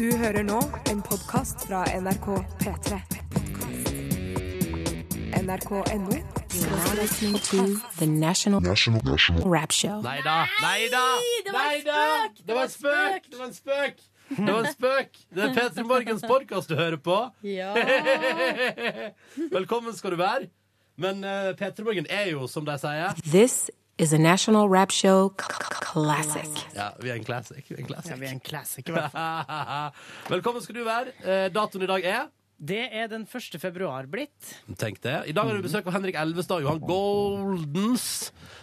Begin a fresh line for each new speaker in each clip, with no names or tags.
Du hører nå en podkast fra NRK P3. NRK.no
Listening to the National, Rap Show.
Nei da! Nei da!
det var en spøk!
Det var en spøk! Det var en spøk! Det var en spøk! Det er P3 Morgens podkast du hører på.
Ja.
Velkommen skal du være. Men uh, P3 Morgen er jo, som de sier
This is a National Rap Show c- c- classic.
Ja, vi er en classic. Vi er en
Ja,
classic.
vi er en classic, i hvert fall.
Velkommen skal du være. Eh, datoen i dag er
Det er den 1. februar blitt.
Tenk det. I dag har vi besøk av Henrik Elvestad, Johan Goldens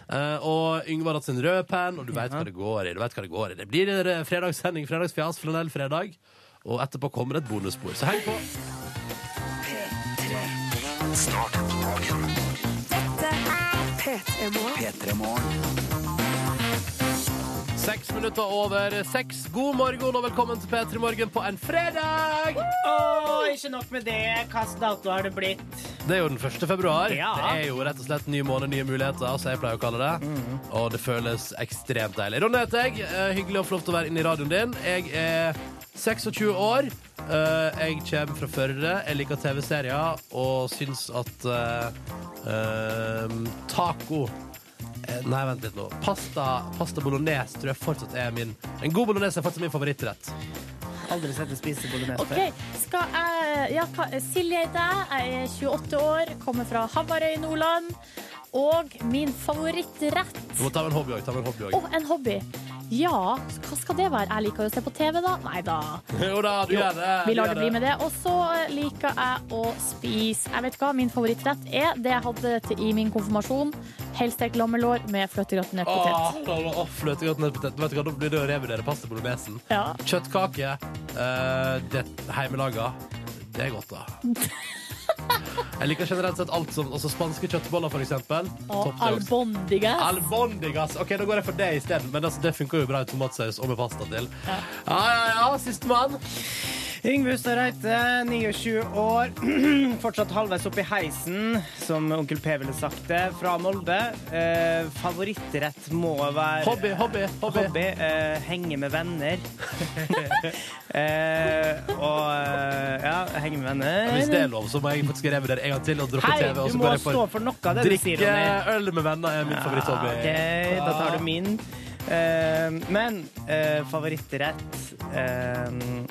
eh, og Yngvar Atsen Rødpenn. Og du veit hva det går i. Du vet hva det går i. Det blir eh, fredagssending, fredagsfjas, flanellfredag. Og etterpå kommer det et bonusspor. Så heng på.
P3 Morgen.
Seks minutter over seks. God morgen og velkommen til P3 Morgen på en fredag!
Å, ikke nok med det. Hvilken dato har det blitt?
Det er jo den 1. februar.
Ja.
Det er jo rett og slett ny måned, nye muligheter, som jeg pleier å kalle det. Og det føles ekstremt deilig. Ronny heter jeg. Eh, Hyggelig å få lov til å være inne i radioen din. Jeg er 26 år. Eh, Jeg kommer fra Førde. Jeg liker TV-serier og syns at eh, eh, taco Eh, Nei, vent litt nå. Pasta, pasta bolognese tror jeg fortsatt er min En god bolognese er fortsatt min favorittrett.
Aldri sett en spisebord med
Ok, skal jeg ja, hva- Silje heter jeg, jeg er 28 år, kommer fra Hamarøy i Nordland. Og min favorittrett
Du må ta med en hobby òg. Ta med en hobby også.
og en hobby. Ja, hva skal det være? Jeg liker jo å se på TV, da. Nei da.
Jo da, du gjør det.
Vi
du
lar
gjør
det bli med det. Og så liker jeg å spise Jeg vet ikke hva min favorittrett er. Det jeg hadde til, i min konfirmasjon. Helstekt lammelår med fløtegratinert
Åh,
potet.
da var- åh, fløtegrøt med potet. Vet du hva, Da blir det å revurdere pasta bolognesen.
Ja.
Kjøttkake. eh, det Hjemmelaga. Det er godt, da. Jeg liker generelt sett alt som også spanske kjøttboller, for eksempel. Topp,
Og
det også.
albondigas.
Albondigas. Ok, da går jeg for det isteden. Men altså, det funker jo bra i tomatsaus og med pasta til. Ja, ja, ja. Sistemann.
Yngve Hustad Reite, 29 år. Fortsatt halvveis opp i heisen, som onkel P ville sagt det, fra Molde. Eh, favorittrett må være
Hobby, hobby, hobby.
Hobby, eh, henge med venner. eh, og eh, ja, henge med venner.
Hvis det er lov, så må jeg faktisk revurdere en gang til og droppe
Hei,
TV. Og
du
så
må
går jeg
stå
for
for noe av det du sier, Ronny.
drikke øl med venner er min favoritthobby.
Ah, ok, da tar du min. Eh, men eh, favorittrett eh,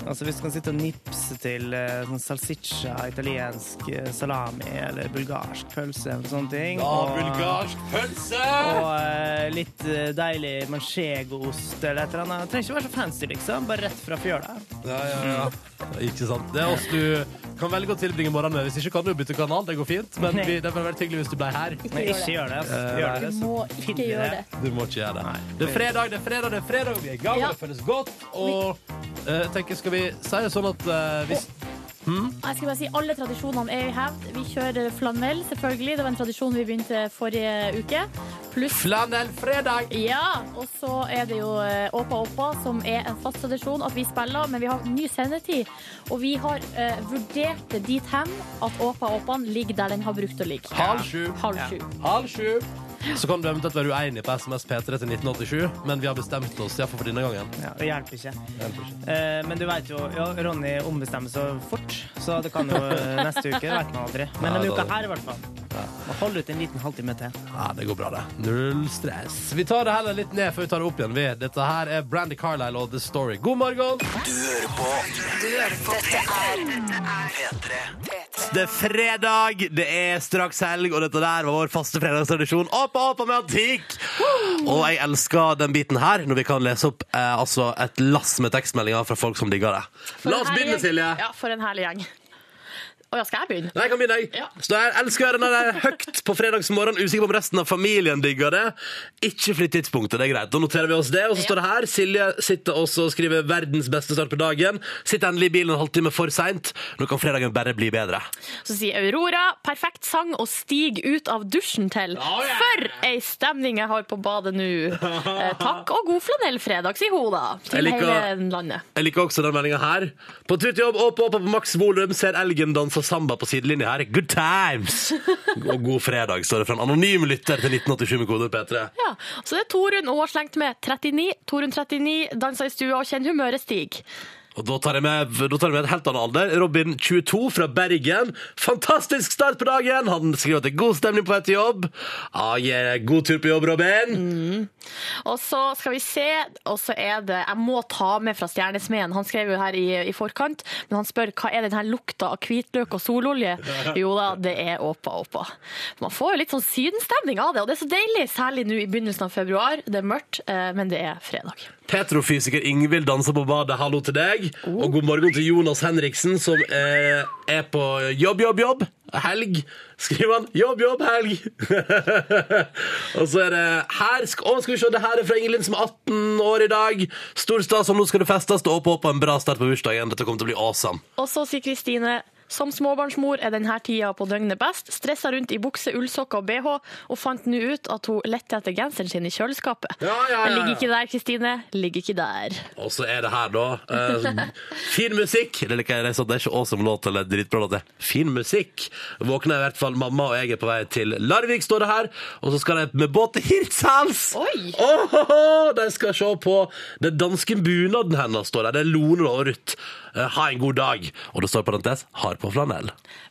Altså Hvis du kan sitte og nipse til eh, sånn salsiccia, italiensk eh, salami eller bulgarsk pølse eller sånne ting
Ja,
og-
bulgarsk pølse!
Og eh, litt eh, deilig manchegoost eller et eller annet. Trenger ikke være så fancy, liksom. Bare rett fra fjøla.
Ja, ja, ja. Ikke sant. Det er oss du kan velge å tilbringe morgenen med. Hvis ikke kan du bytte kanal, det går fint. Men vi, det hadde vært hyggelig hvis du ble her.
Men ikke gjør det. Altså. Gjør det
Du
så
må
finner
ikke gjøre det.
Du må ikke gjøre det. Det er fredag, det er fredag, det er fredag, og vi er i gang,
Ja.
og det føles godt. Og eh, jeg tenker, skal vi si det sånn at eh, hvis
Jeg skal bare si Alle tradisjonene er i hevd. Vi kjører flanell, selvfølgelig. Det var en tradisjon vi begynte forrige uke. Pluss
Flanellfredag!
ja, og så er det jo eh, Åpa Åpa, som er en fast tradisjon at vi spiller, men vi har ny sendetid. Og vi har eh, vurdert det dit hen at Åpa Åpaen ligger der den har brukt å ligge.
Halv sju.
Halv sju.
Halv sju. Så kan du eventuelt være uenig på SMS P3 til 1987, men vi har bestemt oss, iallfall for denne gangen.
Ja, det hjelper ikke. Eh, men du vet jo, ja, Ronny ombestemmer så fort, så det kan jo eh, neste uke. Det vet man aldri. Men
Ja,
denne
da-
uka her, i hvert fall. Må holde ut en liten halvtime til.
Ja, det går bra, det. Null stress. Vi tar det heller litt ned før vi tar det opp igjen. Vi. Dette her er Brandy Carlisle og The Story. God morgen! Du hører på Det er fredag, det er straks helg, og dette der var vår faste fredagstradisjon. Opp og opp og med antikk! Og jeg elsker den biten her, når vi kan lese opp eh, altså et lass med tekstmeldinger fra folk som digger det. La oss begynne, Silje.
Ja, for en herlig gjeng. Å ja, skal jeg begynne?
Nei, jeg kan begynne, jeg. Så jeg elsker å høre når det er høyt på fredagsmorgen. Usikker på om resten av familien digger det. Ikke flytt tidspunktet, det er greit. Da noterer vi oss det. Og så står det her. Silje sitter også og skriver 'verdens beste start på dagen'. Sitter endelig i bilen en halvtime for seint. Nå kan fredagen bare bli bedre.
Så sier Aurora perfekt sang å stige ut av dusjen til. For ei stemning jeg har på badet nå. Eh, takk og god flanellfredag, sier hun da. Til
Jeg liker-
hele landet.
Jeg liker også den meldinga her. På Twitter-jobb, opp, opp, opp på maks volum, ser elgen danse danser samba på sidelinja her. Good times! Og god fredag, står det fra en anonym lytter til 1987 med kode P3.
Ja, Så det er Torunn, og hun har slengt med 39. Torunn 39 danser i stua og kjenner humøret stiger.
Og da tar, jeg med, da tar jeg med et helt annet alder. Robin 22 fra Bergen. Fantastisk start på dagen! Han skriver at det er god stemning på vei til jobb. Ah, yeah. God tur på jobb, Robin!
Og så skal vi se, og så er det Jeg må ta med fra Stjernesmeden. Han skrev jo her i, i forkant, men han spør hva er den her lukta av hvitløk og sololje? Jo da, det er åpa åpa. Man får jo litt sånn sydenstemning av det, og det er så deilig. Særlig nå i begynnelsen av februar. Det er mørkt, eh, men det er fredag.
Petrofysiker Ingvild danser på badet. Hallo til deg. Og god morgen til Jonas Henriksen, som eh, er på jobb, jobb, jobb. Helg. Skriver han. Jobb, jobb, helg. og så er det her sk Å, skal vi se, det her er fra Ingelin, som er 18 år i dag. Stor stas, og nå skal det festes. Og håper på en bra start på bursdagen. Dette kommer til å bli awesome.
Og så sier Kristine som småbarnsmor er denne tida på døgnet best. Stressa rundt i bukse, ullsokker og bh, og fant nå ut at hun lette etter genseren sin i kjøleskapet.
Ja, ja, ja, ja.
Den Ligger ikke der, Kristine. Ligger ikke der.
Og så er det her, da. eh, fin musikk. Det liker jeg. Det er sånn, det er ikke awesome låt eller dritbra låt. det er Fin musikk. Våkner i hvert fall mamma og jeg er på vei til Larvik, står det her. Og så skal de med båt til Hirtshals!
Oi!
Åhåhå! de skal se på den danske bunaden hennes, står det. Det er Lone og Ruth. Eh, ha en god dag. Og det står i parentes har på flanell.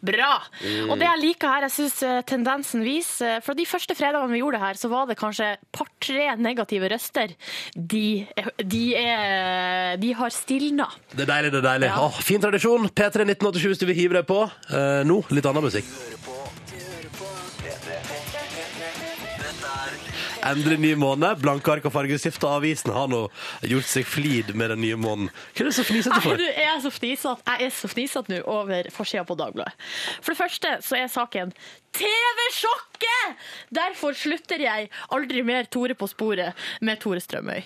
Bra!
Mm.
Og det jeg liker her, jeg syns tendensen viser eh, Fra de første fredagene vi gjorde det her, så var det kanskje par-tre negative røster. De, er- de, er, de har stilna.
Det er deilig, det er deilig. Åh, fin tradisjon. P3 1987 hvis du vil hive deg på. Eh, nå litt annen musikk. Endelig ny måned. Blanke ark og fargestifte. Avisen har nå gjort seg flid med den nye måneden. Hva er det så fnisete
Nei,
for?
du, jeg er så fnisete. Jeg er så fnisete nå over forsida på Dagbladet. For det første så er saken TV-sjokket! Derfor slutter jeg aldri mer Tore på sporet med Tore Strømøy.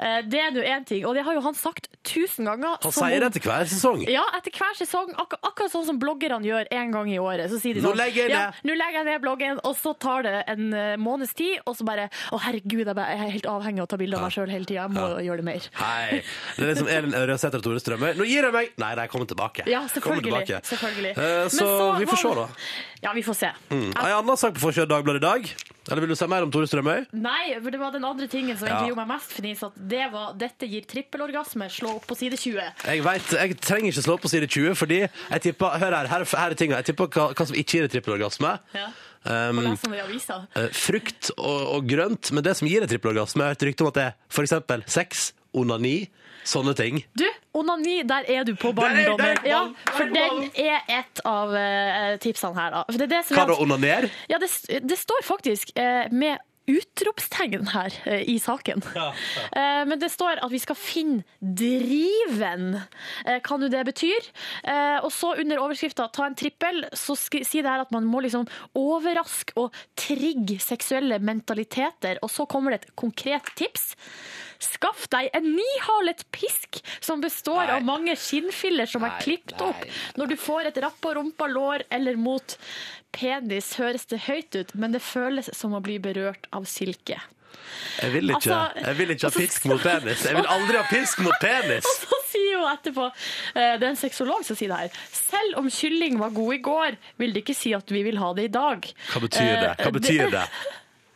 Eh, Det er nå én ting, og det har jo han sagt tusen ganger.
Han
som
sier
om-
det etter hver sesong.
Ja, etter hver sesong, ak akkurat sånn som bloggerne gjør en gang i året. Så sier de
Nå
sånn,
legger jeg
ja,
ned.
nå legger jeg ned bloggen, og så tar det en eh, måneds tid, og så bare Å, herregud, jeg bare- jeg er helt avhengig av å ta bilder av meg sjøl hele tida. Jeg må gjøre det mer.
Hei. Det er liksom Elin Ørjasæter og Tore Strømøy. Nå gir jeg meg! Nei, de kommer tilbake.
Ja,
Kommer
selvfølgelig.
tilbake.
selvfølgelig.
Eh,
Men
så, vi får se,
var
da. Mm.
det- Ja, vi får se.
Ei anna sak på forsida av Dagbladet i dag. Eller vil du si mer om Tore Strømøy?
Nei, for det var den andre tingen som
Ja.
egentlig gjorde meg mest fnisete. Det var 'dette gir trippelorgasme', slå opp på side 20.
Jeg vet, jeg trenger ikke slå opp på side 20, fordi jeg tipper, hør her, her, her er tingene, jeg tipper hva, hva som ikke gir et trippelorgasme.
Ja.
Um,
Og les om det i avisa.
eh, frukt og, og grønt, men det som gir et trippelorgasme, jeg har hørt rykte om at det er for eksempel sex, onani, sånne ting.
Du, onani, der er du på ballen,
Der er- der er
dommer.
på
Ja,
ballen, der er
for
på ballen.
den er et av eh, tipsene her, da. For det er det som
Hva
er
da,
at-
onaner?
Ja, det, det står faktisk eh, med utropstegn her eh, i saken. Eh, men det står at vi skal finne driven. Eh, kan du det betyr? Eh, og så under overskrifta 'ta en trippel' så skri- sier det her at man må liksom overraske og trigge seksuelle mentaliteter. Og så kommer det et konkret tips. Skaff deg en nihalet pisk som består av mange skinnfiller som er klippet opp. Når du får et rapp på rumpa, lår eller mot penis, høres det høyt ut, men det føles som å bli berørt av silke.
Jeg vil ikke,
Altså,
jeg vil ikke ha
altså-
pisk mot penis. Jeg vil aldri ha pisk mot penis!
Og så sier hun etterpå, eh, det er en sexolog som sier det her, selv om kylling var god i går, vil det ikke si at vi vil ha det i dag.
Hva betyr det?
Eh,
Hva betyr det?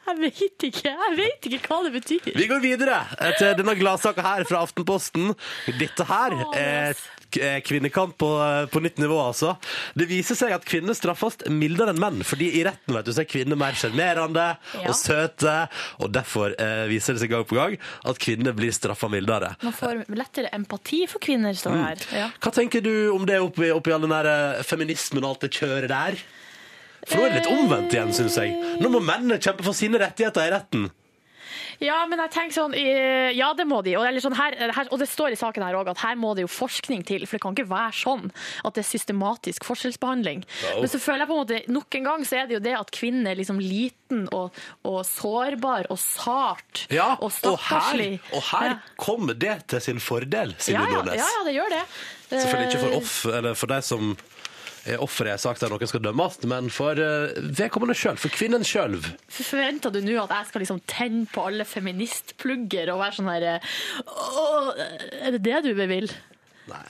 Jeg vet ikke, jeg vet ikke hva det betyr.
Vi går videre til denne gladsaka her fra Aftenposten. Dette her er k- er kvinnekamp på, på nytt nivå, altså. Det viser seg at kvinner straffes mildere enn menn, fordi i retten vet du, så er kvinner mer sjarmerende
Ja.
og søte. Og derfor eh, viser det seg gang på gang at kvinner blir straffa mildere.
Man får lettere empati for kvinner, står det her. Ja.
Hva tenker du om det oppi, oppi all den der eh, feminismen og alt det kjøret der? For nå er det litt omvendt igjen, syns jeg. Nå må mennene kjempe for sine rettigheter i retten.
Ja, men jeg tenker sånn eh, Ja, det må de. Og, eller sånn her, her, og det står i saken her òg at her må det jo forskning til. For det kan ikke være sånn at det er systematisk forskjellsbehandling. Men så føler jeg på en måte nok en gang så er det jo det at kvinnen er liksom liten og, og sårbar og sart
Ja, og,
og
her,
stakkarslig.
og her
Ja.
kommer det til sin fordel, Silje
ja, ja,
Nordnes.
ja, ja, det gjør det.
Selvfølgelig ikke for
Eh,
off, eller for deg som er offer i en sak der noen skal dømmes, men for eh, vedkommende sjøl, for kvinnen sjøl.
Forventer du nå at jeg skal liksom tenne på alle feministplugger og være sånn her eh, «Åh, Er det det du vil?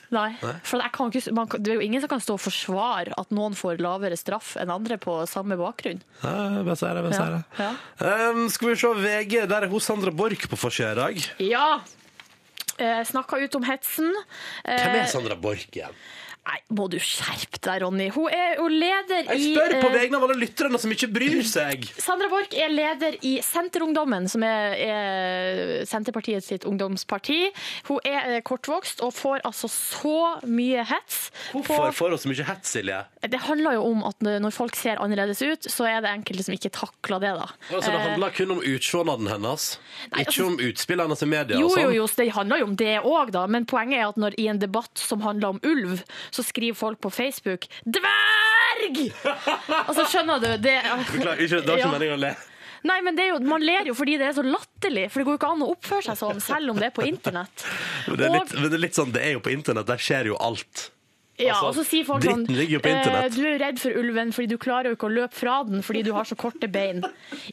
Nei. For jeg kan ikke, man, kan- det er jo ingen som kan stå og forsvare at noen får lavere straff enn andre på samme bakgrunn.
Ja, Bare si det, bare si det.
Ja.
Um, skal vi se VG, der er hun Sandra Borch på forsida i dag.
ja. Eh, snakka ut om hetsen.
Hvem er
Eh,
Sandra Borch igjen?
nei, må du skjerpe deg, Ronny. Hun er jo leder
Jeg
i
spør på
eh,
vegne av alle lytterne som ikke bryr seg.
Sandra Borch er leder i Senterungdommen, som er, er Senterpartiet sitt ungdomsparti. Hun er eh, kortvokst og får altså så mye hets.
Hvorfor får hun så mye hets, Silje?
Det handler jo om at når folk ser annerledes ut, så er det enkelte som ikke takler det, da.
Altså, det handler kun om utseendet hennes, ikke
altså-
om utspillet hennes i media.
Jo,
og sånn.
jo, jo, så det handler jo om det òg, da. Men poenget er at når i en debatt som handler om ulv, så skriver folk på Facebook 'dverg'! Altså, skjønner du? Det,
Beklager, ikke, det var ikke
Ja.
meningen å le.
Nei, men det er jo, man ler jo fordi det er så latterlig. For det går jo ikke an å oppføre seg sånn, selv om det er på internett.
Men Det er,
Og-
litt, men det er litt sånn, det er jo på internett, der skjer jo alt.
Ja,
Altså,
og så sier folk sånn
dritten ligger jo på internett.
eh, Du er redd for ulven fordi du klarer jo ikke å løpe fra den fordi du har så korte bein.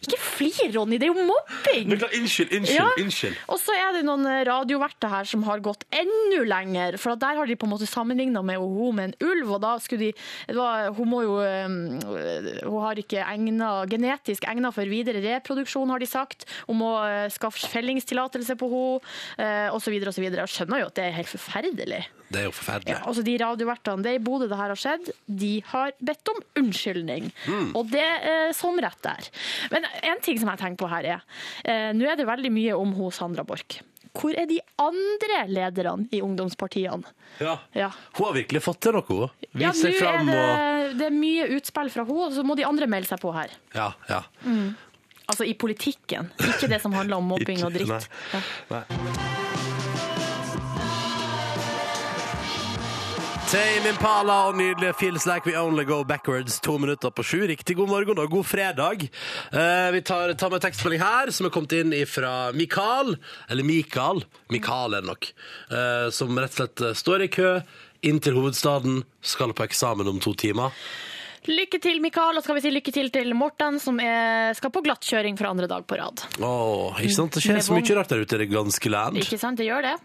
Ikke flir, Ronny, det er jo mobbing!
Beklager, unnskyld, unnskyld,
Ja.
unnskyld.
Og så er det noen eh, radioverter her som har gått enda lenger. For at der har de på en måte sammenligna med henne med en ulv, og da skulle de det var, Hun må jo øhm, Hun har ikke egna, genetisk egna for videre reproduksjon, har de sagt. Hun må øh, skaffe fellingstillatelse på eh, henne, osv. osv. Jeg skjønner jo at det er helt forferdelig.
Det er jo forferdelig.
Ja, altså De radiovertene det er i Bodø det her har skjedd, de har bedt om unnskyldning.
Hmm.
Og det er sånn rett der. Men en ting som jeg tenker på her er, eh, nå er det veldig mye om hun Sandra Borch. Hvor er de andre lederne i ungdomspartiene?
Ja.
Ja.
Hun har virkelig fått til noe.
Ja,
Vist
nå
seg
er
fram
det,
og
det er mye utspill fra henne, og så må de andre melde seg på her.
Ja, ja.
Altså i politikken, ikke det som handler om mobbing og
Ikke-
dritt.
Nei.
Ja.
Nei. Tame Impala og nydelige Feels Like We Only Go Backwards. To minutter på sju. Riktig god morgen og god fredag. Eh, vi tar, tar med tekstmelding her, som er kommet inn fra Mikael. Eller Mikael. Mikael er det nok. Eh, som rett og slett eh, står i kø inn til hovedstaden, skal på eksamen om to timer.
Lykke til, Mikael, og skal vi si lykke til til Morten, som er, skal på glattkjøring for andre dag på rad.
Åh, ikke sant? Det skjer
Med
så mye
vogn.
rart der ute i det ganske land.
Ikke sant? Det gjør det.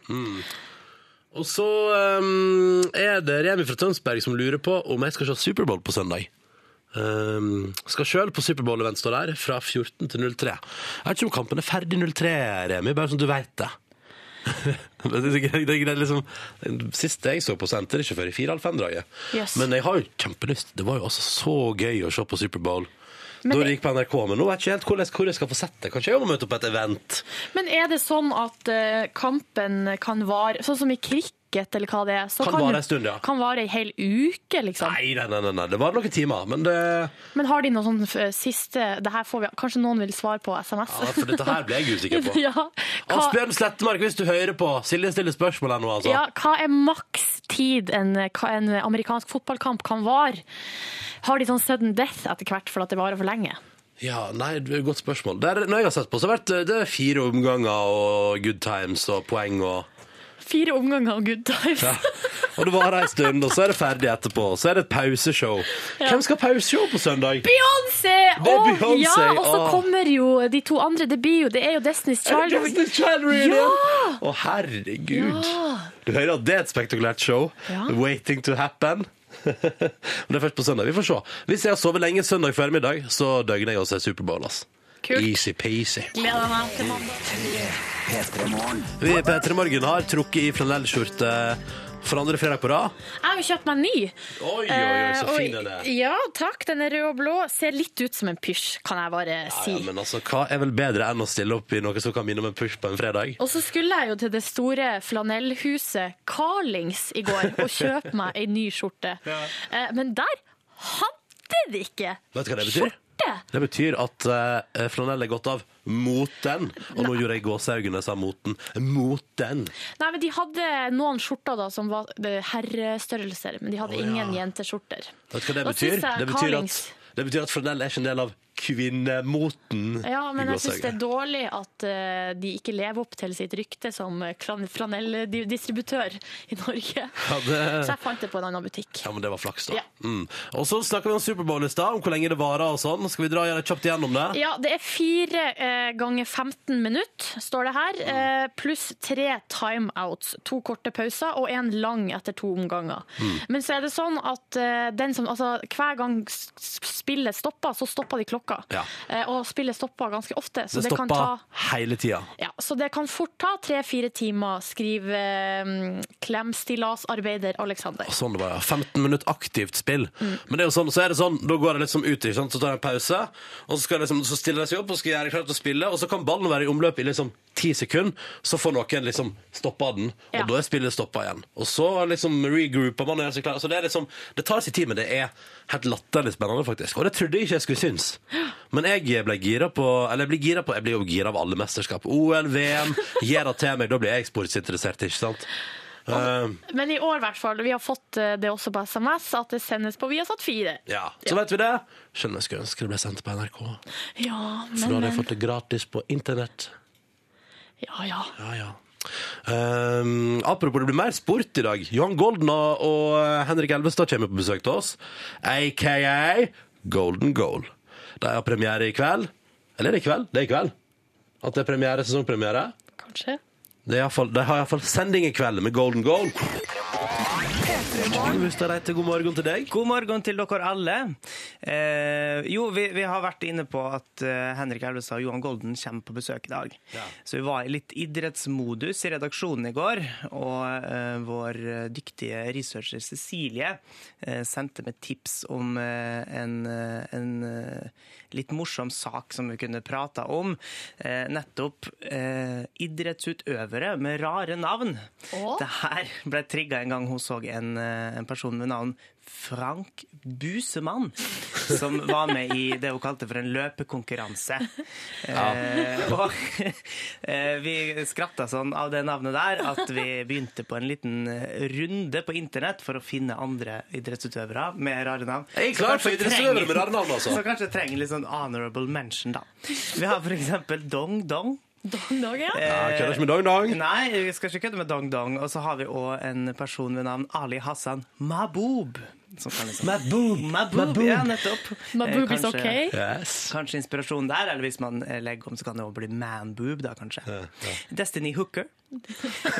Og så ehm, er det Remi fra Tønsberg som lurer på om jeg skal se Superbowl på søndag. Ehm, skal sjøl på Superbowl-event stå der fra 14 til 03. Jeg vet ikke om kampen er ferdig 03, Remi, bare sånn du veit det. Men det, er greit- det, er greit, liksom, siste jeg så på senter, ikke før i 4,5-draget.
Yes.
Men jeg har jo kjempelyst. Det var jo altså så gøy å se på Superbowl.
Men
Da
det-
det gikk på NRK, men nå vet jeg ikke helt hvor jeg, hvor jeg skal få sett det. Kanskje jeg må møte opp på et event.
Men er det sånn at eh, kampen kan vare Sånn som i cricket eller hva det er? Så
Kan vare en stund, ja.
Kan vare ei hel uke, liksom.
Nei, nei, nei, nei, nei. det var noen timer, men det
Men har de noe sånn eh, siste det her får vi, Kanskje noen vil svare på SMS?
Ja, for dette her ble jeg usikker på.
ja. Hva,
Asbjørn Slettemark, hvis du hører på, Silje stiller spørsmål her nå, altså.
ja, hva er maks tid en, hva en amerikansk fotballkamp kan vare? Har de sånn sudden death etter hvert for at det varer for lenge?
Ja, nei, det er et godt spørsmål. Det er, når jeg har sett på, så har det vært det er fire omganger og good times og poeng og
Fire omganger og good times.
ja. Og det varer en stund, og så er det ferdig etterpå. Så er det et pauseshow. Hvem skal ha pauseshow på søndag?
Beyoncé!
Det er
Åh,
Beyoncé,
ja, og så
åh.
kommer jo de to andre. Det blir jo, det er jo Destiny's
Er det
Child.
Disney Channel igjen?
Ja!
Å, herregud. Du hører at det er et spektakulært show.
Ja.
Waiting to happen. Men det er først på søndag. Vi får se. Hvis jeg har sovet lenge søndag formiddag, så døgner jeg også i Superbowl. ass.
Kult.
Easy-peasy.
Gleder meg til mandag.
Vi i P3 Morgen har trukket i flanellskjorte for andre fredag på rad.
Jeg har jo kjøpt meg en ny.
Oi, oi, oi, så
Eh,
fin den er.
Ja, takk. Den er rød og blå. Ser litt ut som en pysj, kan jeg bare si.
Ja, men altså, Hva er vel bedre enn å stille opp i noe som kan minne om en push på en fredag?
Og så skulle jeg jo til det store flanellhuset Carlings i går og kjøpe meg ei ny skjorte. Eh, Men der hadde de ikke
Vet du hva det betyr?
skjorte!
Det betyr at eh, flanell er gått av mot den. Og nå gjorde jeg gåseøynene, sa moten. Mot den.
Nei, men de hadde noen skjorter da som var eh, herrestørrelser, men de hadde
Å, ja.
ingen jenteskjorter.
Vet du hva det
Da
betyr?
synes jeg
Det betyr, at,
Carlings.
det betyr at flanell er ikke en del av kvinnemoten.
Ja, men
Hugo
jeg syns det
Sager.
er dårlig at eh, de ikke lever opp til sitt rykte som eh, flan- flanelldistributør i Norge.
ja, det...
Så jeg fant det på en annen butikk.
Ja, men det var flaks, da.
Ja.
Mm. Og så snakka vi om Superbowl i stad, om hvor lenge det varer og sånn. Skal vi dra gjerne kjapt igjennom det?
Ja, det er fire eh, ganger 15 minutter, står det her,
Mm.
eh, pluss tre timeouts. To korte pauser og en lang etter to omganger.
Mm.
Men så er det sånn at eh, den som, altså, hver gang s- s- spillet stopper, så stopper de klokka.
Ja.
Eh, og spillet stopper ganske ofte, så
det
det,
stopper
kan ta
hele tida.
Ja, så det kan fort ta tre-fire timer, skriver um, klemstillasarbeider Alexander.
Sånn det var, ja. 15 minutt aktivt spill. Men det er jo sånn, så er det sånn, da går det liksom ut, ikke sant? så tar jeg en pause, og så, skal jeg liksom, så stiller de seg opp og skal gjøre klart til å spille, og så kan ballen være i omløp i liksom ti sekunder, så får noen liksom stoppa den, og
Ja.
da er spillet stoppa igjen. Og så liksom regrouper man og gjør seg klar. Så det er liksom, det tar sin tid, men det er helt latterlig spennende, faktisk. Og det trodde jeg ikke jeg skulle synes. Men jeg ble gira på, eller jeg blir gira på, jeg blir jo gira av alle mesterskap. OL, VM, gjør det til meg, da blir jeg sportsinteressert, ikke sant? Eh,
Men i år, i hvert fall. Vi har fått eh, det også på SMS, at det sendes på Viasat 4.
Ja, så vet vi det. Skjønner jeg skulle ønske det ble sendt på NRK.
Ja,
For da
men
hadde
eh,
jeg fått det gratis på internett.
Ja, ja.
Ja, ja. Ehm, apropos, det blir mer sport i dag. Johan Golden og, og Henrik Elvestad kommer på besøk til oss. AKA Golden Goal. De har premiere i kveld. Eller er det i kveld? Det er i kveld. At det er premiere, sesongpremiere.
Kanskje.
Det er i hvert fall- de har iallfall sending i kveld med Golden Goal. Gustav Reite, god morgen til deg.
God morgen til dere alle. Eh, jo, vi, vi har vært inne på at eh, Henrik Elvestad og Johan Golden kommer på besøk i dag. Så vi var i litt idrettsmodus i redaksjonen i går, og eh, vår dyktige researcher Cecilie eh, sendte med tips om eh, en, eh, en eh, litt morsom sak som vi kunne prata om. Eh, nettopp eh, idrettsutøvere med rare navn.
Å?
Det her ble trigga en gang hun så en, eh, en person med navn Frank Busemann, som var med i det hun kalte for en løpekonkurranse. Eh, og eh, vi skratta sånn av det navnet der at vi begynte på en liten eh, runde på internett for å finne andre idrettsutøvere med rare navn.
Jeg er klar for idrettsutøvere med rare navn, altså.
Så kanskje trenger litt sånn honorable mention, da. Vi har for eksempel Dong Dong.
Dong, dong, ja.
Eh,
Ja, kødder ikke med Dong Dong.
Nei, vi skal ikke kødde med Dong Dong. Og så har vi òg en person ved navn Ali Hassan Mahboob. som kan liksom-
Maboub.
Mahboob, ja, nettopp.
My
Eh,
boob is
kanskje-
okay.
Yes.
Kanskje inspirasjon der, eller hvis man eh, legger om, så kan det også bli manboob, da kanskje. Destiny Hooker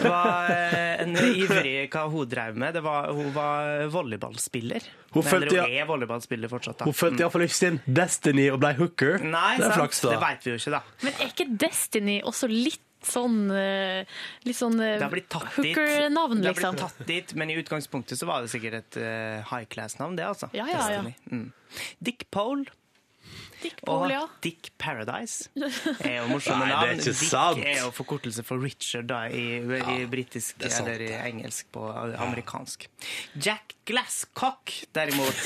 var eh, en ivrig hva hun drev med. Det var, hun var volleyballspiller.
Hun
eller
følte-
hun er volleyballspiller fortsatt, da.
Hun fødte iallfall ikke sin Destiny og ble hooker.
Nei,
det er
sant?
flaks, da.
Det veit vi jo ikke, da.
Men er ikke Destiny også litt sånn eh, Litt sånn eh,
Det har blitt tatt dit.
hooker-navn,
Det har
liksom?
blitt tatt dit, men i utgangspunktet så var det sikkert et eh, high class-navn, det altså.
Ja, ja, ja.
Destiny. Mm. Dick Pole
Dick
og
Paul, ja.
Dick Paradise er jo morsomme
Nei, det er
navn.
ikke
Dick
sant.
er jo forkortelse for Richard da, i, i britisk
det er sant,
eller i engelsk på amerikansk. Jack Glasscock, derimot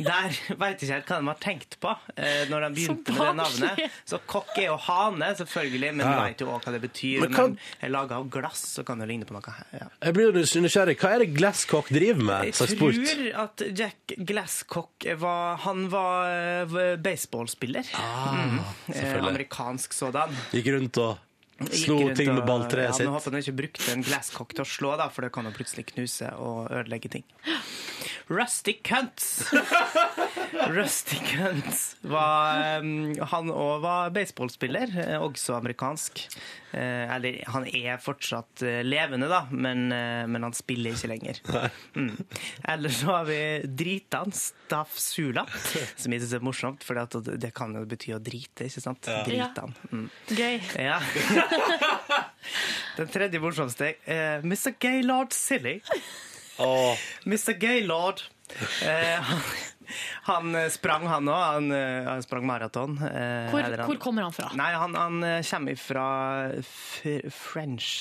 Der veit ikke helt hva de har tenkt på eh, når de
Så
begynte med det navnet.
barnslig.
Så kokk er jo hane, selvfølgelig, men
Ja.
veit jo òg hva det betyr.
Men
Men,
kan-
er laga av glass, så kan det ligne på noe her. Ja.
Jeg blir jo nysgjerrig. Hva er det Glasscock driver med?
Jeg
slags sport?
tror at Jack Glasscock var Han var eh, baseballspiller. Mm. Eh,
selvfølgelig.
Amerikansk sådan.
Gikk rundt og
Gikk
slo
rundt
ting med
og-
balltreet
Ja, men
sitt.
håper han ikke brukte en glasscock til å slå, da, for det kan jo plutselig knuse og ødelegge ting. Rusty Cunts. Rusty Cunts var um, Han òg var baseballspiller, eh, også amerikansk. Eh, Eller han er fortsatt eh, levende, da, men, eh, men han spiller ikke lenger. Mm. Eller så har vi Dritan Staff Sula, som jeg syns er morsomt, for det kan jo bety å drite, ikke sant? Dritan. Mm.
Gøy.
Ja. Den tredje morsomste er Mr. Gaylord Silly.
Åh,
Mr. Gaylord. Eh, han, han eh, sprang, han òg. Han, eh, han sprang maraton. eh,
Hvor,
eller han-
hvor kommer han fra?
Nei, han, han eh, kommer fra f French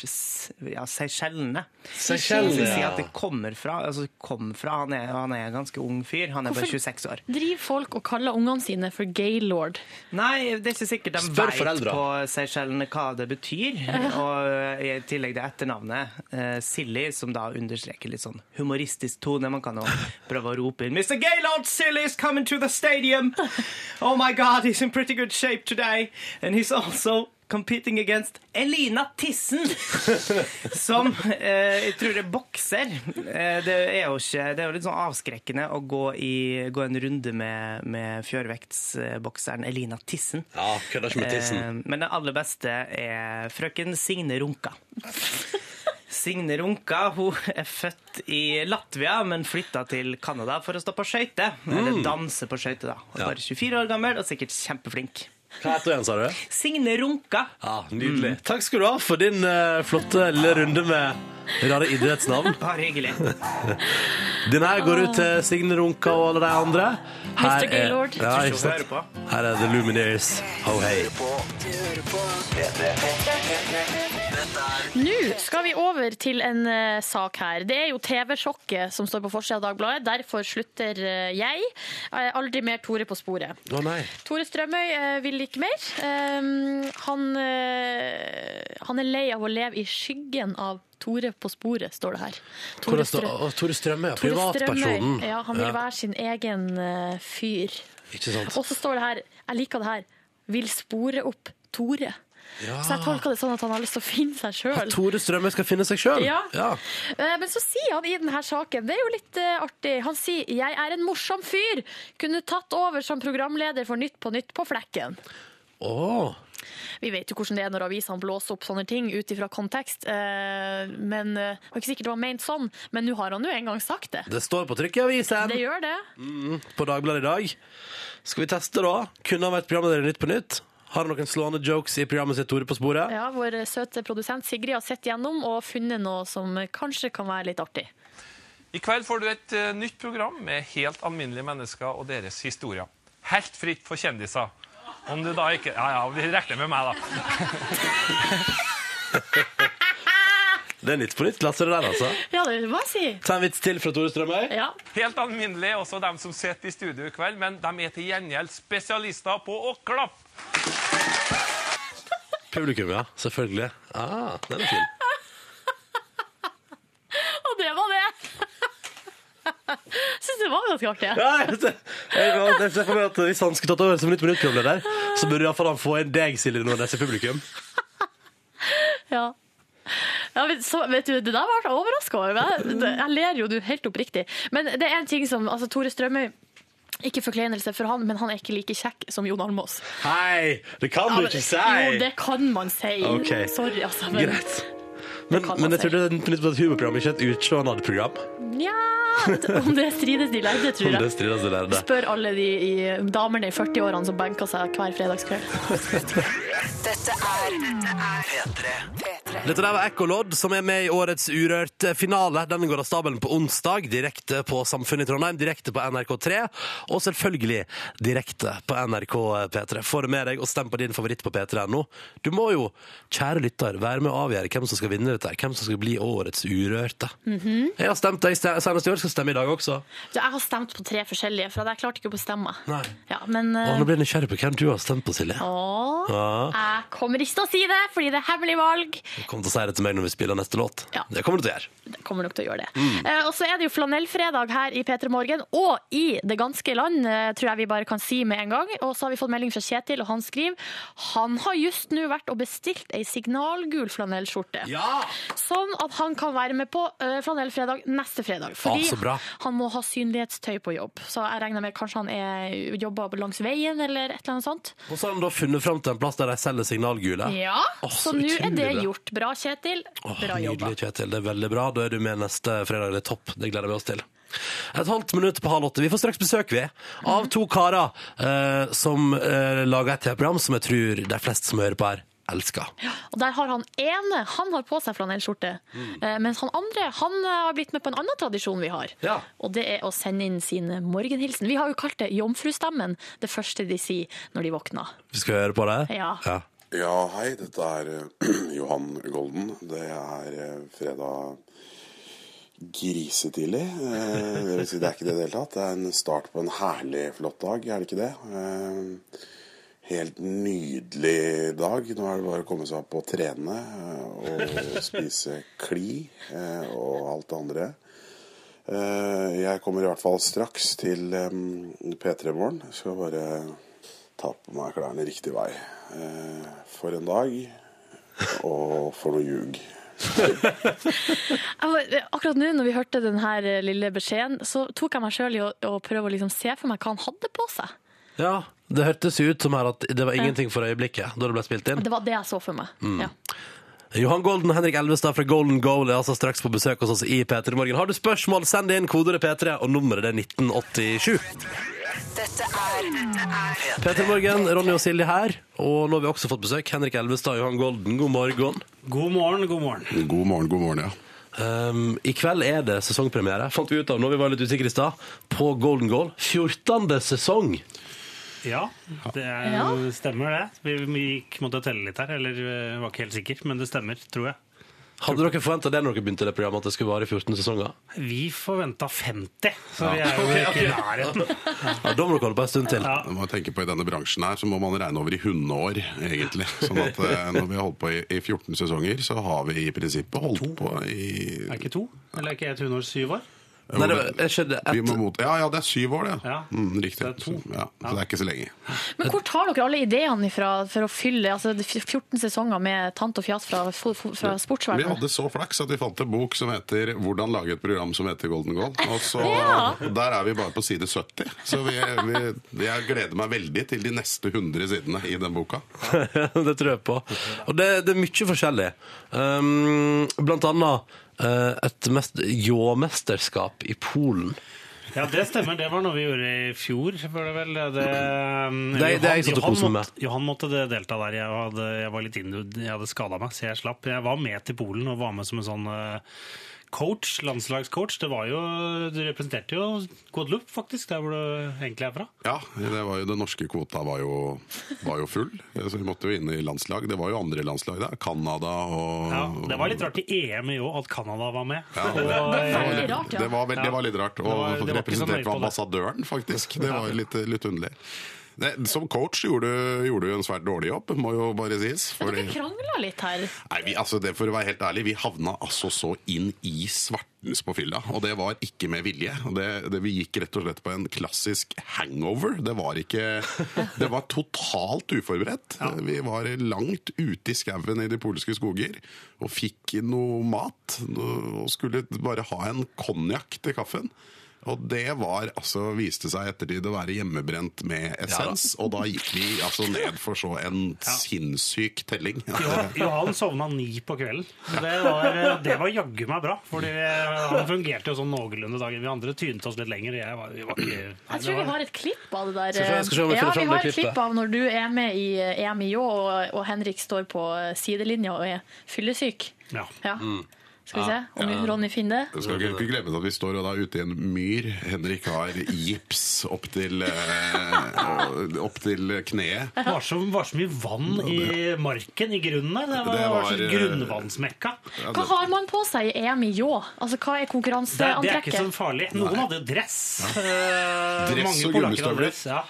Ja, Seychellene.
Seychellene,
Det vil Si
ja.
at det kommer fra, altså kom fra han, er, han er en ganske ung fyr. Han er bare
Hvorfor-
26 år.
Driver folk og kaller ungene sine for gaylord?
Nei, det er ikke sikkert de
Spør
vet
foreldra.
på Seychellene hva det betyr. Og eh, i tillegg det etternavnet, eh, Silly, som da understreker litt sånn humoristisk tone. Man kan jo prøve å rope inn 'Mr. Gaylord Silly is coming to the stadium. Oh my god, he's in pretty good shape today. And he's also competing against Elina Tissen, som eh, jeg tror det er bokser. Eh, det, er jo ikke, det er jo litt sånn avskrekkende å gå, i, gå en runde med, med fjørvektsbokseren Elina Tissen.
Ja, kødder ikke med
Eh,
tissen.
Men det aller beste er frøken Signe Runka. Signe Runka hun er født i Latvia, men flytta til Canada for å stå på skøyter. Eller danse på skøyter, da. Hun er
Ja.
bare 24 år gammel og sikkert kjempeflink.
Hva heter du igjen, sa du?
Signe Runka.
Ja, Nydelig.
Mm.
Takk skal du ha for din eh, flotte lille runde med rare idrettsnavn.
Bare hyggelig.
Den her går ut til Signe Runka og alle de andre. Her
Mr.
Er,
Gaylord.
ja,
Tusen
ikke
hører
sant?
på.
Her er The Lumineers. Ho hei.
Nå skal vi over til en eh, sak her. Det er jo TV-sjokket som står på forsida av Dagbladet. Derfor slutter eh, jeg. Eh, aldri mer Tore på sporet.
Å nei.
Tore Strømøy eh, vil ikke mer. Eh, han, eh, han er lei av å leve i skyggen av Tore på sporet, står det her.
Hvor
Tore
det står-
Strø-
å, Tore Strømøy, ja,
Tore
privatpersonen.
Strømøy, ja, han vil være sin egen eh, fyr.
Ikke sant?
Og så står det her, jeg liker det her, vil spore opp Tore. Så jeg tolker det sånn at han har lyst til å finne seg sjøl.
Tore Strømøy skal finne seg sjøl?
Ja. Eh, Men så sier han i denne saken, det er jo litt eh, artig, han sier 'jeg er en morsom fyr', kunne tatt over som programleder for Nytt på Nytt på flekken.
Å.
Vi vet jo hvordan det er når avisene blåser opp sånne ting ut ifra kontekst, eh, men eh, det var ikke sikkert det var ment sånn, men nå har han jo en gang sagt det.
Det står på trykk i avisen
Det gjør det.
på Dagbladet i dag. Skal vi teste, da? Kunne han vært programleder i Nytt på Nytt? Har han noen slående jokes i programmet sitt Tore på sporet?
Ja, vår søte produsent Sigrid har sett gjennom og funnet noe som kanskje kan være litt artig.
I kveld får du et eh, nytt program med helt alminnelige mennesker og deres historier. Helt fritt for kjendiser. Om du da ikke Ja, ja, vi regner med meg, da.
Det er Nytt på Nytt-klasse, det der, altså.
Ja, det vil jeg si.
Ta en vits til fra Tore Strømøy.
Ja.
Helt alminnelige, også dem som sitter i studio i kveld, men de er til gjengjeld spesialister på å klappe.
Publikum, ja. Selvfølgelig. Ah, den er fin.
Og det var det. Jeg syns det var ganske artig. jeg.
Nei, jeg jeg ser for meg at Hvis han skulle tatt over som Nytt på Nytt-programleder, så burde iallfall han få inn deg, Silje Nordnes, i publikum.
Ja. Ja, men så, vet du, Det der var jeg overraska over. men Jeg, jeg ler jo du helt oppriktig. Men det er en ting som altså, Tore Strømøy ikke forkleinelse for han, men han er ikke like kjekk som Jon Almaas.
Hei! Det kan
Ja,
du
men-
ikke si!
Jo, det kan man si.
Ok.
Sorry, altså. Men,
Greit. Men,
kan man
men jeg
si.
trodde Nytt på Nytt var et humorprogram, ikke et utslående program.
Nja, om det strides de lærde, tror
Det
jeg.
strides det altså, lærde.
Spør alle de i, damene i 40-årene som benker seg hver fredagskveld.
Dette er dette er P3.
Dette der var Ekkolodd, som er med i årets Urørt-finale. Den går av stabelen på onsdag, direkte på Samfunnet i Trondheim, direkte på NRK3, og selvfølgelig direkte på NRK eh, P3. Få det med deg, og stem på din favoritt på P3.no. Du må jo, kjære lytter, være med å avgjøre hvem som skal vinne dette, her, hvem som skal bli årets Urørte.
Mhm.
Jeg har stemt deg senest i år, skal stemme i dag også.
Så jeg har stemt på tre forskjellige, for jeg klarte ikke å bestemme.
Nei.
Ja, men
Og
eh,
nå blir jeg nysgjerrig på hvem du har stemt på, Silje.
å,
Ja.
jeg kommer ikke til å si det, fordi det er hemmelig valg.
Du kommer til å si det til meg når vi spiller neste låt.
Ja.
Det kommer du til å gjøre.
Jeg kommer nok til å gjøre det.
Mm.
Eh, og så er det jo flanellfredag her i P3 Morgen, og i det ganske land, eh, tror jeg vi bare kan si med en gang. Og så har vi fått melding fra Kjetil, og han skriver han har just nå vært og bestilt ei signalgul flanellskjorte.
Ja!
Sånn at han kan være med på eh, flanellfredag neste fredag. Fordi
Ah, så bra.
han må ha synlighetstøy på jobb. Så jeg regner med kanskje han er, jobber langs veien eller et eller annet sånt.
Og så har han da funnet fram til en plass der de selger signalgule.
Ja,
Åh,
Så
så
nå er
utrolig
det
bra.
gjort. Bra, Kjetil.
Åh,
Bra jobba.
Nydelig, Kjetil. Det er veldig bra. Da er du med neste fredag. Det er topp. Det gleder vi oss til. Et halvt minutt på halv åtte. Vi får straks besøk, vi, av to karer eh, som eh, lager et TV-program som jeg tror de fleste som hører på her, elsker.
Og der har han ene han har på seg flanellskjorte,
Mm.
Eh, mens han andre han eh, har blitt med på en annen tradisjon vi har.
Ja.
Og det er å sende inn sin morgenhilsen. Vi har jo kalt det jomfrustemmen, det første de sier når de våkner.
Vi skal høre på det?
Ja.
Ja, hei, dette er eh, Johan Golden. Det er eh, fredag grisetidlig. Eh, Det vil si, det er ikke det i det hele tatt. Det er en start på en herlig, flott dag, er det ikke det? Eh, Helt nydelig dag. Nå er det bare å komme seg opp og trene eh, og spise kli eh, og alt det andre.
Eh, Jeg kommer i hvert fall straks til
eh,
em, P3 Morgen. Jeg Skal bare ta på meg klærne riktig vei. Eh, For en dag, og for noe ljug.
Jeg var- eh, Akkurat nå når vi hørte den her eh, lille beskjeden, så tok jeg meg sjøl i å, å prøve å liksom se for meg hva han hadde på seg.
Ja, det hørtes jo ut som her at det var ingenting for øyeblikket da det ble spilt inn.
Det var det jeg så for meg.
Mm.
Ja.
Johan Golden og Henrik Elvestad fra Golden Goal er altså straks på besøk hos oss i P3 Morgen. Har du spørsmål, send inn kodeordet P3, og nummeret det er 1987.
Dette er P3.
P3 Morgen, Ronny og Silje her, og nå har vi også fått besøk. Henrik Elvestad og Johan Golden, god morgen.
God morgen, god morgen.
God morgen, god morgen, ja.
Um, I kveld er det sesongpremiere, fant vi ut av når vi var litt usikre i stad, på Golden Goal. 14. sesong!
Ja, det er,
Eh,
Ja.
stemmer det. Vi, vi gikk, måtte telle litt her, eller eh, var ikke helt sikker, men det stemmer, tror jeg.
Hadde dere forventa det når dere begynte det programmet, at det skulle vare i 14 sesonger?
Vi forventa 50, så
Ja.
vi er jo
Ok,
ikke i
ok.
nærheten.
Ja, da må dere holde på en stund til.
Ja.
Det må jeg tenke på I denne bransjen her så må man regne over i hundeår, egentlig. Sånn at eh, Når vi har holdt på i i 14 sesonger, så har vi i prinsippet holdt på i
Er ikke to? Eller er ikke et hundår syv år?
Nei, det var- jeg skjønner
Vi må
et,
mot... Ja, ja, det er syv år, det.
Ja.
Mm, riktig.
Det er to.
Så, ja. så det er ikke så lenge.
Men hvor tar dere alle ideene ifra for å fylle altså, det er 14 sesonger med tant og fjas fra, fra
Vi
sportsverdenen?
hadde så flaks at vi fant en bok som heter 'Hvordan lage et program som heter Golden Goal'. Og så,
Ja.
Der er vi bare på side 70. Så vi, vi, jeg gleder meg veldig til de neste 100 sidene i den boka.
det tror jeg på. Og det, det er mye forskjellig. Um, blant annet eh, et mest- ljåmesterskap i Polen.
Ja, det stemmer. Det var noe vi gjorde i fjor, var det vel? Det, det,
det er jeg som tok
Johan
kosen med.
måtte- Johan måtte det delta der. Jeg, hadde, jeg var litt inne, jeg hadde skada meg, så jeg slapp. Jeg var med til Polen og var med som en sånn eh, coach, landslagscoach. Det var jo, du representerte jo Guadeloupe, faktisk, der hvor du egentlig er fra.
Ja, det var jo, Den norske kvota var jo, var jo full, så vi måtte jo inn i landslag. Det var jo andre landslag der. Canada og
Ja, det var litt rart i EM i år at Canada var med.
Ja, det-
Og,
Det var
eh,
veldig rart, ja.
Det var, veldig, det var litt rart. Og
Det var- det var ikke så nøye
representert
på
av
det.
ambassadøren, faktisk. Det var jo litt, litt underlig. Nei, som coach gjorde gjorde du en svært dårlig jobb, må jo bare sies.
Dere
Fordi,
krangla litt her.
nei, vi, altså, det, for å være helt ærlig, vi havna altså så inn i svartens på fylla. Og det var ikke med vilje. Og det, det, vi gikk rett og slett på en klassisk hangover. Det var ikke Det var totalt uforberedt. Vi var langt ute i skauen i de polske skoger og fikk noe mat. Og skulle bare ha en konjakk til kaffen. Og det var, altså, viste seg i ettertid å være hjemmebrent med essens. og da gikk vi altså ned for så en sinnssyk telling.
Johan- Johan sovna ni på kvelden. Det var, eh, det var jaggu meg bra. Fordi han fungerte jo sånn noenlunde dagen. Vi andre tynte oss litt lenger. og Jeg var, vi var ikke, nei,
Jeg tror
det
vi
var-
har et klipp av det der. eh.
Skal vi se- jeg skal se om vi
ja,
finner
vi
fram
har
det
et klipp
klippet.
av når du er med i eh, EM i Ljå, og, og Henrik står på eh, sidelinja og er fyllesyk.
ja.
Ja. Skal vi se om Ronny finner det?
Jeg skal ikke, ikke glemme at vi står jo da ute i en myr. Henrik har gips opp til, eh, opp til kneet.
Det var så, var så mye vann i marken, i grunnen der. Det var,
Det var,
sånn
eh,
grunnvannsmekka.
Ja,
Hva
det-
har man på seg i EM i Ljå? Altså, hva er
Det, det er ikke så
konkurranseantrekket?
farlig. Noen hadde jo dress. Eh,
Dress
mange
og
polakker hadde
gummistøvler.
dress, Ja.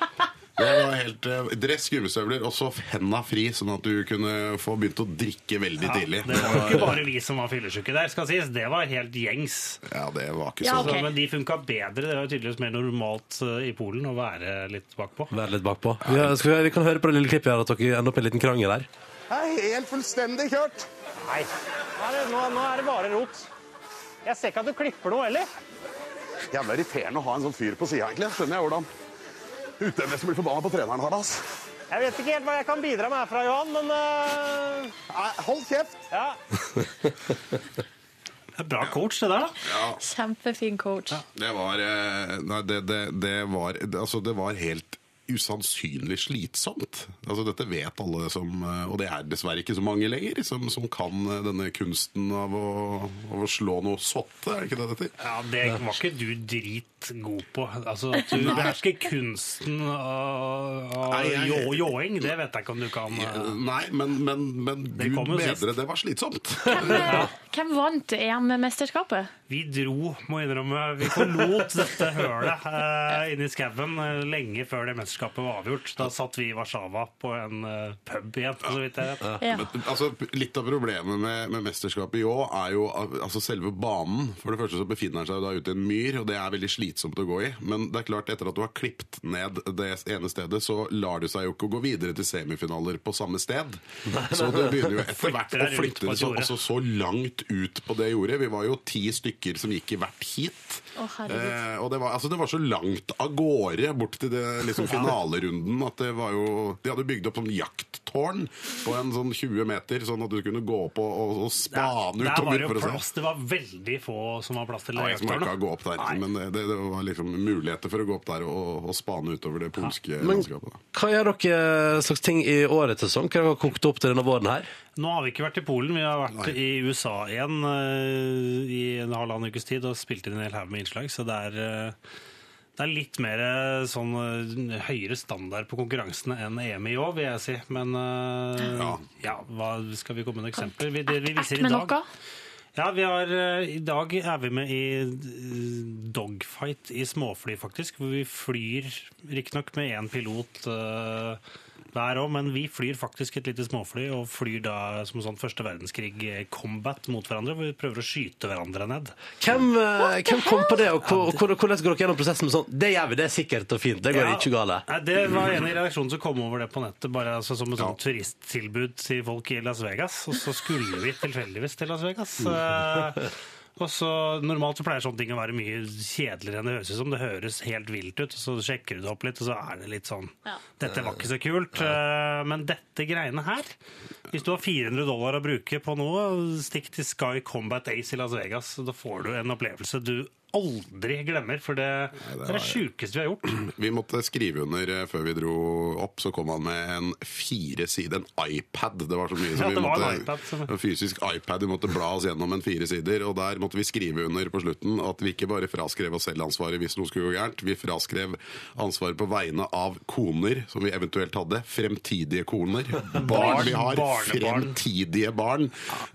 Det var helt eh, Dress, gummistøvler og så henda fri, sånn at du kunne få begynt å drikke veldig tidlig.
Det var jo ikke bare vi som var fyllesyke der, skal sies. Det var helt gjengs.
Ja, det var ikke
Ja,
så
Så,
ok.
men de funka bedre. Det var jo tydeligvis mer normalt eh, i Polen å være litt bakpå.
Vær litt bakpå. Vi, har- skal vi, vi kan høre på det lille klippet her at dere ender opp i en liten krangel her.
Nei. nå, er det bare rot. Jeg ser ikke at du klipper noe heller.
Jævla irriterende å ha en sånn fyr på sida, egentlig. Skjønner jeg hvordan utøvere som blir forbanna på treneren har det, ass.
Jeg vet ikke helt hva jeg kan bidra med herfra, Johan, men eh,
Hold kjeft!
ja. Det er bra coach, det der, da.
Kjempefin coach.
Det var eh, Nei, det, det, det var det, Altså, det var helt usannsynlig slitsomt. Altså, dette vet alle som eh, Og det er dessverre ikke så mange lenger, som, som kan eh, denne kunsten av å, av å slå noe sotte, er det ikke det det heter?
Ja, Det var ikke du dritgod på. Altså, At du behersker kunsten av av
Nei, jeg-
jå- jåing, det vet jeg ikke om du kan.
Eh,
eh.
Nei, men, men, men
Det
gud
kom jo
bedre,
sist.
det var slitsomt.
Hvem, eh, hvem vant EM-mesterskapet?
Vi dro, må jeg innrømme. Vi forlot dette hølet eh, inne i skauen eh, lenge før det mesterskapet var avgjort. Da satt vi i Warszawa på en eh, pub igjen, så vidt jeg vet.
Ja.
Men, altså, litt av problemet med, med mesterskapet i år er jo altså, selve banen. For det første så befinner den seg jo da ute i en myr, og det er veldig slitsomt å gå i. Men det er klart, etter at du har klippet ned det ene stedet, så lar du seg jo ikke gå videre til semifinaler på samme sted. Så du begynner jo etter hvert
Flytter
å
deg ut
flytte
på
det så,
jordet.
altså, så langt ut på det jordet. Vi var jo ti stykker som gikk i hvert heat.
Å, herregud.
Eh, og det var, altså, det var så langt av gårde bort til det, liksom, finalerunden at det var jo De hadde bygd opp sånn jakttårn på en sånn 20 meter, sånn at du kunne gå opp og, og, og spane
Der var
utover
det jo
for å
plass. Det var veldig få som var plass til
Ja, jeg som orka å
lektorene.
gå opp der, men det, det, det var liksom muligheter for å gå opp der og, og spane utover det polske
Men
landskapet. da.
hva gjør dere eh, slags ting i årets sesong? Hva har dere kokt opp til denne våren her?
Nå har vi ikke vært i Polen, vi har vært i USA igjen eh, i en halvannen ukes tid og spilt inn en hel haug med innslag, så det er, eh, det er litt mer eh, sånn eh, høyere standard på konkurransene enn EM i år, vil jeg si. Men eh, ja. hva skal vi komme med noen eksempler? Vi, det vi viser i
Med
dag
noe?
ja, vi har, eh, I dag er vi med i eh, dogfight i småfly, faktisk. Hvor vi flyr riktignok med én pilot eh, hver òg, men vi flyr faktisk et lite småfly. Og flyr da som sånn første verdenskrig-combat mot hverandre. Hvor vi prøver å skyte hverandre ned.
Hvem, eh, hvem kom på det, og hvor- og hvor- hvordan går dere gjennom prosessen med sånn? Det gjør vi, det er sikkert og fint. Det går
Ja.
ikke galt.
Nei, det var en i redaksjonen som kom over det på nettet, bare altså, som et sånt turisttilbud til folk i Las Vegas. Og så skulle vi tilfeldigvis til Las Vegas.
Mm.
Eh, og så Normalt så pleier sånne ting å være mye kjedeligere enn det høres ut som. Det høres helt vilt ut, og så sjekker du det opp litt, og så er det litt sånn Dette var ikke så kult. eh, Men dette greiene her Hvis du har 400 dollar å bruke på noe, stikk til Sky Combat Ace i Las Vegas. Da får du en opplevelse du aldri glemmer, for det, det er det sjukeste vi har gjort.
Vi måtte skrive under eh, før vi dro opp, så kom han med en fire sider, en iPad. Det var så mye
Ja,
som vi
det var en
måtte
iPad som-
En fysisk iPad, vi måtte bla oss gjennom en fire sider, og der måtte vi skrive under på slutten at vi ikke bare fraskrev oss selv ansvaret hvis noe skulle gå gærent, vi fraskrev ansvaret på vegne av koner som vi eventuelt hadde, fremtidige koner, barn vi har,
barnebarn.
fremtidige barn.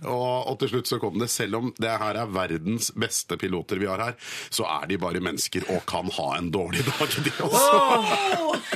Og, og til slutt så kom det, selv om det her er verdens beste piloter vi har her, så er de bare mennesker og kan ha en dårlig dag, de også.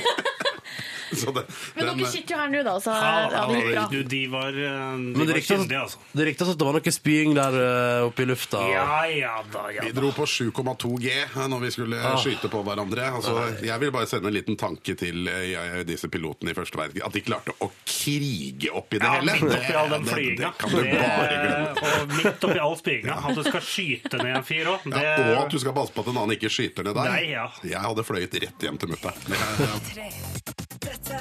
Så det,
Men
den- eh,
dere sitter jo her nå, da. Så
Ja,
ja, Eh, det gikk bra.
du, de var, eh, de
Men det
var
sånn-
ryktes
kyndige, altså.
det ryktes at det var noe spying der eh, oppe i lufta. og-
Ja, ja da, ja
Vi
da.
dro på 7,2 G eh, når vi skulle
Ah.
skyte på hverandre. Altså, jeg vil bare sende en liten tanke til eh, jeg- disse pilotene i første verdenskrig. At de klarte å krige opp i det
Ja,
hele.
midt oppi all den
det, det,
flyginga.
det kan du bare glemme.
Det- Og midt oppi all spyginga. At du skal skyte ned en fyr òg.
Ja, og at du skal passe på at en annen ikke skyter ned deg.
Nei, ja.
Jeg hadde fløyet rett hjem til mutter'n. Det er-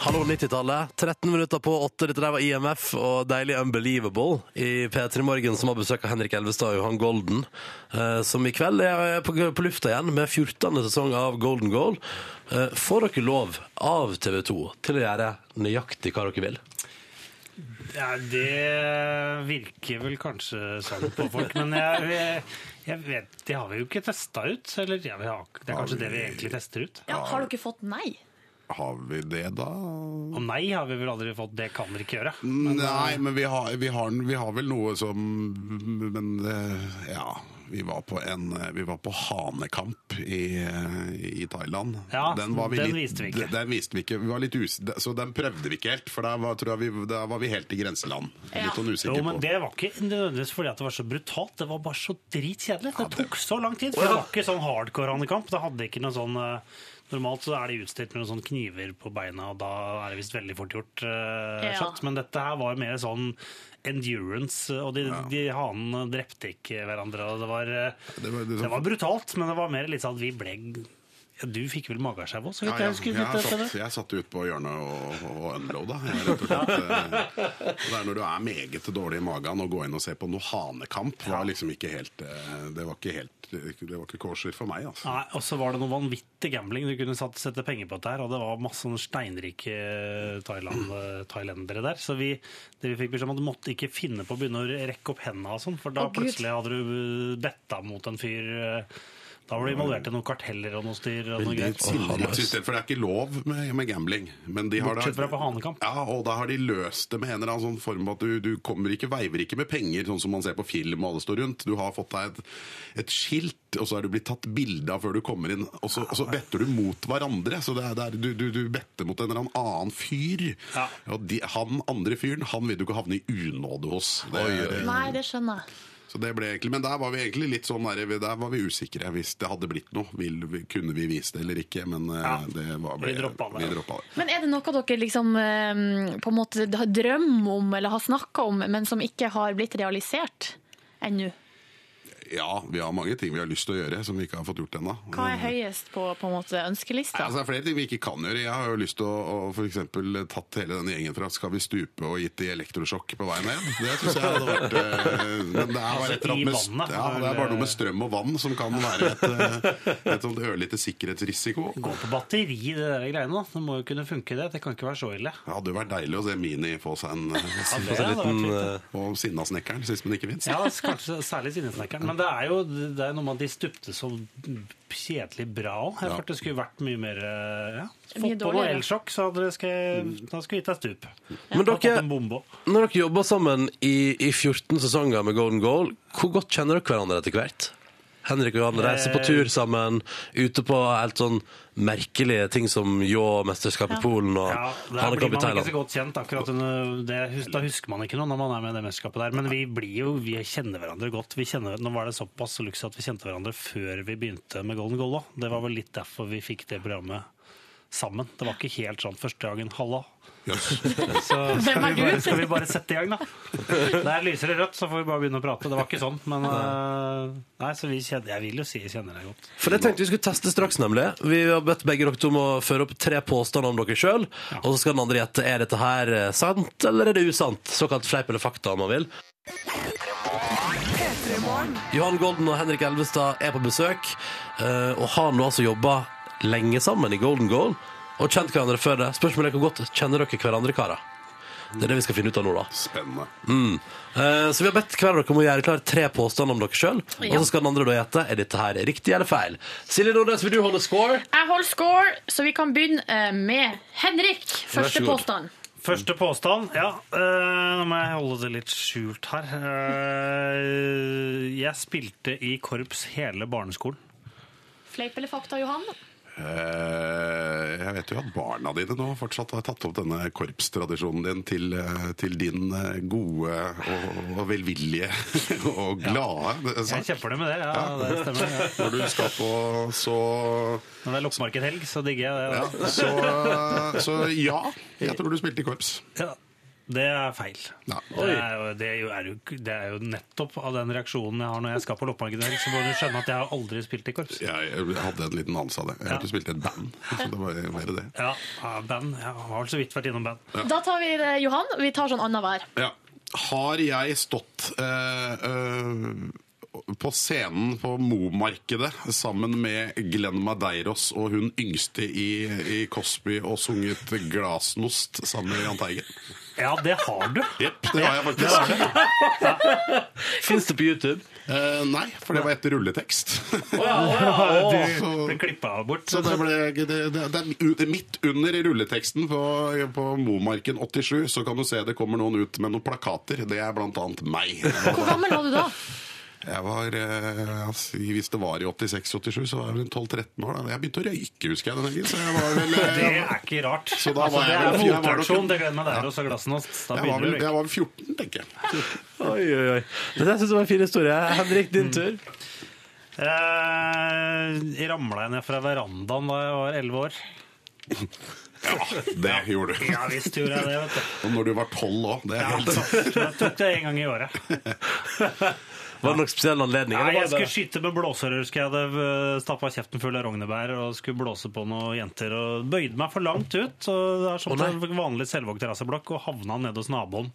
Hallo 90-tallet. 13 minutter på 8. Dette der var IMF og deilig Unbelievable i P3 Morgen, som har besøk av Henrik Elvestad og Johan Golden, eh, som i kveld er på, på lufta igjen med 14. sesong av Golden Goal. Eh, Får dere lov av TV 2 til å gjøre nøyaktig hva dere vil?
Ja, det virker vel kanskje sånn på folk, men jeg, jeg vet Det har vi jo ikke testa ut. Eller ja, vi har, det er kanskje det vi egentlig tester ut.
Ja, har dere fått nei?
Har vi det, da?
Og nei har vi vel aldri fått. Det kan dere ikke gjøre.
Nei,
eh,
men vi har, vi, har, vi har vel noe som Men eh, ja. Vi var på, en, eh, vi var på hanekamp i, eh, i Thailand.
Ja, den viste vi ikke.
Den, den viste vi ikke. Vi var litt us så den prøvde vi ikke helt, for da var, tror jeg vi, da var vi helt i grenseland. Litt sånn
Jo,
usikker
men
på.
Det var ikke nødvendigvis fordi at det var så brutalt, det var bare så dritkjedelig. Det tok så lang tid.
Å,
For
ja.
det var ikke sånn hardcore handekamp. Det hadde ikke noe sånn eh, Normalt så er de utstyrt med noen sånne kniver på beina, og da er det visst veldig fort gjort eh,
Ja.
kjapt. Men dette her var mer sånn endurance, og de, de hanene drepte ikke hverandre. Og det var, eh,
Det var- det-
det var brutalt, men det var mer litt sånn at vi ble ja, Du fikk vel magesjau òg, så
Ja,
vidt jeg
jeg,
husker.
jeg,
litt etter
satt,
det.
jeg satt ut på hjørnet og, og- og unloada. Jeg, rett og slett, eh, og det er når du er meget dårlig i magen å gå inn og se på noe hanekamp, var liksom ikke helt, eh, det var ikke helt Det var ikke kosher for meg, altså.
Nei, og så var det noe vanvittig gambling. Du kunne satt, sette penger på dette her, og det var masse sånne steinrike eh, Thailand, thailendere der. Så vi, det vi fikk beskjed om at du måtte ikke finne på å begynne å rekke opp hendene og sånn, for da
Å, Gud.
plutselig hadde du betta mot en fyr eh, Da var du involvert i noen karteller og noe styr. og noe
Veldig
greit.
tillitssystem, for det er ikke lov med, med gambling. Men de har da-
Bortsett fra på Hanekamp.
Ja, og da har de løst det med en eller annen sånn form at du, du kommer ikke, veiver ikke med penger, sånn som man ser på film og alle står rundt. Du har fått deg et, et skilt, og så er du blitt tatt bilde av før du kommer inn. Og så, og så better du mot hverandre. Så det er, det er, du, du, du better mot en eller annen annen fyr. Og de, han andre fyren, han vil du ikke havne i unåde hos. Det er-
Nei, det skjønner jeg.
så det ble egentlig, Men der var vi egentlig litt sånn der, der var vi usikre hvis det hadde blitt noe. Vil, vi- kunne vi vise det eller ikke? Men eh, det var, ble, vi droppa det.
Men er det noe dere liksom eh, på en måte har drøm om eller har snakka om, men som ikke har blitt realisert ennå?
Ja, vi har mange ting vi har lyst til å gjøre som vi ikke har fått gjort ennå.
Hva er høyest på, på en måte, ønskelista?
Altså, det er flere ting vi ikke kan gjøre. Jeg har jo lyst til å, å for eksempel, tatt hele denne gjengen fra Skal vi stupe og gitt de elektrosjokk på veien ned. Det syns jeg hadde vært eh, Men det er, bare
Altså,
et eller annet
i
med, st-
vannet,
ja, det er bare noe med strøm og vann som kan være et, eh, et sånt ørlite sikkerhetsrisiko.
Gå på batteri, det der greiene. da. Det må jo kunne funke, det. Det kan ikke være så ille.
Det hadde jo vært deilig å se Mini få seg en,
det hadde vært
en liten,
fint, ja.
eh, Og Sinnasnekkeren, sist, men ikke minst.
Ja, s- kanskje særlig sinnesnekkeren. Men det er jo det er noe med at de stupte så kjedelig bra òg. Jeg
Ja.
følte det skulle vært mye mer eh, ja.
Mye
Fått på noe
dårligere.
elsjokk, så hadde det skal, da skulle gitt deg stup.
Men
Og tatt
dere-
en bombe også.
Når dere jobber sammen i, i 14 sesonger med Golden Goal, hvor godt kjenner dere hverandre etter hvert? Henrik og Johanne reiser på
Eh.
tur sammen, ute på helt sånn merkelige ting som Ljå-mesterskap i Polen og
Ja, der
Hanekamp
blir
i
man ikke så
Thailand.
godt kjent akkurat under det. hus- Da husker man ikke noe når man er med i det mesterskapet der. Men vi blir jo, vi kjenner hverandre godt. Vi kjenner, nå var det såpass luks at vi kjente hverandre før vi begynte med Golden Goal òg. Det var vel litt derfor vi fikk det programmet sammen. Det var ikke helt sånn første dagen. Halla. Så skal
Hvem er du?
vi, bare, skal vi bare sette i gang, da? Det er lysere rødt, så får vi bare begynne å prate. Det var ikke sånn, men eh, Nei, så vi kjenner, jeg vil jo si jeg kjenner deg godt.
For det tenkte vi skulle teste straks, nemlig. Vi har bedt begge dere om å føre opp tre påstander om dere sjøl, og så skal den andre gjette er dette her eh, sant eller er det usant. Såkalt fleip eller fakta, om man vil. Johan Golden og Henrik Elvestad er på besøk, eh, og har nå altså jobba lenge sammen i Golden Goal, og kjent hverandre før det. Spørsmålet er hvor godt kjenner dere hverandre, karer? Det er det vi skal finne ut av nå, da.
Spennende.
Mm. Eh, så vi har bedt hver av dere om å gjøre klar tre påstander om dere sjøl, og
Ja.
så skal den andre da gjette er dette her riktig eller feil. Silje Nordnes, vil du holde score?
Jeg holder score, så vi kan begynne eh, med Henrik.
Vær så
Første
god.
påstand.
Første påstand, ja. eh, nå må jeg holde det litt skjult her. Eh, jeg spilte i korps hele barneskolen.
Fleip eller fakta, Johan?
Eh, Jeg vet jo at barna dine nå fortsatt har tatt opp denne korpstradisjonen din til, eh, til din eh, gode og, og velvillige og glade sak.
Jeg kjemper det med det, ja. Det stemmer. Ja.
Når du skal på så
Når det er loppemarkedhelg, så digger jeg det.
ja, så, så ja, jeg tror du spilte i korps.
Ja. Det er feil. Det, er jo, det, er jo, er jo, det er jo nettopp av den reaksjonen jeg har når jeg skal på loppemarkedhelg, så må du skjønne at jeg har aldri spilt i korps.
Jeg, jeg hadde en liten anelse av det. Jeg
Ja.
hørte du spilte i et band. Så det var mer det.
Ja, ja, band. Jeg har så vidt vært innom band.
Da tar vi det, Johan. Vi tar sånn annenhver.
Ja. Har jeg stått eh, eh, på scenen på Momarkedet sammen med Glenn Madeiros og hun yngste i, i Cosby og sunget 'Glasnost' sammen med Jahn Teigen?
Ja, det har du.
Jepp, det har jeg faktisk.
Fins det på YouTube?
Eh, nei, for det var etter rulletekst.
Du ble klippa bort.
Så det, ble, det, det, det er u- det er midt under i rulleteksten på, på Momarken 87 så kan du se det kommer noen ut med noen plakater. Det er blant annet meg.
Hvor gammel var du da?
Jeg var, eh, altså, Hvis det var i 86-87, så var jeg vel 12-13 år. Da. Jeg begynte å røyke, husker jeg. den helgen, Så jeg var vel,
Det
eh,
er ikke rart.
Så da
altså,
var
det
jeg-
er
jeg var nok-
motreaksjon. Det gleder meg der også, glassenost. Da
jeg, var
begynner
vel,
du
jeg var vel 14, tenker jeg.
Oi, oi, oi. Dette syns jeg var en fin historie. Henrik,
Mm.
din tur.
Eh, ramla jeg ned fra verandaen da jeg var elleve år?
Ja, det gjorde du.
Ja visst gjorde jeg det, vet du.
Og når du var 12 òg. Det er
Ja, altså.
helt
så jeg tok det en gang i året.
Var det noen spesiell anledning?
Nei,
eller var
jeg
det bare-
skulle skyte med blåsører. Husker jeg hadde stappa kjeften full av rognebær og skulle blåse på noen jenter. Og bøyde meg for langt ut. Og det er som
Å,
på
nei.
en vanlig Selvåg-terrasseblokk og havna nede hos naboen.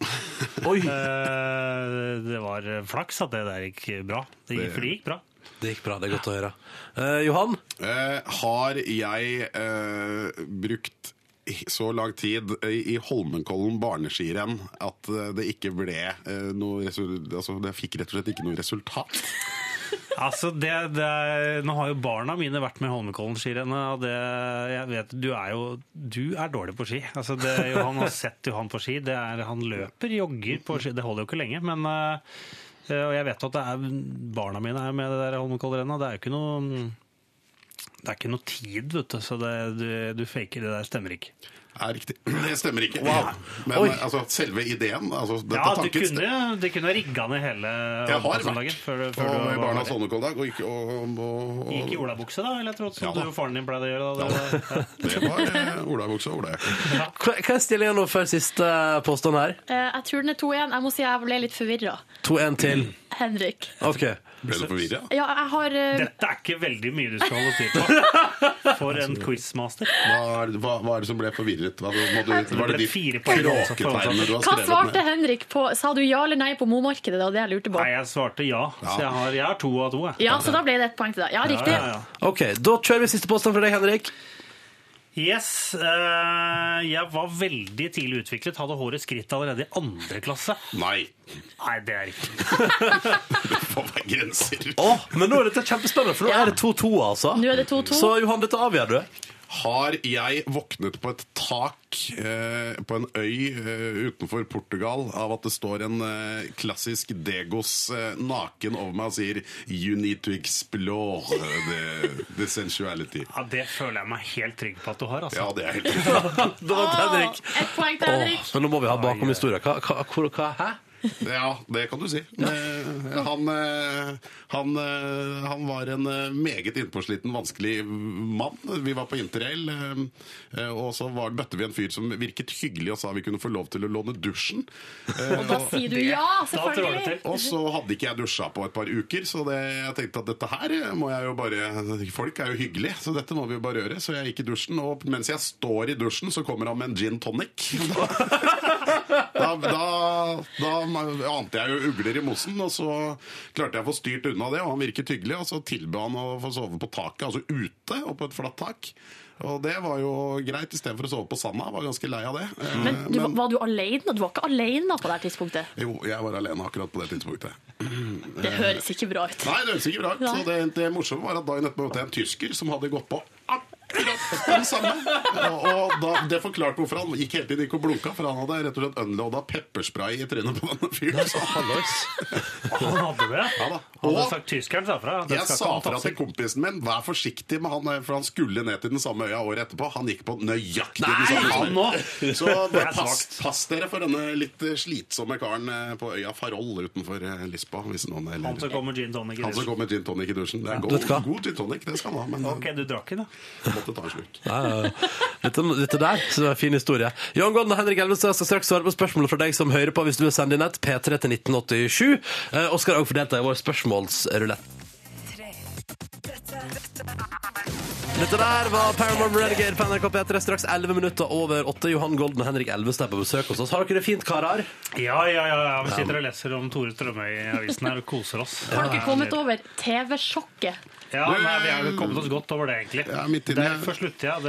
Oi.
Eh, det var flaks at det der gikk bra. Det gikk,
Det-
for det gikk bra.
Det gikk bra. Det er godt å høre. Eh, Johan?
Eh, har jeg eh, brukt i- så lang tid i i Holmenkollen barneskirenn at eh, det ikke ble eh, noe resul altså, Det fikk rett og slett ikke noe resultat?
Altså, det, det, nå har jo barna mine vært med i Holmenkollen-skirennet, og det, jeg vet, du er jo du er dårlig på ski. Altså, det, Johan har sett Johan på ski. Det er, han løper, jogger på ski. Det holder jo ikke lenge, men eh, Og jeg vet at det er, barna mine er med i det der Holmenkollrennet. Det er jo ikke noe det er ikke noe tid, vet du, så det, du, du faker det der stemmer ikke.
Ja, riktig. Det stemmer ikke.
Wow.
Men
Oi.
altså, selve ideen altså, dette
Ja, du
tanken-
kunne, du kunne ha rigga ned hele
Jeg har
Holmenkollsøndagen
vært
før,
på
før du var
Barnas
der.
Holmenkolldag og ikke og, og, og
Gikk i olabukse, da, vil jeg tro, som
Ja, da.
du og faren din pleide å gjøre. Da. Det, var- ja.
Det var eh, olabukse og olajakke.
Hva hva er stillingen nå før siste påstand her?
Eh, jeg tror den er 2-1. Jeg må si jeg ble litt forvirra.
2-1 til.
Henrik.
Ok.
Ble du forvirra?
Ja, jeg har eh,
Dette er ikke veldig mye du skal holde styr på. For en quizmaster.
Hva, er det- hva, hva er det som ble forvirret? Hva, må du, var det de
ble fire poeng, altså, for å ta
kråketegnene du har
Hva
skrevet
svarte
ned?
Henrik på Sa du ja eller nei på Momarkedet? Det var det jeg lurte på.
Nei, jeg svarte ja, så jeg har, jeg har to av to. Jeg.
Ja, så da ble det ett poeng til deg. Ja, riktig.
Ok, Da kjører vi siste påstand fra deg, Henrik.
Yes. eh, jeg var veldig tidlig utviklet, hadde håret skritt allerede i andre klasse.
Nei,
Nei, det er ikke
det får være grenser.
Åh, men nå er dette kjempespennende, for nå er det 2-2, altså.
Nå er det 2-2.
Så Johan, dette avgjør du.
Har jeg våknet på et tak eh, på en øy eh, utenfor Portugal av at det står en eh, klassisk Degos eh, naken over meg og sier You need to explore the, the sensuality.
Ja, Det føler jeg meg helt trygg på at du har. altså.
Ja, det er helt riktig.
Da vant
Ah.
Henrik.
Ett poeng til Henrik.
Åh, men nå må vi ha bakom historien. Hva, hva, hvor- hva, hæ?
Ja, det kan du si. Eh, Han, eh, han, eh, han var en eh, meget innpåsliten, vanskelig mann. Vi var på interrail, eh, eh, og så var, møtte vi en fyr som virket hyggelig og sa vi kunne få lov til å låne dusjen. Eh,
Og da sier du ja,
Da trår det
selvfølgelig.
til.
Og så hadde ikke jeg dusja på et par uker, så det, jeg tenkte at dette her må jeg jo bare Folk er jo hyggelige, så dette må vi jo bare gjøre. Så jeg gikk i dusjen, og mens jeg står i dusjen, så kommer han med en gin tonic. Da, da, da ante jeg jo ugler i mosen, og så klarte jeg å få styrt unna det, og han virket hyggelig, og så tilbød han å få sove på taket, altså ute, og på et flatt tak. Og det var jo greit, istedenfor å sove på sanda. Jeg Var ganske lei av det. Eh,
Men du, var du alene? Du var ikke alene på det her tidspunktet.
Jo, jeg var alene akkurat på det tidspunktet.
Det høres ikke bra ut.
Nei, det høres ikke bra ut. Så det, det morsomme var at dagen etterpå møtte jeg en tysker som hadde gått på akkurat den samme. Og, og da, det forklarte hvorfor han gikk hele tiden gikk og blunka, for han hadde rett og slett unloada pepperspray i trynet på denne fyren. Så han
Han hadde det.
Ja da.
Han hadde
Og-
sagt tyskeren sa fra. Det
jeg
skal
sa
ikke
fra
han ta
til
seg.
kompisen min vær forsiktig med han, for han skulle ned til den samme øya året etterpå. Han gikk på nøyaktig
Nei,
den samme
nå!
øya. Så
Det er
bare pass,
svakt.
pass dere for denne litt eh, slitsomme karen eh, på øya Farol utenfor eh, Lisboa. Hvis noen er
Han som kom med gin tonic i
Han som
dusjen.
kom med gin tonic i dusjen. Det er
vet du hva?
god, god gin tonic, det skal han ha, men
Ok, du drakk ikke, da?
han måtte ta en slurk.
Ja, ja, ja. Dette, dette der så det er en fin historie. Jan Gården og Henrik Elvestad skal straks svare på spørsmål fra deg som hører på hvis du vil sende inn et P3 til 1987. eh, Og skal også få delta i vår spørsmålsrulett. Dette der var Paramore Renegade på NRK P3 straks 11 minutter over 8. Johan Golden og Henrik Elvestad er på besøk hos oss. Har dere det fint, karer?
Ja, ja, ja. ja. Vi sitter og leser om Tore Strømøy i avisen her og koser oss.
Har dere kommet over TV-sjokket?
Ja, nei, Vi har jo kommet oss godt over det, egentlig.
eh, Ja, midt inne.
Derfor slutter jeg.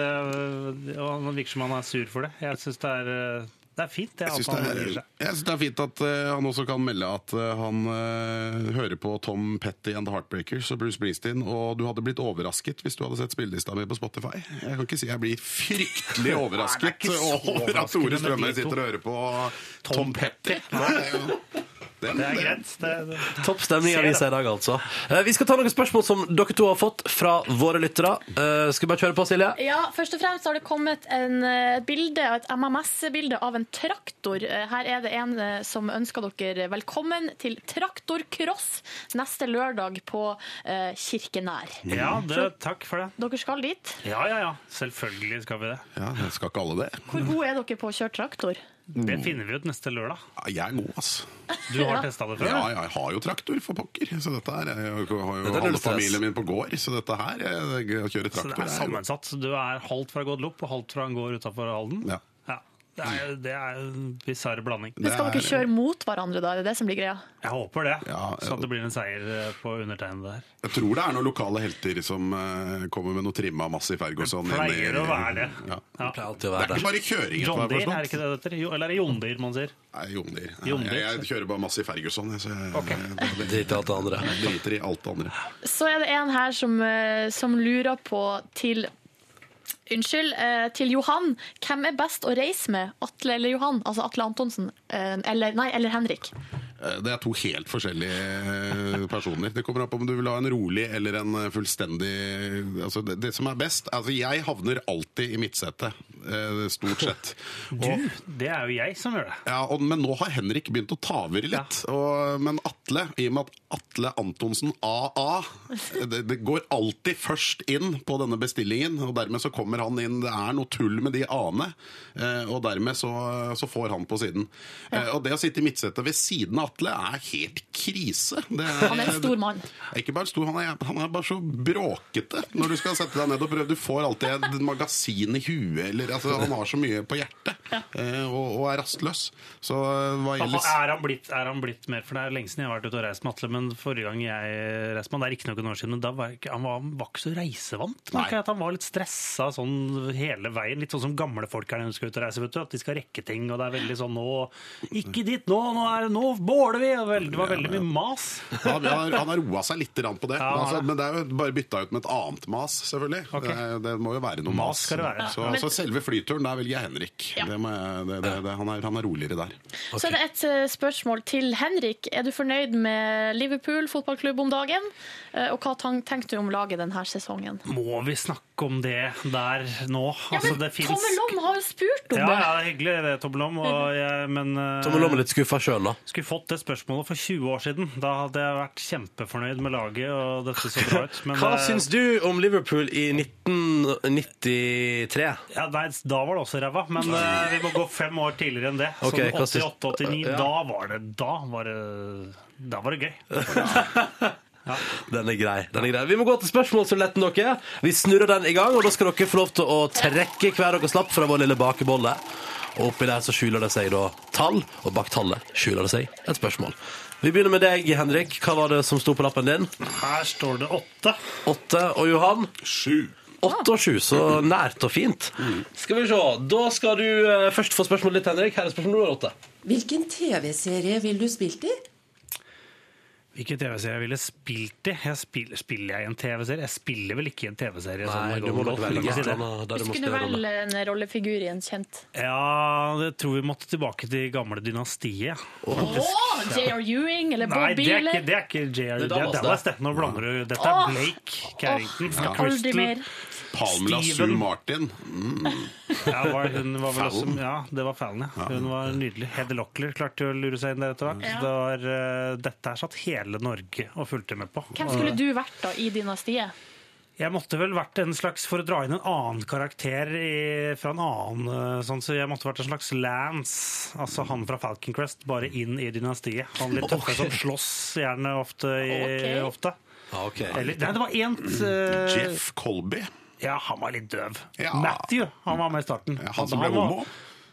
Det, og han virker som han er sur for det. Jeg syns det, er, eh, det er fint. Det,
Jeg syns
at han gir
det,
seg.
er fint at eh, han også kan melde at eh, han eh, hører på Tom Petty and The Heartbreakers og Bruce Springsteen, og du hadde blitt overrasket hvis du hadde sett spillelista mi på Spotify. Jeg kan ikke si jeg blir fryktelig
Nei, det
overrasket
er ikke så
over at
overraskende
Tore
med
Strømøy
de to.
sitter og hører på Tom,
Tom
Petty.
Petty.
Nei, det er jo- den-
det er
den-
greit. Det, det.
Topp stemning i
Ser det.
avisa i dag, altså. Eh, Vi skal ta noen spørsmål som dere to har fått fra våre lyttere. Eh, Skal vi bare kjøre på, Silje?
Ja, først og fremst har det kommet en, eh, bilde, et MMS-bilde av en traktor. Eh, Her er det en eh, som ønsker dere velkommen til Traktorcross neste lørdag på eh, Kirkenær.
Ja, det, takk for det.
Dere skal dit.
Ja, ja, ja. Selvfølgelig skal vi det.
Ja, skal ikke alle det?
Hvor gode er dere på å kjøre traktor?
Mm.
Det finner vi ut neste lørdag.
Ja, Jeg er god, altså.
Du har testa det før?
Ja, ja, jeg har jo traktor, for pokker. Så dette her, jeg har jo
Dette er null
halve
stress.
familien min på gård, så dette her jeg, jeg kjører
Så det
traktor.
Sånn er
er jo-
sammensatt. Du er halvt fra Guadeloupe og halvt fra en gård utafor Halden.
Ja.
Ja, Det er, det er en bisarr blanding.
Men skal dere kjøre mot hverandre, da? Er det det som blir greia?
Jeg håper det, så at det blir en seier eh, på undertegnede der.
Jeg tror det er noen lokale helter som eh, kommer med noe trimma Massey Ferguson.
Det
sånn inn
pleier
i-
å være det.
Ja.
Ja.
Det er ikke bare kjøringen.
John Deere, er det ikke det det heter? Jo- Eller er det John Deere man sier?
Nei, Jondyr.
John Deere.
Jeg, jeg kjører bare Massey Ferguson. sånn, jeg, Så jeg, jeg,
Driter i alt det andre.
Driter i alt det andre.
Så er det en her som, eh, som lurer på til Unnskyld, eh, til Johan. Hvem er best å reise med? Atle eller Johan? Altså Atle Antonsen. eh, Eller, nei, eller Henrik.
Eh, Det er to helt forskjellige eh, personer. Det kommer an på om du vil ha en rolig eller en eh, fullstendig altså det, det som er best altså Jeg havner alltid i midtsetet, eh, stort sett.
Du, det er jo jeg som gjør det.
Ja, og, men nå har Henrik begynt å ta over litt. Og, men Atle, i og med at Atle Antonsen AA det, det går alltid først inn på denne bestillingen, og dermed så kommer han inn Det er noe tull med de A-ene, eh, og dermed så, så får han på siden. Eh, Og det å sitte i midtsetet ved siden av Atle er helt krise. Det
Han er en stor mann.
Ikke bare stor, han er, han er bare så bråkete når du skal sette deg ned og prøve. Du får alltid et magasin i huet, eller altså, Han har så mye på hjertet, eh, og, og er rastløs. Så eh, hva
Han-
gjelder
Er han, blitt, er han blitt mer, for Det er lenge siden jeg har vært ute og reist med Atle, men forrige gang jeg reiste med han, det er ikke noen år siden, men da var jeg ikke, han var, han var ikke så reisevant. merker Jeg, at han var litt stressa sånn hele veien, litt sånn som gamle folk er når de skal ut og reise, vet du, at de skal rekke ting, og det er veldig sånn nå Ikke dit nå, nå, er, det- nå båler vi! og vel- Det var veldig mye mas.
han han har, han har roa seg litt grann på det,
Ja, han har
altså,
det.
men det er jo bare bytta ut med et annet mas, selvfølgelig. Det, er- det må jo være noe mas.
skal det være.
Så,
Ja, men-
så selve flyturen, der velger jeg Henrik. Det må jeg, det, det, det, han, er, han er roligere der.
Så er det et eh, spørsmål til Henrik. Er du fornøyd med Liverpool fotballklubb om dagen? Eh, Og hva tan- tenkte du om laget denne sesongen?
Må vi snakke om det der nå?
Ja, men
Altså, det fins
Tommelom har jo spurt om
ja,
det! Mm.
ja, det er hyggelig det, Tommelom. og jeg- Men eh,
Tommelom er litt skuffa sjøl, da.
Skulle fått det spørsmålet for 20 år siden. Da hadde jeg vært kjempefornøyd med laget. og dette så bra ut. Men eh,
Hva
det-
syns du om Liverpool i 1993?
Ja, nei, da var det også ræva, men eh, vi må gå fem år tidligere enn det.
Ok, hva syns-
Sånn 88-89.
Ja.
Da var det Da var det, da var det gøy.
Den er grei. den er grei Vi må gå til spørsmålsruletten, dere. Vi snurrer den i gang, og da skal dere få lov til å trekke hver deres lapp fra vår lille bakebolle. Og oppi der så skjuler det seg da tall, og bak tallet skjuler det seg et spørsmål. Vi begynner med deg, Henrik. Hva var det som sto på lappen din?
Her står det åtte.
Åtte. Og Johan?
Sju.
Åtte og sju. Så nært og fint. Skal vi se. Da skal du eh, først få spørsmålet ditt, Henrik. Her er spørsmål nummer åtte.
Hvilken TV-serie ville du spilt i?
Hvilken TV-serie jeg ville spilt i? Jeg spiller, spiller jeg i en TV-serie? Jeg spiller vel ikke i en TV-serie?
Nei, du må nok velge et eller annet der
du
Du skulle vel en rollefigur i en kjent
Ja, jeg tror vi måtte tilbake til gamle dynastiet.
Åh, J.R. Ewing eller
Nei,
Bob
det er
Dylan?
ikke, det er ikke JR.
Det er
Det er
Dallas,
Dallas,
det.
det. Nå blander du. Dette er
Åh!
Blake Carrington fra
Åh, aldri mer.
Crystal.
Palmela Sue
Steven. Eh.
Martin. Mm.
Ja, var, hun var vel også,
Fallon.
ja, det var Fallon, ja. Hun var nydelig. Heather Locklear klarte jo å lure seg inn der etter hvert.
Ja.
Det var, eh, dette her satt hele Norge og fulgte med på.
Hvem skulle du vært da i dynastiet?
Jeg måtte vel vært en slags, for å dra inn en annen karakter i, fra en annen eh, sånn, så jeg måtte vært en slags Lance, altså han fra Falcon Crest, bare inn i dynastiet. Han litt tøffe
Ok.
som slåss gjerne ofte. I,
Ok.
ofte.
Ja, ok.
Eller, nei, det var en eh,
Jeff Colby.
Ja, han var litt døv.
Ja.
Matthew, han var med i starten.
Ja, han som ble
var-
homo?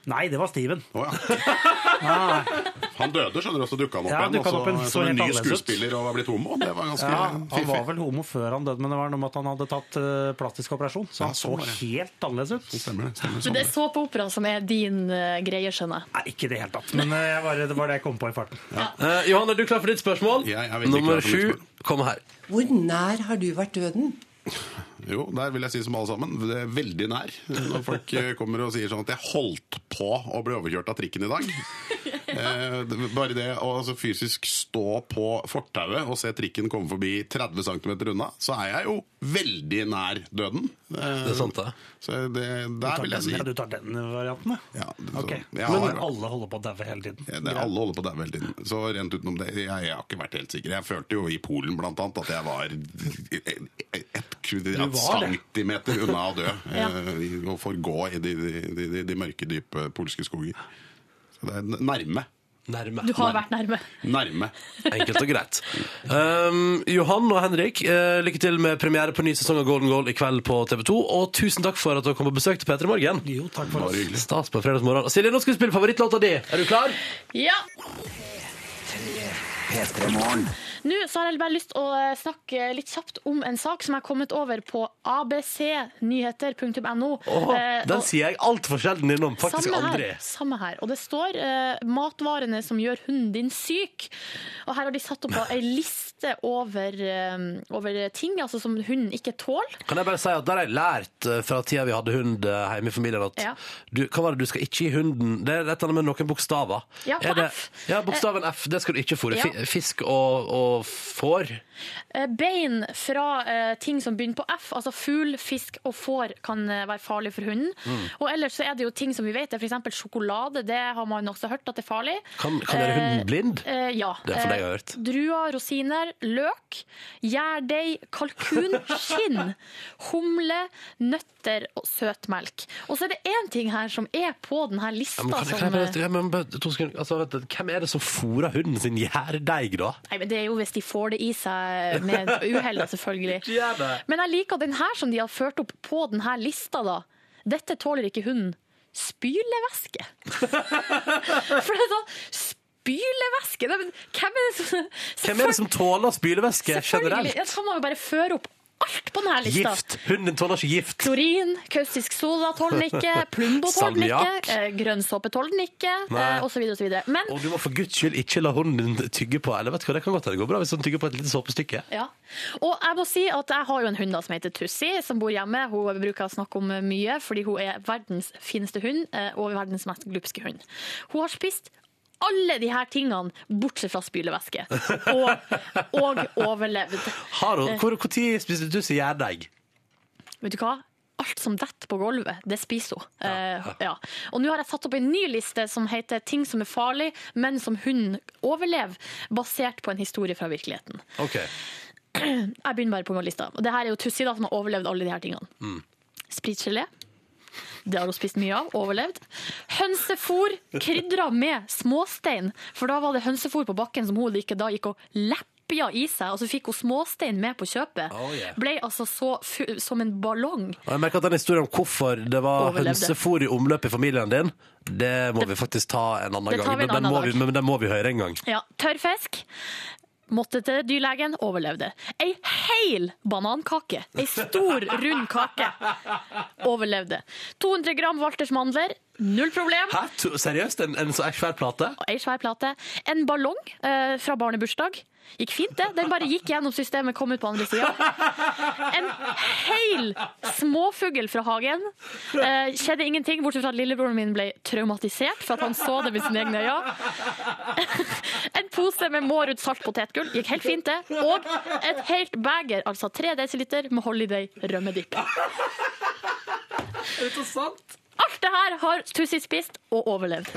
Nei, det var Steven.
Å ja. Han døde, skjønner du, og så dukka han opp
Ah. Ja,
igjen.
dukket
og
opp igjen,
så-
så
Som en
helt
ny
annerledes ut.
skuespiller og var blitt homo. Det var ganske
Ja, han
fiffig.
var vel homo før han døde, men det var noe med at han hadde tatt eh, plastisk operasjon. Så
Ja,
han så
sånn var det.
helt annerledes ut.
Stemmer det. Stemmer
Men det er såpeopera som er din eh, greie, skjønner jeg.
Nei, ikke i det hele tatt. Men eh, jeg bare, det var det jeg kom på i farten.
Eh, Johan, er du klar for ditt spørsmål?
Jeg er veldig
Nummer
klar for mitt
sju kommer her.
Hvor nær har du vært døden?
Jo, der vil jeg si som alle sammen. Det er veldig nær. Når folk eh, kommer og sier sånn at jeg holdt på å bli overkjørt av trikken i dag. Eh, det- Bare det å altså, fysisk stå på fortauet og se trikken komme forbi 30 cm unna, så er jeg jo veldig nær døden. Eh,
Det er sant, det.
Så det, der
Du
vil
tar,
jeg si
den, ja, du tar den varianten, ja?
ja, det- så-
Ok.
jeg
men
har-
alle holder på å daue hele tiden.
Ja, det, alle holder på å daue hele tiden. Så rent utenom det, jeg, jeg har ikke vært helt sikker. Jeg følte jo i Polen blant annet at jeg var et, et, et
var det.
centimeter unna å dø.
Ja.
eh, Og forgå i de, de, de, de mørke, dype polske skoger. Så det er n- nærme.
Nærme.
Du har vært nærme.
Nærme.
Enkelt og greit. Um, Johan og Henrik, eh, lykke til med premiere på ny sesong av Golden Goal i kveld på TV 2. Og tusen takk for at dere kom på besøk til P3 Morgen.
Jo, takk for
oss. Stas på en fredagsmorgen. Silje, nå skal vi spille favorittlåta di. Er du klar?
Ja.
P3 Morgen.
Nå så har jeg bare lyst å eh, snakke litt kjapt om en sak som jeg har kommet over på abcnyheter.no.
Åh,
Eh,
den
og-
sier jeg altfor sjelden innom. Faktisk
samme
aldri.
Her, samme her. Og det står eh, 'matvarene som gjør hunden din syk'. Og her har de satt opp da ei liste over, eh, over ting altså, som hunden ikke tåler.
Kan jeg bare si at Der har jeg lært eh, fra tida vi hadde hund eh, hjemme i familien, at
Ja.
du, hva var det du skal ikke gi hunden Det er et eller annet med noen bokstaver.
Ja, på
Er det,
F. Eh,
ja bokstaven F. Det skal du ikke fôre.
Ja.
Fi- Fisk og, og får.
Eh, Bein fra eh, ting som begynner på F, altså fugl, fisk og får, kan eh, være farlig for hunden.
Mm.
Og ellers så er det jo ting som vi vet, f.eks. sjokolade. Det har man også hørt at det er farlig.
Kan, kan gjøre
Eh,
hunden blind?
Eh, ja.
Det er for det jeg har
Eh,
hørt.
Druer, rosiner, løk, gjærdeig, kalkun, skinn, humle, nøtter og søtmelk. Og så er det én ting her som er på denne
Ja,
lista
men kan jeg, kan jeg
som
bare,
eh,
ja, men bare to sekunder. altså, vent, litt. hvem er det som fôrer hunden sin gjærdeig, da?
Nei, men Det er jo hvis de får det i seg med uhell, da, selvfølgelig.
Gjør det.
Men jeg liker den her som de har ført opp på denne lista, da. Dette tåler ikke hunden. Spylevæske. For det er sånn Spylevæske? Nei, men hvem er det som
Hvem er det som tåler spylevæske
Selvfølgelig.
generelt?
Ja, så må vi bare føre opp alt på denne lista.
Gift! Hunden din tåler ikke gift.
Klorin, kaustisk soda tåler den ikke, Plumbo tåler den
Salmiakk.
ikke, eh, grønnsåpe tåler den ikke,
Nei.
eh, osv. osv. Men
Og du må for guds skyld ikke la hunden din tygge på eller vet du hva, det kan godt hende det går bra hvis den tygger på et lite såpestykke.
Ja. Og jeg må si at jeg har jo en hund da som heter Tussi, som bor hjemme. Hun bruker å snakke om mye, fordi hun er verdens fineste hund eh, og verdens mest glupske hund. Hun har spist alle de her tingene, bortsett fra spylevæske. Og, og overlevd.
Har
Eh.
hun, hvor, hvor tid spiste du så gjærdeig?
Vet du hva? Alt som detter på gulvet, det spiser hun. Eh, ja. Og nå har jeg satt opp en ny liste som heter 'Ting som er farlig, men som hunden overlever', basert på en historie fra virkeligheten.
Ok.
Jeg begynner bare på lista. Og det her er jo Tussi da, som har overlevd alle de her tingene.
Mm.
Spritgelé. Det har hun spist mye av, overlevd. Hønsefôr krydra med småstein, for da var det hønsefôr på bakken som hun ikke da gikk og leppja i seg, og så fikk hun småstein med på kjøpet.
Oh, yeah.
Ble altså så fu som en ballong.
Og jeg merker at den historien om hvorfor det var
Overlevde.
hønsefôr i omløp i familien din, det må vi faktisk ta en annen
Det tar
gang.
vi en
Men den
annen
må vi-
dag.
Men den må vi høre en gang.
Ja, tørrfisk. Måtte til dyrlegen, overlevde. Ei heil banankake. Ei stor, rund kake. Overlevde. 200 gram Walters mandler. Null problem.
Hæ? To- Seriøst? En, en så svær plate?
Ei svær plate. En ballong eh, fra barnebursdag. Gikk fint, det. Den bare gikk gjennom systemet, kom ut på andre sida. En heil småfugl fra hagen. Eh, skjedde ingenting, bortsett fra at lillebroren min ble traumatisert for at han så det med sine egne øyne. En pose med Mårud salt potetgull. Gikk helt fint, det. Og et helt beger, altså 3 dl med Holiday rømmedipp.
Er det sant?
Alt det her har Tussi spist og overlevd.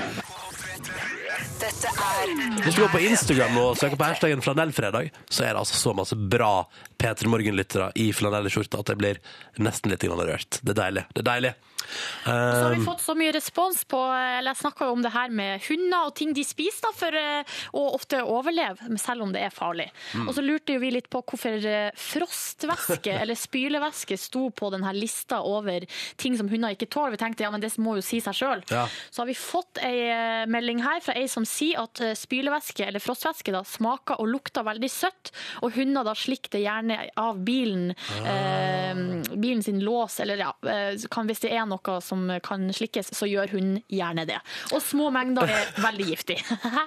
Dette er
Hvis du går på Instagram og søker på hashtaggen flanellfredag, så er det altså så masse bra P3 Morgen-lyttere i flanellskjorte at jeg blir nesten litt grann rørt. Det er deilig. Det er deilig.
Så har vi
Ehm.
Um,
fått så mye respons på eh, Eller jeg snakka om det her med hunder og ting de spiser da, for eh, å ofte overleve, men selv om det er farlig.
Mm.
Og så lurte jo vi litt på hvorfor eh, frostvæske eller spylevæske sto på denne lista over ting som hunder ikke tåler. Vi tenkte ja, men det må jo si seg sjøl.
Ja.
Så har vi fått ei eh, melding her fra ei som sier at eh, spylevæske eller frostvæske da, smaker og lukter veldig søtt, og hunder da slikker det gjerne av bilen, eh, bilen sin lås, eller ja, eh, kan, hvis det er noe som kan slikkes, så gjør hunden gjerne det. Og små mengder er veldig giftig.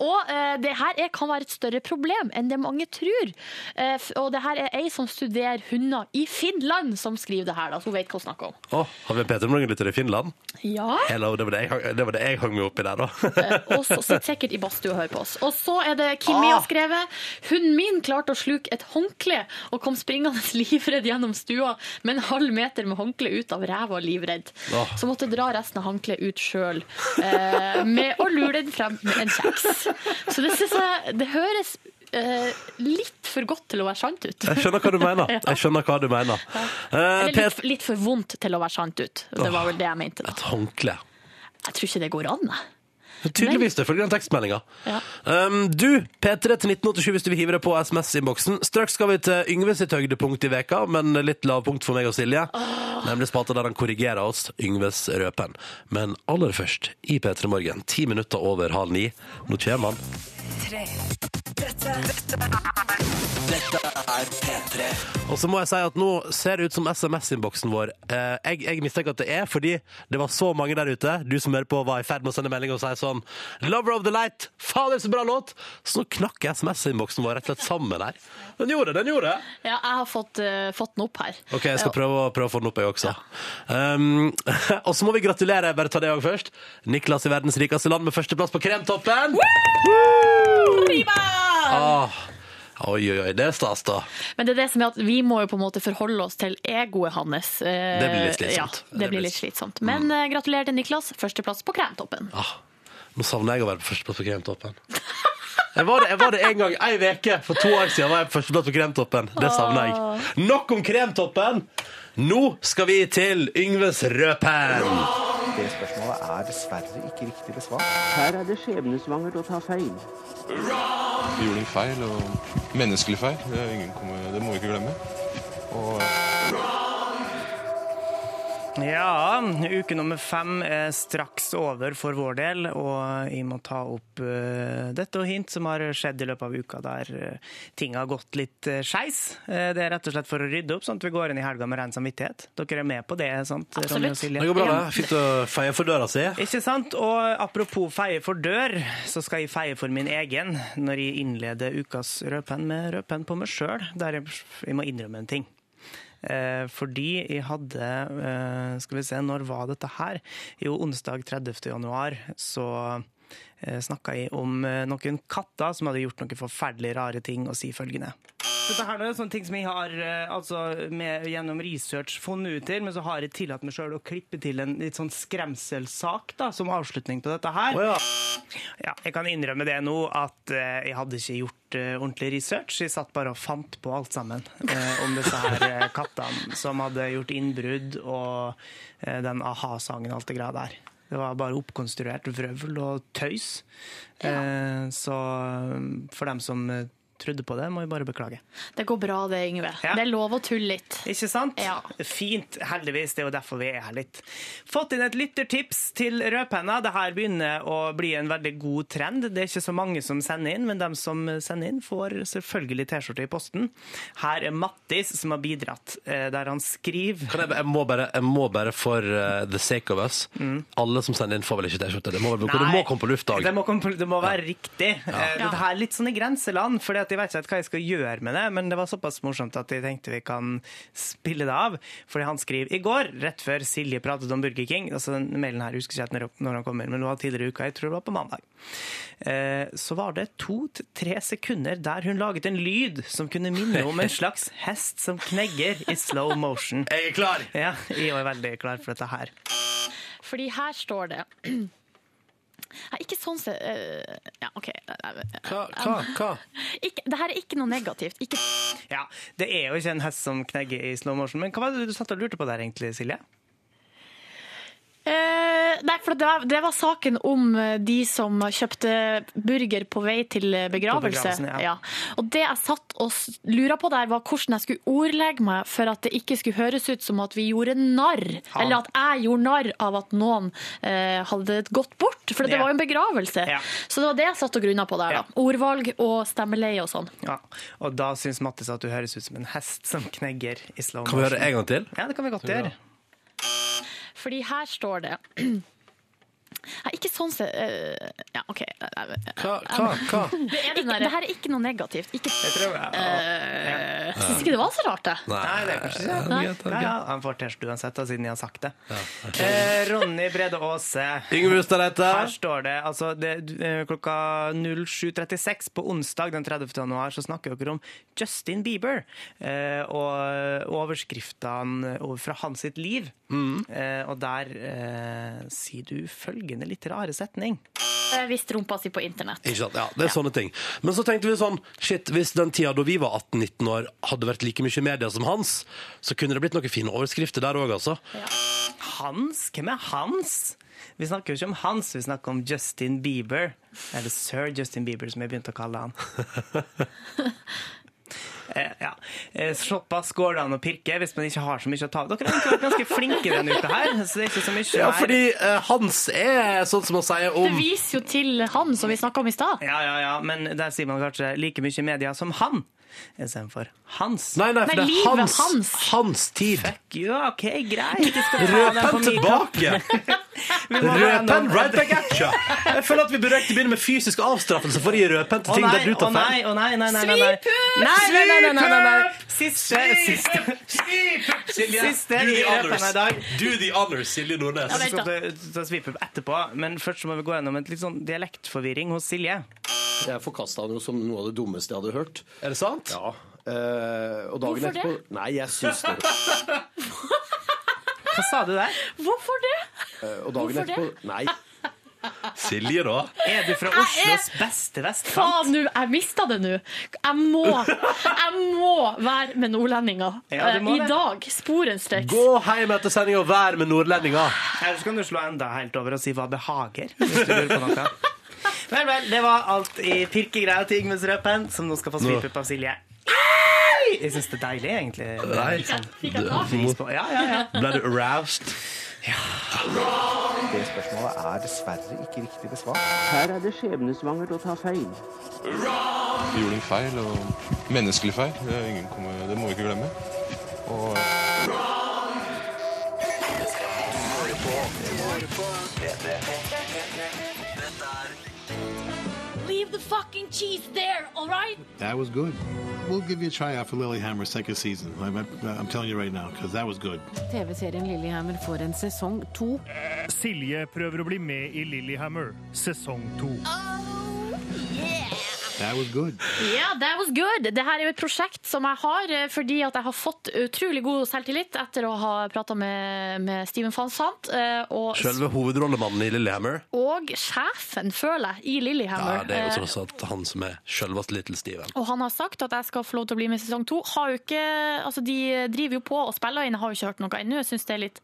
og eh, det her er, kan være et større problem enn det mange tror. Eh, f- og det her er ei som studerer hunder i Finland som skriver det her, da, så hun vet hva hun snakker om.
å, har vi en P3 Morgen-lytter i Finland?
Ja.
Hello, det var det jeg, hang- det var det jeg hang meg opp i der, da.
Og så sitter sikkert i badstue og hører på oss. Og så er det Kimi
Ah!
har skrevet Hunden min klarte å sluke et håndkle og kom springende livredd gjennom stua med en halv meter med håndkle ut av ræva livredd.
Ah.
Så måtte jeg dra resten av håndkleet ut sjøl eh, med å lure den frem med en kjeks. Så det synes jeg Det høres eh, litt for godt til å være sant ut.
Jeg skjønner hva du mener.
Ja.
Jeg skjønner hva du mener. Eh,
Eller litt, litt for vondt til å være sant ut. Det var vel det jeg mente. da.
Håndkle.
Jeg tror ikke det går an, jeg.
Tydeligvis, det følger den tekstmeldinga.
Ja.
Um, du, P3 til 1987 hvis du vil hive deg på SMS-innboksen. Straks skal vi til Yngve sitt høydepunkt i veka, men litt lavpunkt for meg og Silje. Nemlig spalta der han korrigerer oss, Yngves Røpen. Men aller først, i P3 Morgen, ti minutter over halv ni, nå kommer han.
Tre. Dette, dette er Dette er P3.
Og så må jeg si at nå ser det ut som SMS-innboksen vår. Eh, jeg, jeg mistenker at det er fordi det var så mange der ute, du som hører på, var i ferd med å sende melding og si sånn Lover of the Light! Fader, så bra låt! Så nå knakk SMS-innboksen vår rett og slett sammen her. Den gjorde det, den gjorde det!
Ja, jeg har fått, eh, fått den opp her.
OK, jeg skal prøve, å- prøve å få den opp, jeg også. Um, og så må vi gratulere, bare ta det òg først. Niklas i verdens rikeste land med førsteplass på Kremtoppen! Ah, oi, oi, oi. Det er stas, da.
Men det er det som er at vi må jo på en måte forholde oss til egoet hans. Eh,
Det blir Mm. litt slitsomt.
Ja, det blir litt slitsomt. Men eh, gratulerer til Niklas. Førsteplass på Kremtoppen.
Ah, nå savner jeg å være på førsteplass på Kremtoppen. Jeg var, det, jeg var det en gang, ei veke for to år siden var jeg på førsteplass på Kremtoppen. Det savner jeg. Nok om Kremtoppen! Nå skal vi til Yngves Rødpenn.
Det spørsmålet er dessverre ikke riktig besvart.
Her er det skjebnesvangert å ta feil.
Vi gjorde en feil, og menneskelig feil. Det, er ingen kommer, det må vi ikke glemme. Og
Ja, uke nummer fem er straks over for vår del, og jeg må ta opp eh, dette og hint som har skjedd i løpet av uka der eh, ting har gått litt uh, skeis. Eh, det er rett og slett for å rydde opp, sånn at vi går inn i helga med ren samvittighet. Dere er med på det, sant? Ronny og
Det
Silje?
går bra, det.
Ja.
Fint å feie for døra si.
Ikke sant? Og apropos feie for dør, så skal jeg feie for min egen når jeg innleder ukas rødpenn med rødpenn på meg sjøl, der jeg, jeg må innrømme en ting. Eh, fordi jeg hadde eh, Skal vi se, når var dette her? Jo, onsdag 30. januar så eh, snakka jeg om eh, noen katter som hadde gjort noen forferdelig rare ting, og si følgende. Dette her er sånne ting som jeg har eh, altså, med, gjennom research funnet ut til, men så har jeg tillatt meg sjøl å klippe til en litt sånn skremselsak da, som avslutning på dette her. ja. jeg kan innrømme det nå, at eh, jeg hadde ikke gjort eh, ordentlig research. Jeg satt bare og fant på alt sammen eh, om disse her eh, kattene som hadde gjort innbrudd, og eh, den a-ha-sangen og alt det greia der. Det var bare oppkonstruert vrøvl og tøys. Eh, så um, for dem som eh, trodde på det, må jeg bare beklage.
Det går bra det, Yngve. Det er lov å tulle litt.
Ikke sant?
Ja.
Fint, heldigvis. Det er jo derfor vi er her litt. Fått inn et lyttertips til rødpenna. Det her begynner å bli en veldig god trend. Det er ikke så mange som sender inn, men de som sender inn, får selvfølgelig T-skjorte i posten. Her er Mattis som har bidratt, eh, der han skriver
Kan jeg, jeg, må bare, jeg må bare for eh, the sake of us Alle som sender inn, får vel ikke T-skjorte? Det, må vel- det må
Mm. Nei.
komme på lufta òg.
Det må, komme på- det må være riktig. Eh,
Ja.
Dette her er litt sånn i grenseland, for jeg vet ikke helt hva jeg skal gjøre med det, men det var såpass morsomt at jeg tenkte vi kan spille det av. Fordi han skriver i går, rett før Silje pratet om Burger King altså den Mailen her husker jeg ikke helt når han kommer, men det var tidligere i uka, jeg tror det var på mandag. Eh, Så var det to til tre sekunder der hun laget en lyd som kunne minne om en slags hest som knegger i slow motion.
Jeg er klar!
Ja, jeg er veldig klar for dette her.
Fordi her står det Nei, ikke sånn se... eh, ja, OK. Hva?
hva?
Ikke, det her er ikke noe negativt. Ikke
Ja, Det er jo ikke en hest som knegger i slow motion, men hva var det du satt og lurte på der egentlig, Silje?
Eh, nei, for det var, det var saken om eh, de som kjøpte burger på vei til eh, begravelse.
begravelsen, ja.
Og det jeg satt og s- lura på der, var hvordan jeg skulle ordlegge meg for at det ikke skulle høres ut som at vi gjorde narr,
Ja.
eller at jeg gjorde narr av at noen eh, hadde gått bort. For det
Ja.
var jo en begravelse.
Ja.
Så det var det jeg satt og grunna på der. da. Ordvalg og stemmeleie og sånn.
Ja, Og da syns Mattis at du høres ut som en hest som knegger i slow
Kan vi
motion.
høre en gang til?
Ja, det kan vi godt gjøre.
Fordi her står det Nei, ikke sånn se... eh, ja, OK. Hva?
hva?
Det, er den derre- det her er ikke noe negativt. Ikke, jeg
tror,
Syns ikke det var så rart, det.
Eh,
Nei, det er kanskje ikke
Nei.
Nei, ja, Han får T-skjorte uansett, da, siden jeg har sagt det. Eh, Ronny Brede Aase.
Yngve Ustadreite.
Her står det altså det, eh, klokka 07.36 på onsdag den 30. januar så snakker dere om Justin Bieber eh, og overskriftene over- fra hans sitt liv. Eh, og der eh, sier du følgende litt rare setning.
Eh, Hvis rumpa si på internett.
Ikke sant? Ja, det er sånne ting. Men så tenkte vi sånn, shit, hvis den tida da vi var 18-19 år hadde vært like mye i media som hans, så kunne det blitt noen fine overskrifter der òg, altså.
Hans? Hvem er Hans? Vi snakker jo ikke om Hans, vi snakker om Justin Bieber. Eller Sir Justin Bieber, som jeg begynte å kalle han. Eh, ja. Eh, Såpass går det an å pirke hvis man ikke har så mye å ta av. Dere har egentlig vært ganske flinke denne uka her. Så det er ikke så mye
Ja,
mer.
fordi eh, Hans er sånn som han sier
Det
om
viser jo til han som vi snakka om i stad.
Ja, ja, ja, men der sier man kanskje like mye i media som han. Istedenfor hans.
Nei, nei, for Nei, det er livet hans- hans. tid.
Fuck you, OK, greit. Ikke skal ta
Røp
den på min
han
kapp.
tilbake!
Vi må
Røp
gjennom-
han right back at you! Jeg føler at vi bør ikke begynne med fysisk avstraffelse for å gi røpen
Å
til ting
nei,
der du
å
tar
nei,
feil.
å nei, nei, nei, nei, nei. Nei, nei, nei, nei, nei, nei, nei. Siste, siste.
Silje,
Siste
do
i
the
røpen
honors.
i dag.
Do the honors, Silje Nordnes.
Ja, så skal vi ta svipe opp etterpå, men først så må vi gå gjennom en litt sånn dialektforvirring hos Silje.
Jeg forkasta det jo som noe av det dummeste jeg hadde hørt.
Er det sant?
Ja. Eh, og dagen
Hvorfor det?
etterpå Nei, jeg syns det.
Hva sa du der?
Hvorfor det?
Eh, og dagen
Hvorfor det?
etterpå Nei.
Silje, da?
Er du fra
Jeg er-
Oslos beste vestkant?
Faen, nå, jeg mista det nå. Jeg må jeg må være med nordlendinger
Ja, du må
eh, i
det.
dag. Sporenstreks.
Gå hjem etter sending og vær med nordlendinger.
Eller så kan du slå enda helt over og si hva behager. Hvis du lurer på noe. Vel, vel, det var alt i pirkegreia til Yngmundsrøpen, som nå skal få svipe opp av Silje. Ei! Jeg syns det er deilig, egentlig. Det er litt sånn-
Fikk jeg ta?
Pris på- Ja, ja, ja.
Ble du aroused?
Det spørsmålet er dessverre ikke riktig besvart.
Her er det skjebnesvangert å ta feil.
Vi gjorde en feil, og menneskelig feil. Det,
Eh,
er ingen kommer, det må vi ikke glemme. Og
Leave the fucking cheese there, all right?
That was good. We'll give you a try out for Lilyhammer second season. I'm, I'm telling you right now, because that was good.
TV-serien Lillehammer får en sesong to.
Silje prøver å bli med i Lillehammer, sesong to.
That was good.
Yeah, that was good. Dette er jo et prosjekt som jeg har eh, fordi at jeg har fått utrolig god selvtillit etter å ha prata med, med Steven Fansant. eh, Og,
Selve hovedrollemannen i Lillehammer.
og sjefen, føler jeg, i
Ja,
Lillehammer.
det er
Eh,
jo tross alt han som er selveste Little Steven.
Og han har sagt at jeg skal få lov til å bli med i sesong to. Har jo ikke, altså de driver jo på og spiller inn, jeg har jo ikke hørt noe ennå. Jeg syns det er litt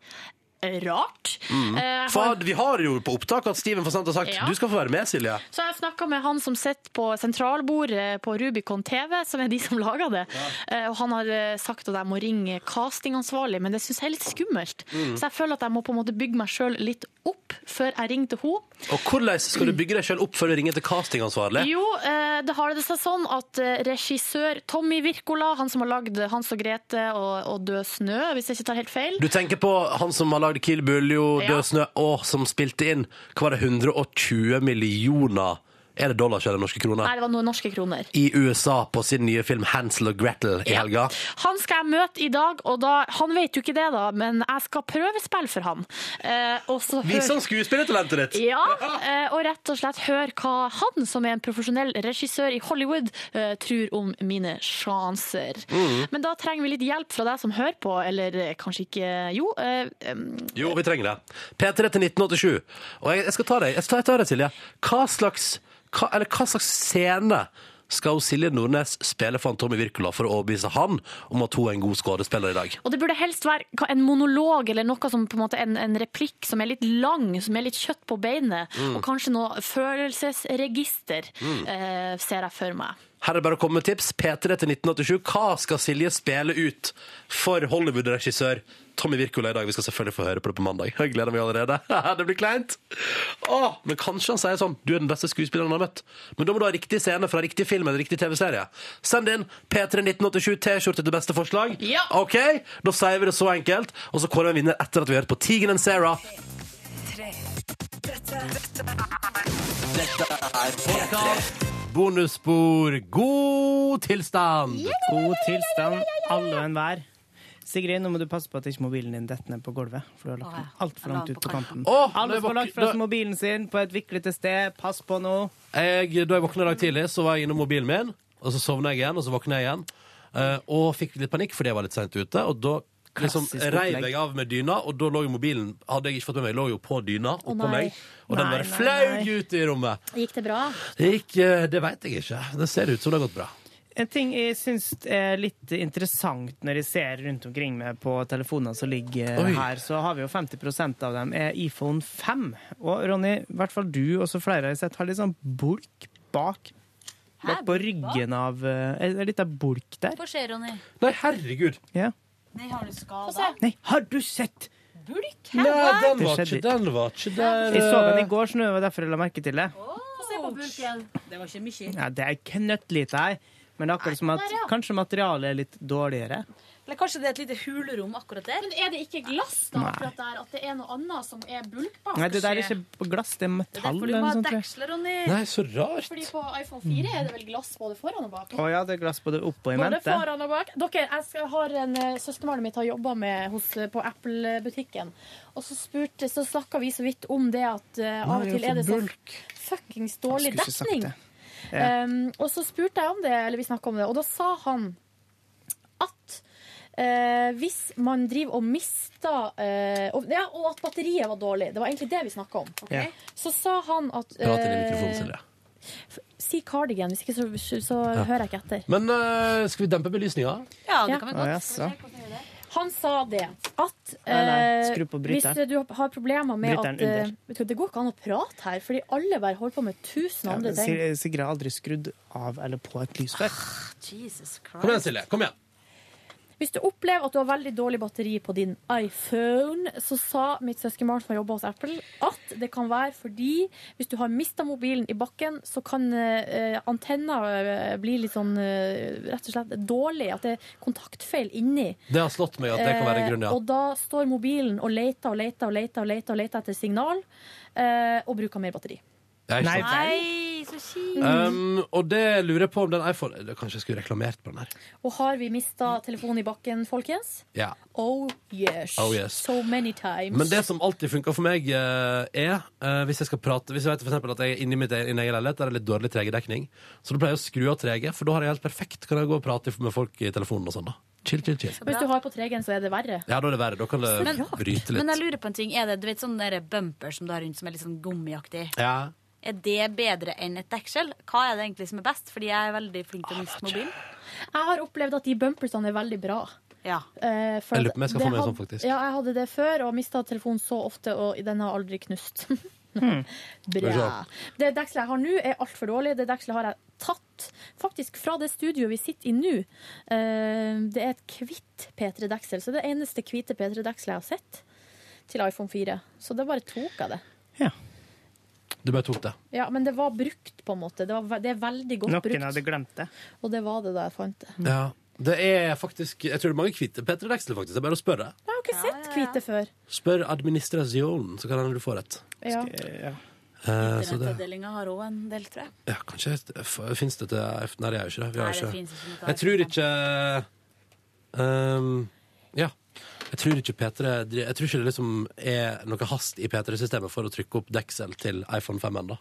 rart.
Mm.
Eh, jeg
For
har-
vi har jo på opptak at Steven Fasant har sagt
Ja.
du skal få være med, Silje.
Så jeg snakka med han som sitter på sentralbordet på Rubicon TV, som er de som lager det. Eh, Og han har eh, sagt at jeg må ringe castingansvarlig, men det syns jeg er litt skummelt.
Mm.
Så jeg føler at jeg må på en måte bygge meg sjøl litt opp før jeg ringer til henne.
Og hvordan skal du bygge deg selv opp før du ringer til castingansvarlig?
Jo, eh, det har det seg sånn at eh, regissør Tommy Wirkola, han som har lagd 'Hans og Grete' og, og 'Død snø', hvis jeg ikke tar helt feil
Du tenker på han som har lagd Kill Bull, jo,
Ja.
Død snø, og som spilte inn hva var det 120 millioner Er det dollars eller norske kroner?
Nei, det var noen norske kroner.
I USA på sin nye film 'Hansel og Gretel' i helga.
Han skal jeg møte i dag, og da, han vet jo ikke det, da, men jeg skal prøvespille for han. Eh, og så
Vis
hør-
han skuespillertalentet ditt!
Ja, eh, og rett og slett hør hva han, som er en profesjonell regissør i Hollywood, eh, tror om mine sjanser.
Mhm.
Men da trenger vi litt hjelp fra deg som hører på, eller eh, kanskje ikke Jo. Eh, em,
Jo, vi trenger det. P3 til 1987. Og jeg, jeg skal ta deg, jeg skal ta deg Silje. Hva slags, hva, eller hva slags scene skal Silje Nordnes spille for han Tommy Wirkola for å overbevise han om at hun er en god skuespiller i dag?
Og det burde helst være ka- en monolog eller noe som på en måte en, en replikk som er litt lang, som er litt kjøtt på beinet,
Mm.
og kanskje noe følelsesregister,
Mm.
eh, ser jeg for meg.
Her er det bare å komme med tips. P3 til 1987. Hva skal Silje spille ut for Hollywood-regissør Tommy Wirkola i dag? Vi skal selvfølgelig få høre på det på mandag. Jeg gleder meg allerede. det blir kleint. Åh, men kanskje han sier sånn Du er den beste skuespilleren han har møtt. Men da må du ha riktig scene fra riktig film eller riktig TV-serie. Send inn P3 1987 T-skjorte til beste forslag.
Ja.
OK, da sier vi det så enkelt. Og så kårer vi en vinner etter at vi har hørt på Tigen and Sarah.
Dette er Podcast.
Bonusspor. God tilstand!
God tilstand, alle og enhver. Sigrid, nå må du passe på at ikke mobilen din detter ned på gulvet. For du har lagt den altfor langt ut på kanten.
Å,
Alle som
det var
har lagt
ikke-
fra
det-
seg mobilen sin på et viklete sted, pass på nå.
jeg, da jeg våkna i dag tidlig, så var jeg innom mobilen min, og så sovna jeg igjen, og så våkna jeg igjen. eh, og fikk litt panikk fordi jeg var litt seint ute. Og da liksom,
Klassisk
reiv
opplegg.
jeg av med dyna, og da lå jo mobilen hadde jeg ikke fått med meg, lå jo på dyna oppå
nei.
meg. Og den
Nei,
bare
nei,
flaug ut i rommet.
Gikk det bra?
Det gikk eh, Det veit jeg ikke. Det ser ut som det har gått bra.
En ting jeg syns er litt interessant når jeg ser rundt omkring meg på telefonene som ligger
Oi.
her, så har vi jo 50 av dem er iPhone 5. Og Ronny, i hvert fall du og så flere jeg har sett, har litt sånn bulk bak. Bak på ryggen av eh, Er det litt av bulk der?
Få se, Ronny.
Nei, herregud!
Ja.
Nei, har du skada?
Nei, har du sett?
Bulk?
Nei, den var ikke-
den var ikke
Jeg så den i går, så det var derfor jeg la merke til det.
Få se på bulken. Det var ikke mye.
Ja, det er knøttlite her, men det er akkurat som at
der, ja.
kanskje materialet er litt dårligere.
Eller kanskje det er et lite hulrom akkurat der?
Men er det ikke glass da,
Nei.
akkurat der, at det er noe annet som er bulkbart?
Nei, det der er ikke glass, det er metall.
derfor du må
eller
ha
noe sånt, tror jeg.
deksler, Ronny.
Nei, så rart.
Fordi på iPhone 4 er det vel glass både foran og bak?
Å ja, det er glass både oppå og i
Både
mente.
foran og bak. Dere, jeg skal, har en eh, Søskenbarnet mitt har jobba eh, på Apple-butikken. Og så, spurte- så snakka vi så vidt om det at eh,
Nei,
av og
det er
til er
for
det så
bulk.
fuckings dårlig
Jeg skulle ikke
dekning.
sagt det. Ja.
Um, og så spurte jeg om det, eller vi snakka om det, og da sa han at eh, hvis man driver og mister eh, og, ja, og at batteriet var dårlig. Det var egentlig det vi snakka om.
Ja.
Så sa han at
Prat inn i
eh,
mikrofonen, Silje.
Si cardigan, hvis ikke så, så
Ja.
hører jeg ikke etter.
Men eh, skal vi dempe belysninga?
Ja,
det kan vi godt. Å, jaså.
Han sa det at
Nei, nei,
eh,
skru på
hvis
bryteren.
du har problemer med
Bryteren
at eh,
under.
vet du, Det går ikke an å prate her, fordi alle bare holder på med tusen
Ja,
andre
men
ting.
Sig- Sigrid har aldri skrudd av eller på et lys før.
Jesus
Kom igjen, Silje. Kom igjen.
Hvis du opplever at du har veldig dårlig batteri på din iPhone, så sa mitt søskenbarn som har jobba hos Apple, at det kan være fordi hvis du har mista mobilen i bakken, så kan eh, antenna eh, bli litt sånn eh, rett og slett dårlig. At det er kontaktfeil inni.
Det har slått meg at det kan være en grunn,
Eh, Og
ja.
da står mobilen og leter og leter og leter og leter, og leter etter signal, eh, og bruker mer batteri.
Ja, ikke sant?
så
Um, og det lurer jeg på om den iPhone det- Kanskje jeg skulle reklamert på den her.
Og har vi mista telefonen i bakken, folkens?
Ja.
Oh yes.
Oh, yes.
So many times.
Men det som alltid funker for meg, eh, er eh, hvis jeg skal prate Hvis jeg vet for eksempel at jeg er inni mitt e- egen leilighet, der er det litt dårlig 3G-dekning, så da pleier jeg å skru av 3G, for da har jeg helt perfekt Kan jeg gå og prate med folk i telefonen og sånn, da. Chill, chill, chill.
Hvis du har på 3G-en, så er det verre.
Ja, da er det verre. Da kan det
Men-
bryte
Men jeg
litt.
lurer på en ting. Er det du vet, sånn der bumper som du har rundt som er litt sånn gummiaktig?
Ja.
Er det bedre enn et deksel? Hva er det egentlig som er best? Fordi jeg er veldig flink til å miste mobilen.
Jeg har opplevd at de bumpersene er veldig bra. Eh, for
Jeg
at
lurer på om jeg skal
det
få meg en
had-
sånn, faktisk.
Ja, jeg hadde det før, og mista telefonen så ofte, og den har aldri knust. Bra. Det dekselet jeg har nå, er altfor dårlig. Det dekselet har jeg tatt faktisk fra det studioet vi sitter i nå. Eh, Det er et hvitt P3-deksel, så det er det eneste hvite P3-dekselet jeg har sett til iPhone 4. Så da bare tok jeg det.
Du bare tok det.
Ja, Men det var brukt, på en måte. Det, var, ve- det er veldig godt brukt.
Noen hadde
glemt det.
Og det var det da jeg fant det.
Ja. Det er faktisk Jeg tror det er mange hvite Petter Deksel, faktisk. Det er bare å spørre.
Jeg har ikke sett hvite før.
Spør administrasjonen, så kan hende du får rett.
Ja.
Eh, så det
Internettavdelinga har òg en del, tror jeg.
Ja, kanskje Fins det til F- Nei, det er jo ikke det. Vi
Nei,
har
det
ikke.
finnes ikke noe
jeg tror ikke ehm, Ja. Jeg tror ikke P3 dri- Jeg tror ikke det liksom er noe hast i P3-systemet for å trykke opp deksel til iPhone 5 ennå.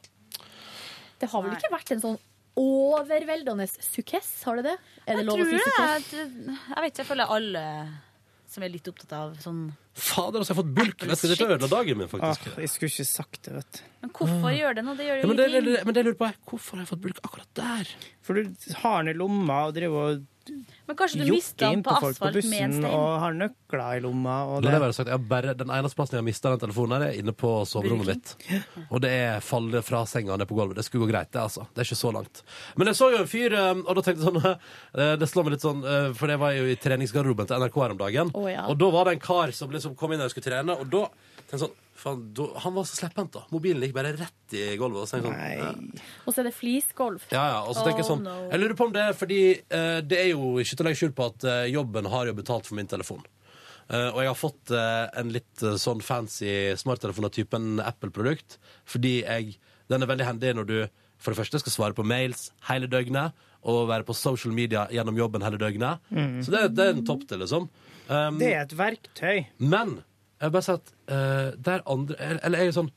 Det har vel ikke vært en sånn overveldende sukkess, har det det? Er
Jeg
det lov å
tror
si
det.
sukkess?
Jeg, jeg vet ikke, jeg føler alle som er litt opptatt av sånn
Fader, altså, jeg har fått bulk! Jeg skal ikke ødelegge dagen min, faktisk.
Ah,
Åh, jeg skulle ikke sagt det, vet du.
Men hvorfor gjør det nå? Det gjør
Ja,
jo
men det, det,
ingenting.
det, men det lurer på jeg. Hvorfor har jeg fått bulk akkurat der?
For du har den i lomma og driver og
Men kanskje du mister
jokker
den
inn
på
på folk på
asfalt med en
bussen
stein.
og har nøkler i lomma og
La
det.
det være sagt, jeg har bare, den eneste plassen jeg har mista den telefonen, her, er inne på soverommet mitt. Og det er falle fra senga og ned på gulvet. Det skulle gå greit, det, altså. Det er ikke så langt. Men jeg så jo en fyr, eh, og da tenkte jeg sånn eh, Det slår meg litt sånn, eh, for det var jo i treningsgarderoben til NRK her om dagen.
Å, ja.
Og da var det en kar som liksom kom inn når jeg skulle trene, og da tenkte jeg sånn faen, da, Han var så slepphendt, da. Mobilen gikk bare rett i gulvet. Og så tenkte jeg sånn, ja.
Og så er det flisgolv.
Ja, ja, og så tenker jeg
Oh,
sånn
no.
Jeg lurer på om det er fordi eh, Det er jo ikke til å legge skjul på at eh, jobben har jo betalt for min telefon Eh, Og jeg har fått eh, en litt eh, sånn fancy smarttelefon av typen Apple-produkt Fordi jeg, den er veldig handy når du For det første skal svare på mails hele døgnet Og være på social media gjennom jobben hele døgnet
Mm.
Så det, det er en topp til liksom um,
Det er et verktøy
Men, jeg vil bare si at eh, Der andre, eller jeg er sånn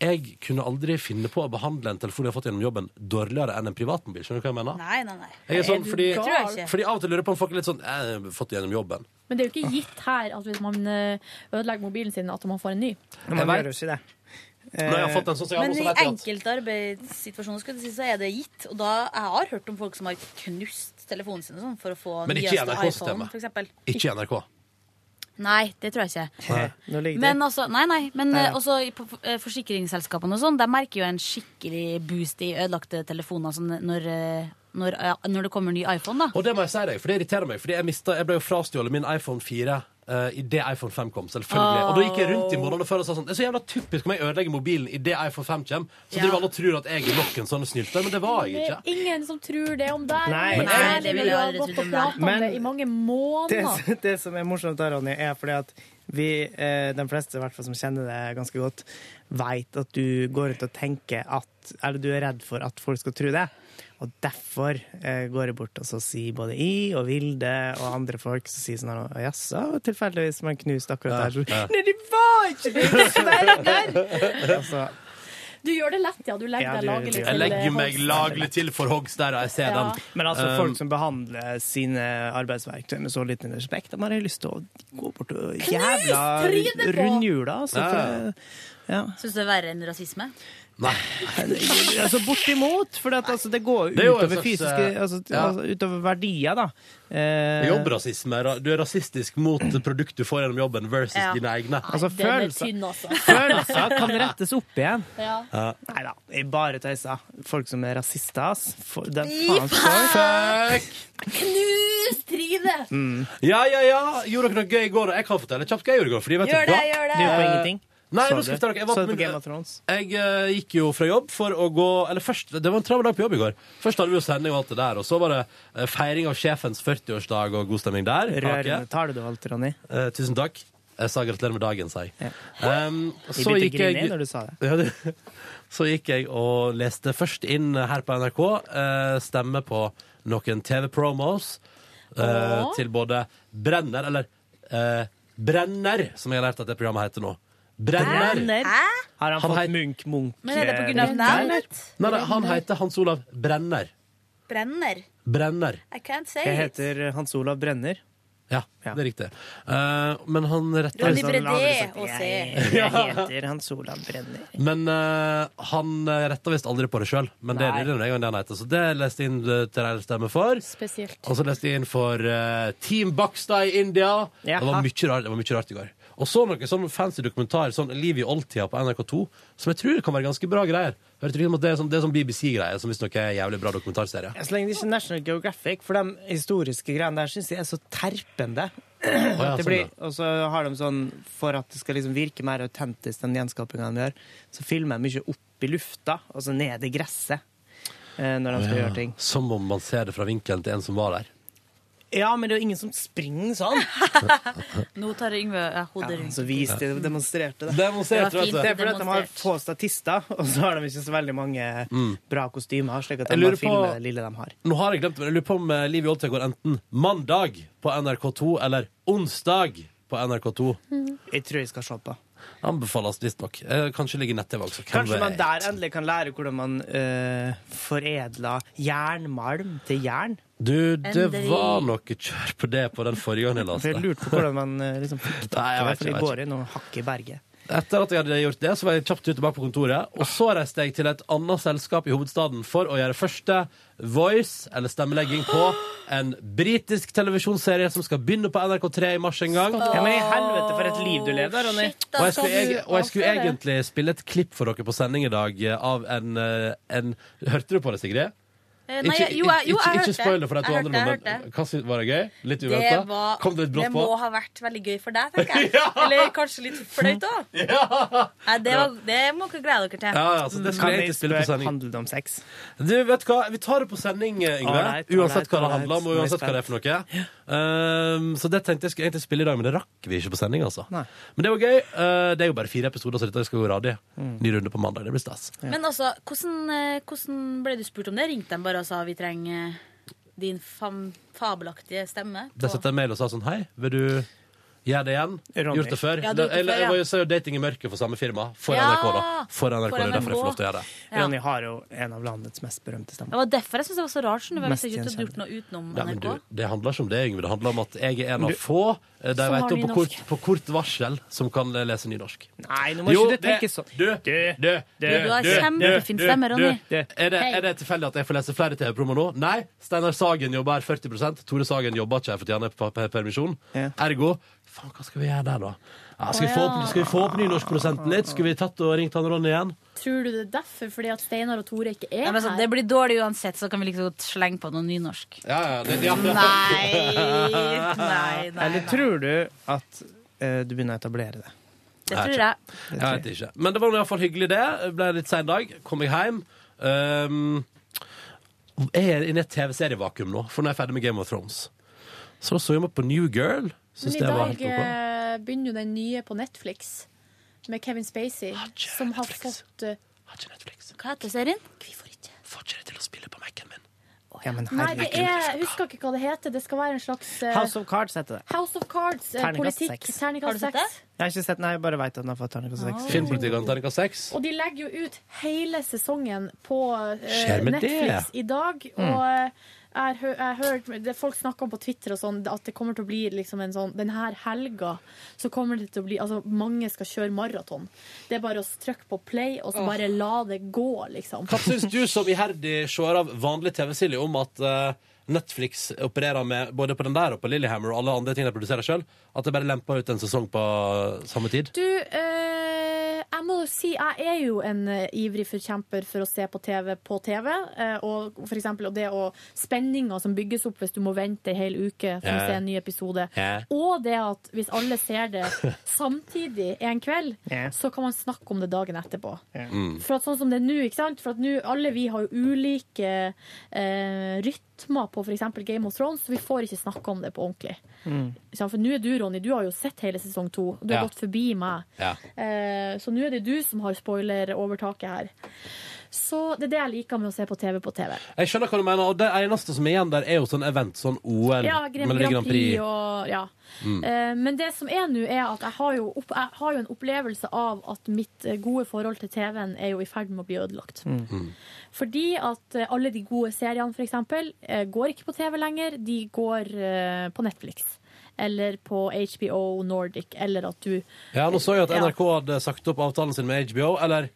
jeg kunne aldri finne på å behandle en telefon jeg har fått gjennom jobben dårligere enn en privatmobil. Skjønner du hva jeg mener?
Nei, nei, nei.
Jeg er sånn,
du
fordi,
gal? Tror jeg ikke.
fordi Av og til lurer jeg på om folk er litt sånn «Eh, Jeg har fått det gjennom jobben.
Men det er jo ikke gitt her at hvis man eh, ødelegger mobilen sin, at man får en ny.
når man gjør jo ikke det.
Nå har jeg fått en sånn, så jeg har
Men
noe
i
som heter at-
enkelte arbeidssituasjoner skulle jeg si, så er det gitt. Og da jeg har hørt om folk som har knust telefonen sin og sånn, for å få
Men ikke i
nyeste
NRK-systemet.
iPhone, for eksempel.
Ikke i NRK.
Nei, det tror jeg ikke.
Nei.
Nå ligger det.
Men altså, nei, nei, men
Nei,
eh,
ja.
også i- på eh, forsikringsselskapene og sånn, de merker jo en skikkelig boost i ødelagte telefoner sånn, når, eh, når, eh, når det kommer ny iPhone, da.
Og det må jeg si deg, for det irriterer meg. Fordi jeg, mistet, jeg ble jo frastjålet min iPhone 4 eh, I idet iPhone 5 kom, selvfølgelig. Og da gikk jeg rundt i morgenen før og sa sånn Det er så jævla typisk om jeg ødelegger mobilen idet iPhone 5 kommer. Så
Ja.
driver alle og tror at jeg er nok en sånn snylte, men det var jeg
Det
ikke.
er ingen som tror det om deg.
Nei,
Men
jeg-
ærlig, vi har gått og pratet om
Men-
det i mange
det,
måneder.
som- det som er morsomt der, Ronny, er fordi at vi, eh, de fleste i hvert fall som kjenner deg ganske godt, veit at du går rundt og tenker at Eller du er redd for at folk skal tro det. Og derfor eh, går jeg bort og så sier både jeg og Vilde og andre folk så sier sånn her, Jaså, tilfeldigvis man knuste akkurat der. Så,
Nei, det var ikke det! Du sverger der!
altså,
Du gjør det lett, ja. Du legger
Ja,
deg
du-
lagelig til
Jeg legger meg
Holst.
Laglig til for hogst der, og jeg ser
Ja.
den.
men altså,
Um,
folk som behandler sine arbeidsverktøy med så liten respekt, de har jeg lyst til å gå bort og jævla
trynet på!
rundhjula. Altså,
Ja, ja.
for, ja.
Syns du det er verre enn rasisme?
altså bortimot, for at, altså, det går
Det er jo en
utover
slags,
fysiske
eh,
altså,
ja.
altså, utover verdier, da. Eh,
Jobbrasisme. ra- Du er rasistisk mot produkt du får gjennom jobben, versus
Mm. Ja.
dine egne.
Altså,
Den er
følelser,
tynn, altså.
følelser kan rettes opp igjen.
Ja.
Nei da, jeg bare tøyser. Folk som er rasister, ass. For, det,
Gi
faen, folk.
Knus Trine!
Mm.
Ja, ja, ja. Gjorde dere noe gøy i går? Jeg kan fortelle kjapt hva jeg gjorde i går. Fordi, vet
Gjør
du, hva?
det, gjør det. Du gjorde
ingenting?
Nei,
Så
nå
du-
skal jeg fortelle dere. Jeg,
så
var
du
på
på Game of
min, jeg eh, gikk jo fra jobb for å gå Eller først, det var en travel dag på jobb i går. Først hadde vi jo sending og alt det der, og så var det eh, feiring av sjefens 40-årsdag og god stemning der. Kake.
Rørende tale du holdt, Ronny.
Eh, tusen takk. Jeg sa gratulerer med dagen, sa jeg. Um, og
Jeg begynte å grine når du sa det.
Ja, det- så gikk jeg og leste først inn her på NRK eh, stemme på noen TV-promos eh,
Åh.
til både Brenner, eller eh, Brenner, som jeg har lært at det programmet heter nå. Brenner!
Har han,
Han
fått
heit-
Munch Munch?
Men er det på grunn av
eh,
navn?
Nei, nei, han heter Hans Olav Brenner.
Brenner.
Brenner.
I can't say
Jeg
it.
heter Hans Olav Brenner.
Ja, det er riktig. Eh, men han retter
Ronny
Sånn
Bredé og C.
Jeg heter Hans Olav Brenner.
Men eh, han eh, retta visst aldri på det sjøl, men det
Nei.
er det en gang det han heter. Så det leste jeg inn eh, til deres stemme for.
Spesielt.
Og så leste jeg inn for eh, Team Bakstad i India. Det var, mye rart, det var mye rart i går. Og så noe sånn fancy dokumentar, sånn Liv i oldtida på NRK2, som jeg tror kan være ganske bra greier. Hørte du ikke om at det er sånn, det er sånn BBC-greier, som visstnok er en jævlig bra dokumentarserie.
Så lenge det ikke er National Geographic, for de historiske greiene der syns jeg er så terpende. At
ja,
det
sånn,
blir,
ja.
og så har de sånn, For at det skal liksom virke mer autentisk, den gjenskapingen de gjør, så filmer de mye opp i lufta, og så ned i gresset. eh, Når de skal
Ja,
gjøre ting.
Som om man ser det fra vinkelen til en som var der.
Ja, men det er jo ingen som springer sånn!
Nå tar Yngve eh, hodet rundt.
Så vis de demonstrerte det.
Demonstrerte, Det var vet du. fint
det er fordi at de har
demonstrert.
få statister, og så har de ikke så veldig mange
Mm.
bra kostymer, slik at
Jeg
de
lurer
bare
på-
filmer det lille de har.
Nå har jeg glemt det, men jeg lurer på om eh, Liv i oldtida går enten mandag på NRK2 eller onsdag på NRK2.
Jeg tror jeg skal se på.
Anbefales visstnok. Eh, Kanskje ligger i nett-TV også. Hvem
Kanskje man
vet?
der endelig kan lære hvordan man eh, foredler jernmalm til jern.
Du, det
Endelig.
var noe kjør på det på den forrige gangen jeg
For
leste.
jeg lurte på hvordan man eh, liksom fikk tak
Nei,
i
jeg
det,
vet ikke,
for
jeg
det
vet
går inn og hakker i berget.
Etter at jeg hadde gjort det, så var jeg kjapt ut tilbake på kontoret. Og så reiste jeg til et annet selskap i hovedstaden for å gjøre første voice, eller stemmelegging, på en britisk televisjonsserie som skal begynne på NRK3 i mars en gang.
Ja, men i helvete for et liv du lever, Ronny.
Og jeg, skulle, eg- og jeg skulle egentlig spille et klipp for dere på sending i dag eh, av en, eh, en Hørte du på det, Sigrid?
Eh, nei,
ikke,
jo, jeg- jo, jeg
ikke,
hørte.
ikke spoil det for de to
Jeg
andre,
hørte,
nå,
jeg
men
hørte.
hva sy- var det gøy? Litt
Det,
uventa?
var,
Kom det litt
det
brått
må
på?
ha vært veldig gøy for deg, tenker jeg. Eller kanskje litt flaut òg. Nei, det, var- det må dere glede dere til.
Ja, ja, så det skulle jeg egentlig spille på sending.
Handler det om sex?
Du, vet hva? Vi tar det på sending, eh, Yngve.
Alright, alright,
uansett hva det
alright.
handler om, og
Nå er jeg
uansett hva det er for noe. Um, så det tenkte jeg skulle egentlig spille i dag, men det rakk vi ikke på sending, altså.
Nei.
Men det var gøy. Eh, det er jo bare fire episoder, så dette skal gå radig.
Mm.
Ny runde på mandag. Det blir stas.
Men altså, hvordan, eh, hvordan ble du spurt om det? Ringte de bare og sa vi trenger eh, din fam fabelaktige stemme?
Der sendte jeg mail og sa sånn Hei, vil du Gjør det igjen.
Ronny.
Gjort det før.
Ja, du har gjort det
Eller,
før,
jeg
ja.
var jo så dating i mørket for samme firma. For
Ja.
NRK, da. For NRK, det
For
er derfor jeg får lov til å gjøre det.
Ja.
Ronny har jo en av landets mest berømte
Det
stemmer.
var derfor jeg syntes det var så rart. skjønner du, Hvis
Mest
jeg ikke hadde gjort
gjenkjennelig.
noe utenom
Ja, men
NRK.
du, det handler ikke om det, Yngve. Det handler om at jeg er en av få eh, de
Som
vet
har
om på kort,
nynorsk.
på kort varsel som kan eh, lese nynorsk.
Nei, nå må
Jo,
ikke du tenke
det-
sånn.
Du, du, du,
Du har
du,
kjempefin
du,
stemme,
du,
Ronny.
du. Er det, er det tilfeldig at jeg får lese flere TV-promo nå? Nei. Steinar Sagen jobber her 40 Tore Sagen jobber ikke her fordi han er på per- permisjon. Ergo Faen, hva skal vi gjøre der, da? Ja, skal, vi få
Å,
opp,
ja.
skal vi få opp nynorskprosenten litt? Skulle vi tatt og ringt han Ronny igjen?
Tror du det er derfor? Fordi at Steinar og Tore ikke er
Ja, men sånn,
her?
det blir dårlig uansett, så kan vi liksom godt slenge på noe nynorsk.
Ja, ja, det, ja.
Nei, nei, nei.
Eller tror du at eh, du begynner å etablere det?
Det tror jeg.
Det
Jeg
tror
vet ikke. Men det var i hvert fall hyggelig, det. Det Ble litt sein dag. Kom jeg hjem. Ehm, jeg er inne i et TV-serievakuum nå, for nå er jeg ferdig med Game of Thrones. Så da så jeg meg på New Girl. Syns
Men i
det var
dag
helt ok.
eh, begynner jo den nye på Netflix med Kevin Spacey, som har fått eh,
Hva heter serien?
Vi får ikke.
Får ikke det til å spille på Mac-en min.
Ja, men
Nei, det
herregud.
er, jeg husker ikke hva det heter. Det skal være en slags eh,
House of Cards heter det.
House of Cards, eh,
Terningkast
politikk,
seks.
Har du
terningkast
sett
seks.
Jeg har ikke sett den, jeg bare veit at den har fått terningkast seks.
Filmpolitikken terningkast seks.
Og de legger jo ut hele sesongen på eh,
Skjer med
Netflix
det?
i dag.
Mm.
Og eh, jeg hø- jeg hørte det folk snakker om på Twitter og sånn, at det kommer til å bli liksom en sånn Den her helga så kommer det til å bli Altså, mange skal kjøre maraton. Det er bare å trykke på play, og så
Åh.
bare la det gå, liksom.
Hva syns du som iherdig seer av vanlig TV, Silje, om at eh, Netflix opererer med både på den der og på Lillehammer og alle andre ting de produserer sjøl, at de bare lemper ut en sesong på samme tid?
Du, eh, jeg må jo si jeg er jo en eh, ivrig forkjemper for å se på TV på TV. eh, og for eksempel og det å spenninga som bygges opp hvis du må vente ei hel uke for
Ja.
å se en ny Oh, episode.
Ja.
Og det at hvis alle ser det samtidig en kveld,
Ja.
så kan man snakke om det dagen etterpå.
Mm.
For at sånn som det er nå, ikke sant? For at nå, alle vi har jo ulike eh, rytmer på f.eks. Game of Thrones, så vi får ikke snakke om det på ordentlig. Ikke sant? For nå er du, Ronny, du har jo sett hele sesong to. Du har
Ja.
gått forbi meg.
Ja.
Eh, så nå er det du som har spoilerovertaket her. Så det er det jeg liker med å se på TV på TV.
Jeg skjønner hva du mener, og det eneste som er igjen der, er jo sånn event, sånn OL,
Ja, Grand,
Melodi
Grand Prix og ja.
Mm.
Eh, Men det som er nå, er at jeg har, jo opp, jeg har jo en opplevelse av at mitt eh, gode forhold til TV-en er jo i ferd med å bli ødelagt.
Mm.
Fordi at eh, alle de gode seriene, for eksempel, eh, går ikke på TV lenger. De går eh, på Netflix. Eller på HBO Nordic, eller at du
Ja, nå så jeg at
Ja.
NRK hadde sagt opp avtalen sin med HBO, eller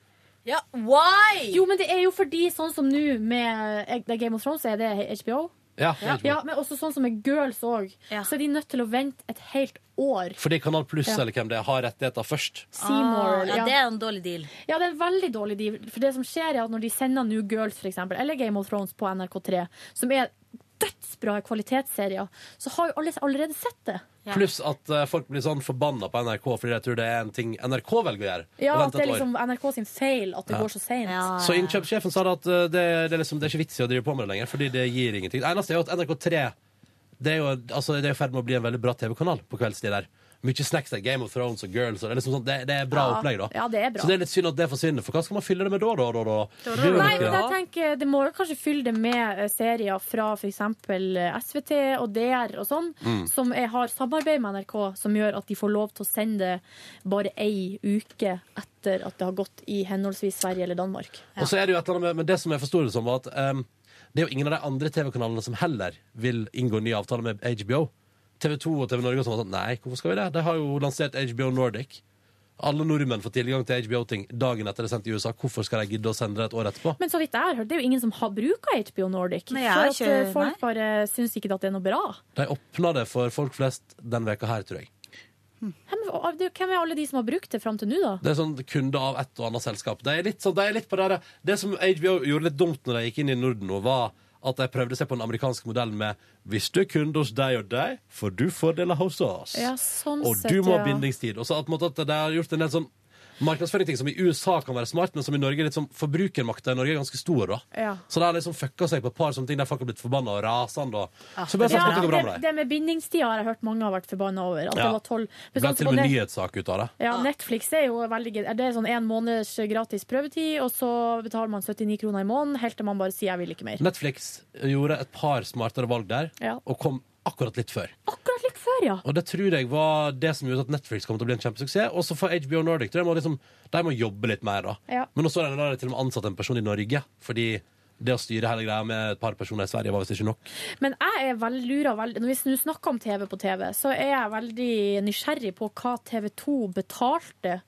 Ja, why? Jo, men det er jo fordi sånn som nå med eh, det er Game of Thrones, er det HBO?
Ja,
ja.
HBO.
men også sånn som med Girls òg. Så er de nødt til å vente et helt år.
Fordi Kanal Pluss
Ja.
eller hvem det er, har rettigheter først.
Seymour,
Ah, ja, det er en dårlig deal.
Ja, det er en veldig dårlig deal. For det som skjer, er at når de sender New Girls, for eksempel, eller Game of Thrones på NRK3, som er dødsbra kvalitetsserier, så har jo alle allerede sett det.
Pluss at eh, folk blir sånn forbanna på NRK fordi de tror det er en ting NRK velger å gjøre.
Ja,
å
at
vente et
det er
år.
liksom eh, NRK sin feil at det
Ja.
går så seint.
Så innkjøpssjefen sa da at eh, det, det, er liksom, det er ikke vits i å drive på med det lenger, fordi det gir ingenting. Det eneste er jo at NRK3 det er jo altså, det er i ferd med å bli en veldig bra TV-kanal på kveldstid der. Mye snacks der. Game of Thrones og Girls. Og det, er liksom sånn, det, det er bra
Ja.
opplegg, da.
Ja, det er bra.
Så det er litt synd at det forsvinner, for hva skal man fylle det med da, da, da, da? Det blir jo
Nei,
ikke
men
det.
jeg tenker Det må jo kanskje fylle det med eh, serier fra f.eks. SVT og DR og sånn,
Mm.
som er, har samarbeid med NRK, som gjør at de får lov til å sende det bare ei uke etter at det har gått i henholdsvis Sverige eller Danmark.
Og så er det jo et eller annet med, men det som jeg forsto det som, var at ehm, det er jo ingen av de andre TV-kanalene som heller vil inngå ny avtale med HBO. TV 2 og TV Norge og sånn var sånn Nei, hvorfor skal vi det? De har jo lansert HBO Nordic. Alle nordmenn får tilgang til HBO-ting dagen etter det er sendt i USA. Hvorfor skal de gidde å sende det et år etterpå?
Men så vidt jeg har hørt, det er jo ingen som har bruka HBO Nordic.
Nei, jeg
for
har
at eh,
ikke-
folk bare syns ikke at det er noe bra.
De åpna det for folk flest den veka her, tror jeg.
Hvem, av det- hvem er alle de som har brukt det fram til nå, da?
Det er sånn kunde av et og annet selskap. Det er litt, sånn, det, er litt på det, der, det som HBO gjorde litt dumt når de gikk inn i Norden nå, var at de prøvde seg på den amerikanske modellen med hvis du er kunde hos deg og deg, får du fordeler hos oss.
Ja, sånn
og
sett,
du må ha
ja.
bindingstid. Og så at, på en måte, at de har gjort en del sånn markedsføringsting som i USA kan være smart, men som i Norge er litt sånn forbrukermakta i Norge er ganske stor. da.
Ja.
Så de har liksom fucka seg på et par sånne ting der folk har blitt forbanna og rasende. Og...
Ah. Ja,
Så bare snakk om at det går bra
det,
med deg.
det med bindingstida har jeg hørt mange har vært forbanna over. At
Ja.
det var tolv. sånn
Det ble til og med nyhetssak ut av det.
Ja, Netflix er jo veldig gøy. Det er sånn en måneds gratis prøvetid, og så betaler man 79 kroner i måneden helt til man bare sier 'jeg vil ikke mer'.
Netflix gjorde et par smartere valg der,
Ja.
og kom akkurat litt før.
Akkurat litt før, ja.
Og det tror jeg var det som gjorde at Netflix kom til å bli en kjempesuksess. Og så får HBO Nordic tror jeg må liksom, de må jobbe litt mer, da.
Ja.
Men nå så har de til og med ansatt en person i Norge, fordi det å styre hele greia med et par personer i Sverige var visst ikke nok.
Men jeg er veldig lura veldig, Når vi snu- snakker om TV på TV, så er jeg veldig nysgjerrig på hva TV 2 betalte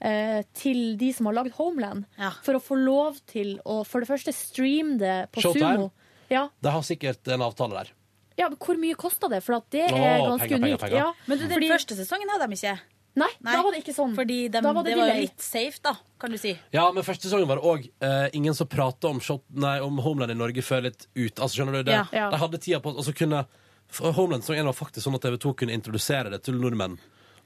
eh, til de som har lagd Homeland, for å få lov til å for det første streame det på
Showtime?
Sumo. Ja.
De har sikkert en avtale der.
ja, men Hvor mye kosta det? For at det er
Å,
ganske
penger, penger,
unikt.
penger.
Ja,
Men du, den
fordi-
første sesongen hadde de ikke.
Nei, da var det ikke sånn.
Fordi dem-
Da var det
det var jo
delay.
litt safe, da, kan du si.
Ja, men første sesongen var det òg eh, ingen som prata om, shot- nei, om Homeland i Norge før litt ut. Altså, skjønner du det?
Ja, ja.
De hadde tida på Og så kunne for Homeland sesong 1 var faktisk sånn at TV 2 kunne introdusere det til nordmenn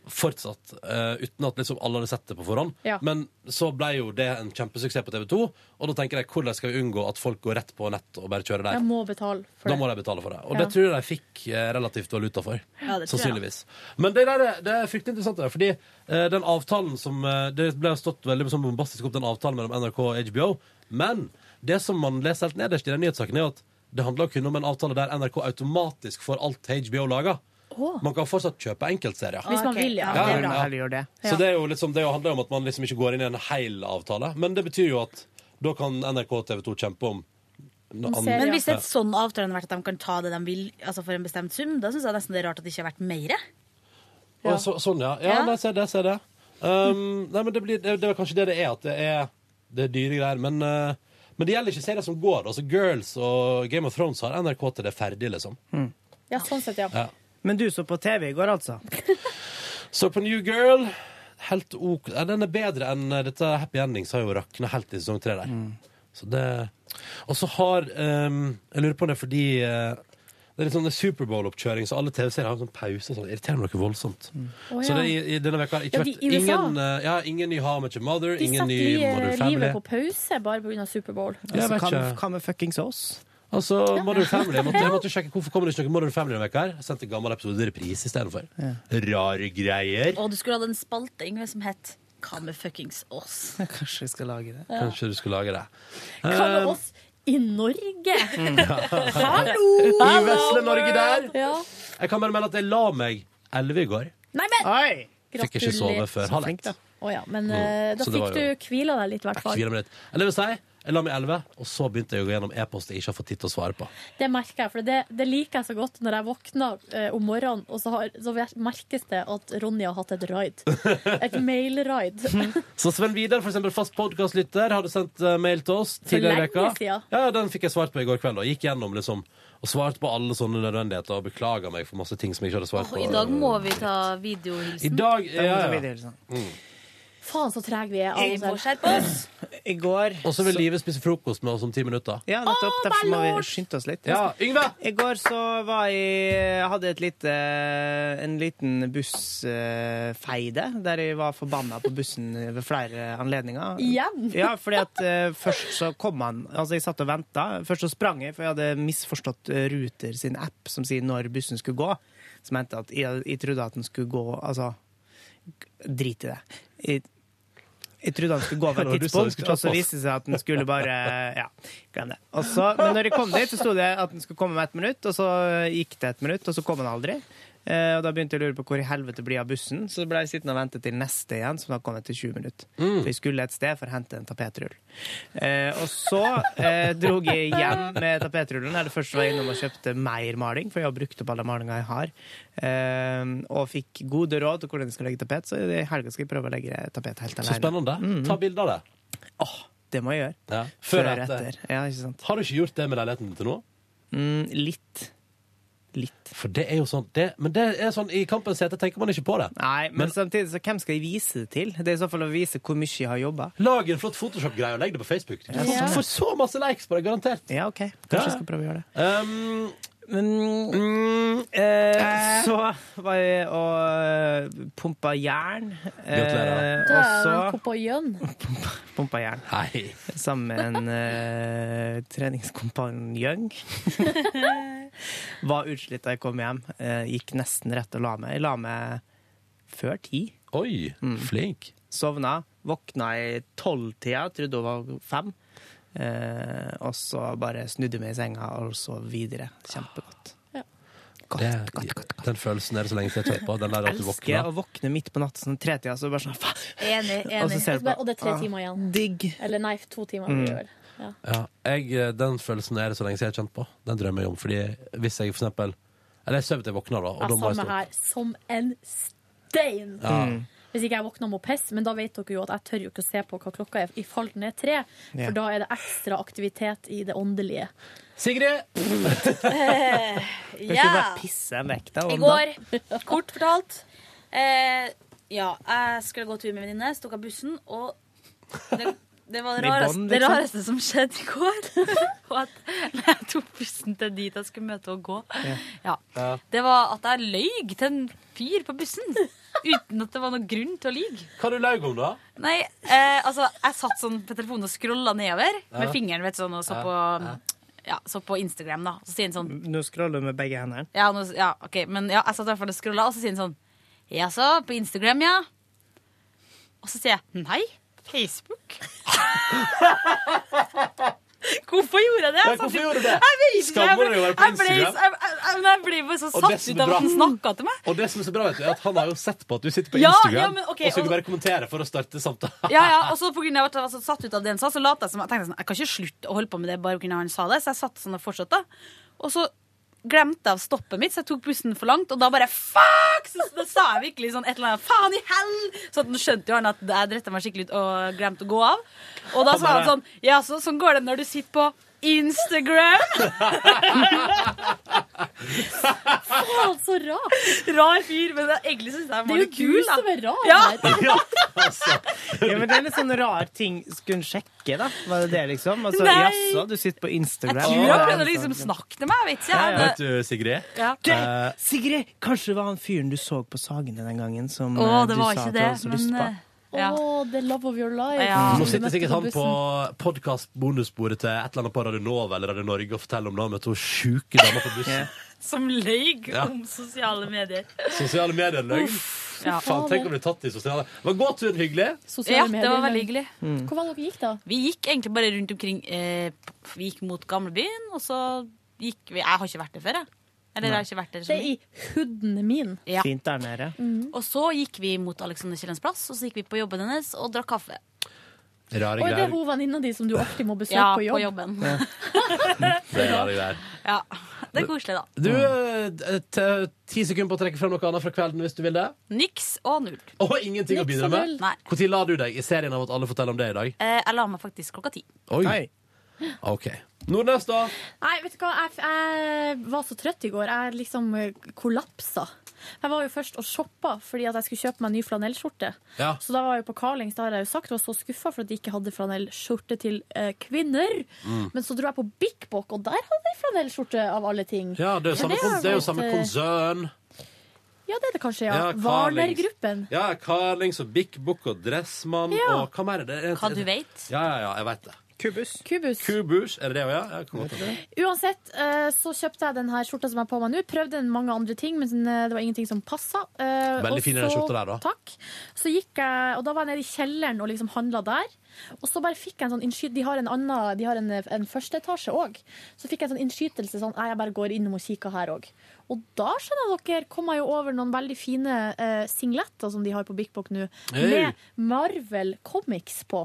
fortsatt, eh, uten at liksom alle hadde sett det på forhånd.
Ja.
Men så ble jo det en kjempesuksess på TV 2, og da tenker jeg hvordan skal vi unngå at folk går rett på nett og bare kjører der?
Jeg må betale for
Da
det.
må de betale for det. Og
Ja.
det tror jeg de fikk eh, relativt valuta for.
Ja, det tror jeg.
sannsynligvis. Men det, der, det er fryktelig interessant, det der, fordi eh, den avtalen som eh, Det ble stått veldig sånn bombastisk opp, den avtalen mellom NRK og HBO. Men det som man leser helt nederst i den nyhetssaken, er at det handler kun om en avtale der NRK automatisk får alt HBO lager.
Åh.
Man kan fortsatt kjøpe enkeltserier.
Hvis man vil, ja.
Ja,
det er
ja.
bra. Heller gjør det.
Så det, er jo liksom, det handler jo om at man liksom ikke går inn i en hel avtale. Men det betyr jo at da kan NRK og TV 2 kjempe om noe annet.
Men hvis
Ja.
et sånn avtale hadde vært at de kan ta det de vil altså for en bestemt sum, da syns jeg nesten det er rart at det ikke har vært mer.
Å, så, sånn, ja. Ja,
Ja.
Der ser jeg det. Ser jeg det. Um, nei, men det, blir, det, det er kanskje det det er, at det er, det er dyre greier. Men, uh, men det gjelder ikke serier som går. Altså Girls og Game of Thrones har NRK til det er ferdig, liksom.
Ja, sånn sett, ja.
Ja.
Men du så på TV i går, altså.
Så på New Girl helt ok. Ja, Den er bedre enn uh, dette Happy Endings har jo rakna helt i sesong tre der. Så det Og så har um, Jeg lurer på om det er fordi uh, det er litt sånn Superbowl-oppkjøring, så alle TV-serier har en sånn pause. og Sånn. Det irriterer noe voldsomt.
Å,
Så
ja.
det, i, i denne veka har ikke
Ja, de-
vært
i USA.
ingen, eh, ja, ingen ny How I Met Your Mother,
De
ingen
setter
ny
li-
Mother Family.
livet på pause bare pga. Superbowl.
Jeg vet
Altså,
ikke.
hva- hva med fuckings oss?
Altså, Modern Family jeg måtte, jeg måtte sjekke Hvorfor kommer det ikke noe Modern Family denne veka her? Jeg sendte en gammel episode i reprise istedenfor. Rare greier.
Og du skulle hatt en spalte Yngve, som het Hva med fuckings oss?
Kanskje vi skal lage det.
Kanskje du skulle lage det.
Hva med
Eh,
oss i Norge? Hallo!
I vesle Norge der.
Ja.
Jeg kan bare melde at jeg la meg elleve i går.
Nei, men
Fikk ikke sove før halv ett.
Å ja, men eh, da
Så det var
fikk
jo-
du hvila deg litt, i hvert
Jeg
fall.
Hviler meg litt. Eller det vil si, jeg la meg elleve, og så begynte jeg å gå gjennom e-post jeg ikke har fått tid til å svare på.
Det merker jeg, for det, det liker jeg så godt når jeg våkner eh, om morgenen, og så, har, så merkes det at Ronny har hatt et raid. Et mail-raid.
Så Sven Vidar, for eksempel fast podcastlytter, hadde sendt eh, mail til oss tidligere i
lenge
veka.
siden.
Ja, den fikk jeg svart på i går kveld. Og gikk gjennom liksom, og svarte på alle sånne nødvendigheter og beklaga meg for masse ting som jeg ikke hadde svart
Og
på.
i dag må vi ta videohilsen.
I dag ja,
Da må vi ta
ja.
videohilsen.
Mm.
Faen, så trege vi er.
Vi må skjerpe oss.
I går
Og så vil
så-
Live spise frokost med oss om ti minutter.
Ja, nettopp. Derfor må vi skynde oss litt.
Ja, Yngve!
I går så var jeg Jeg hadde et lite, eh, en liten bussfeide eh, der jeg var forbanna på bussen ved flere anledninger.
Igjen?
Ja, fordi at eh, først så kom han Altså, jeg satt og venta. Først så sprang jeg, for jeg hadde misforstått eh, Ruter sin app som sier når bussen skulle gå. Som mente at jeg, jeg trodde at den skulle gå Altså, drit i det. Jeg, jeg trodde han skulle gå over
Ja, det var
et
du som
tidspunkt,
skulle ta
og så
på.
viste det seg at den skulle bare Ja, glem det. Og så, men når jeg kom dit, så sto det at den skulle komme om ett minutt, og så gikk det ett minutt, og så kom den aldri. Eh, og Da begynte jeg å lure på hvor i helvete blir av bussen, så ble jeg sittende og vente til neste igjen, som da kom etter 20 minutter.
Mm.
For jeg skulle et sted for å hente en tapetrull. Eh, og så eh, dro jeg hjem med tapetrullen, der det først var jeg innom og kjøpte mer maling, for jeg har brukt opp alle malinga jeg har. Eh, og fikk gode råd til hvordan jeg skal legge tapet, så i helga skal jeg prøve å legge tapet helt alene.
Så spennende. Ta bilde av det.
Det må jeg gjøre.
Ja.
Før og etter.
Har du ikke gjort det med leiligheten til nå?
Mm, litt. Litt.
For det er jo sånn det, Men det er sånn, i kampens hete tenker man ikke på det.
Nei, men, samtidig, så hvem skal jeg vise det til? Det er i så fall å vise hvor mye jeg har jobba.
Lag en flott Photoshop-greie og legg det på Facebook. Du
Ja.
får- får så masse likes på det, garantert.
Ja, ok. Kanskje
Ja.
jeg skal prøve å gjøre det.
Um,
eh, så var jeg og pumpa jern. eh,
Gratulerer.
Du er en
og så
koppajønn.
pumpa jern. Sammen med en eh, treningskompanjong. var utslitt da jeg kom hjem. Eh, gikk nesten rett og la meg. Jeg la meg før ti.
Oi,
Mm.
flink.
Sovna. Våkna i tolvtida, trodde hun var fem. Eh, og så bare snudde jeg meg i senga og sov videre. Kjempegodt.
det, Den følelsen er det så lenge siden jeg tør på. Den der at du
Elsker jeg
våkner.
å våkne midt på natten sånn tretida, så bare sånn faen.
Enig.
enig. Og så ser du på-
Og det er tre
Ah,
timer igjen. Eller nei, to timer.
Mm.
blir det vel. Ja.
Ja, jeg, eh, den følelsen er det så lenge siden jeg har kjent på. Den drømmer jeg om. Fordi hvis jeg for eksempel Eller jeg sover til jeg våkner, da. Og da
Jeg
må jeg
samme
stå.
her. Som en stein!
Ja. Mm.
Hvis ikke jeg våkner om å pisse, men da vet dere jo at jeg tør jo ikke å se på hva klokka er i fall den er tre,
Ja.
for da er det ekstra aktivitet i det åndelige.
Sigrid!
Eh,
Kan ikke
ja.
bare pisse en vekk, da?
I går, kort fortalt. Eh, ja, jeg skulle gå tur med en venninne, stukk av bussen, og det, det var det Med rareste, bånd, det liksom? rareste som skjedde i går. Og at når jeg tok bussen til dit jeg skulle møte og gå, ja. det var at jeg løy til en fyr på bussen. Uten at det var noen grunn til å lyge.
Hva du løy om, da?
Nei, eh, altså, jeg satt sånn på telefonen og scrolla nedover
Ja.
med fingeren, vet du, sånn, og så
Ja.
på, ja, så på Instagram, da. Så sier han sånn
Nå scroller du med begge hendene.
ja, nå, ja, ok, men ja, jeg satt i hvert fall og scrolla, og så sier han sånn Jaså, på Instagram, ja? Og så sier jeg nei, Facebook. hvorfor gjorde jeg det?
Nei, hvorfor gjorde du det?
Jeg vet ikke.
Skammer
jeg ble-
du deg å være på
jeg ble-
Instagram?
Jeg, jeg, jeg, men jeg ble bare så
Og det
satt
som
ut
er
av
bra-
at han snakka til meg.
Og det som er så bra, vet du, er at han har jo sett på at du sitter på
Ja,
Instagram,
ja, men ok,
og så kan
og-
du bare kommentere for å starte samtalen.
Ja, ja, og så på grunn av at jeg var så satt ut av det han sa, så lot jeg som jeg tenkte sånn, jeg kan ikke slutte å holde på med det bare på grunn av han sa det, så jeg satt sånn og fortsatte. Og så glemte jeg av stoppet mitt, så jeg tok bussen for langt, og da bare fuck! Så da sa jeg virkelig sånn et eller annet, faen i hell! Så at nå skjønte jo han at jeg drette meg skikkelig ut og glemte å gå av. Og da Han sa han bare- sånn, ja, så sånn går det når du sitter på Instagram.
Faen, så rar!
Rar fyr, men jeg- egentlig synes jeg han var
Det er jo
litt kul,
du
da.
som er rar
Ja.
her.
Ja, men Det er litt sånn rar ting skulle sjekke, da. Var det det, liksom? Altså,
Nei.
Jaså, du sitter på Instagram?
Jeg tror han prøvde å liksom snakke til meg, jeg vet ikke.
Ja, ja.
jeg.
Vet
du, Sigrid?
Ja.
Det, Sigrid, kanskje det var han fyren du så på Sagene den gangen som
Å,
eh,
det
du
var
sa
ikke
at du
det,
hadde så lyst
men,
på?
eh, Å, the love of your life.
Nå sitter sikkert han på
bussen.
podkast-bonusbordet til et eller annet på Radio Nova eller Radio Norge og forteller om da han møtte hun sjuke dama på bussen.
Som løy
Ja.
om sosiale medier.
Sosiale medier er løgn.
ja.
Faen, tenk om du er tatt i sosiale Var gåturen hyggelig?
Sosiale Ja, det medier, var veldig men- hyggelig.
Mm.
Hvor var det dere gikk, da?
Vi gikk egentlig bare rundt omkring eh, Vi gikk mot gamlebyen, og så gikk vi Jeg har ikke vært der før, jeg. Eller jeg har ikke vært der
Det er i hooden min.
Ja.
Fint der nede.
Og så gikk vi mot Alexander Kiellands plass, og så gikk vi på jobben hennes og drakk kaffe.
Rare
Oi, det er
greier.
hun venninna di som du alltid må besøke
Ja,
på jobb.
på jobben.
Ja. Det er rare greier.
Ja, Det er koselig, da.
Du, eh, t- ti sekunder på å trekke frem noe annet fra kvelden hvis du vil det.
Niks og null.
Og ingenting å bidra med.
Nei.
Når la du deg i serien av at alle forteller om det i dag?
Eh, jeg la meg faktisk klokka ti.
Oi. Ah, OK. Nordnes, da?
Nei, vet du hva, jeg, jeg var så trøtt i går. Jeg liksom eh, kollapsa. Jeg var jo først og shoppa fordi at jeg skulle kjøpe meg en ny flanellskjorte.
Ja.
Så da var jeg jo på Carlings, det har jeg jo sagt, og var så skuffa for at de ikke hadde flanellskjorte til eh, kvinner.
Mm.
Men så dro jeg på Bik Bok, og der hadde de flanellskjorte av alle ting.
Ja, det er jo
Så
samme, kon-
har
det er jo
blitt,
samme
eh,
konsern.
Ja, det er det kanskje, ja.
Ja, Carlings.
Varner-gruppen.
Ja, Carlings og Bik Bok og Dressmann
Ja.
og hva mer er det? Er det-
Hva du vet.
Ja, ja, ja, jeg vet det.
Kubus.
Kubus.
Er det det, ja? Jeg kan godt ta det.
Uansett, eh, så kjøpte jeg den her skjorta som jeg har på meg nå. Prøvde den mange andre ting, men eh, det var ingenting som passa. Eh,
Veldig
og
fin i den
så-
skjorta der, da.
Takk. Så gikk jeg, og da var jeg nede i kjelleren og liksom handla der. Og så bare fikk jeg en sånn innskyt... De har en annen, de har en, en første etasje òg. Så fikk jeg en sånn innskytelse sånn Nei, jeg bare går innom og kikker her òg. Og da skjønner dere, kom jeg jo over noen veldig fine eh, singletter som de har på Bik Bok nå,
Hey.
med Marvel Comics på.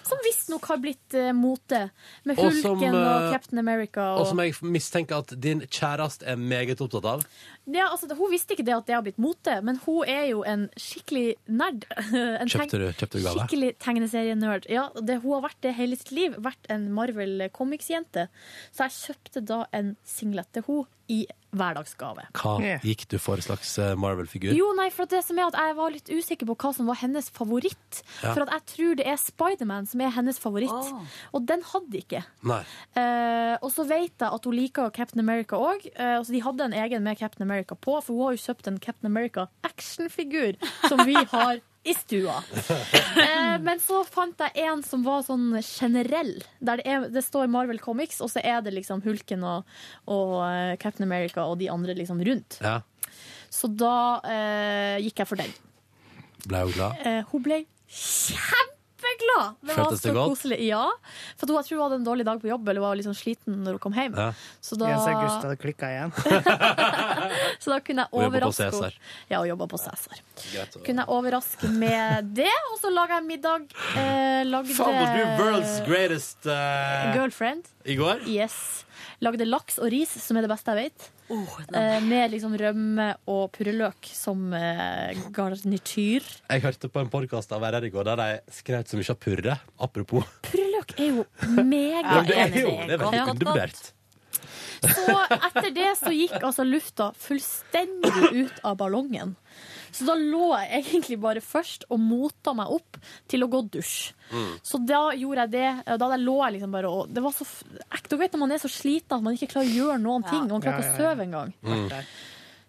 Som visstnok har blitt eh, mote, med
Og
Hulken
som,
og
eh,
Captain America.
Og som jeg mistenker at din kjæreste er meget opptatt av.
Ja, altså, hun visste ikke det at det har blitt mote, men hun er jo en skikkelig nerd. En teg-
Kjøpte du, kjøpte du gave?
Skikkelig tegneserienerd. Ja, det, hun har vært det hele sitt liv. Vært en Marvel Comics-jente. Så jeg kjøpte da en singlet til hun i hverdagsgave.
Hva gikk du for slags eh, Marvel-figur?
Jo, nei, for at det som er at jeg var litt usikker på hva som var hennes favoritt.
Ja.
For at jeg tror det er Spiderman som er hennes favoritt. Og den hadde ikke.
Nei.
Eh, og så vet jeg at hun liker Captain America òg. så de hadde en egen med Captain America på, for hun har jo kjøpt en Captain America actionfigur som vi har i stua. Eh, men så fant jeg en som var sånn generell. Der det, er, det står Marvel Comics, og så er det liksom Hulken og, og eh, Captain America og de andre liksom rundt.
Ja,
Så da eh, gikk jeg for den.
ble jo glad.
Eh, hun ble kjempeglad! sykla! Det var
Føltes det
så
godt?
koselig. Ja. For hun, jeg tror hun hadde en dårlig dag på jobb, eller var litt sånn sliten når hun kom hjem.
Ja.
Så da,
Jens August hadde klikka igjen.
så da kunne
Og jobbet på
jeg overraske
Cæsar.
henne. Ja, og jobba på Cæsar. Kunne jeg overraske med det, og så laga jeg middag. Eh, lagde
Faen, var du world's greatest eh,
Girlfriend.
i går?
Yes. Lagde laks og ris, som er det beste jeg vet. eh, med liksom rømme og purreløk som eh, garnityr.
Jeg hørte på en podkast av RR i går der de skrøt så mye av purre. Apropos.
Purreløk er jo mega
Ja, det er jo
enig.
det er veldig
Ja.
undervurdert.
Så etter det så gikk altså lufta fullstendig ut av ballongen. Så da lå jeg egentlig bare først og mota meg opp til å gå dusj. Så da gjorde jeg det. Da hadde jeg lå jeg liksom bare og Det var så f- ekte. Du vet når man er så sliten at man ikke klarer å gjøre noen ting. Man klarer
Ja, ja,
ikke
ja.
å sove engang.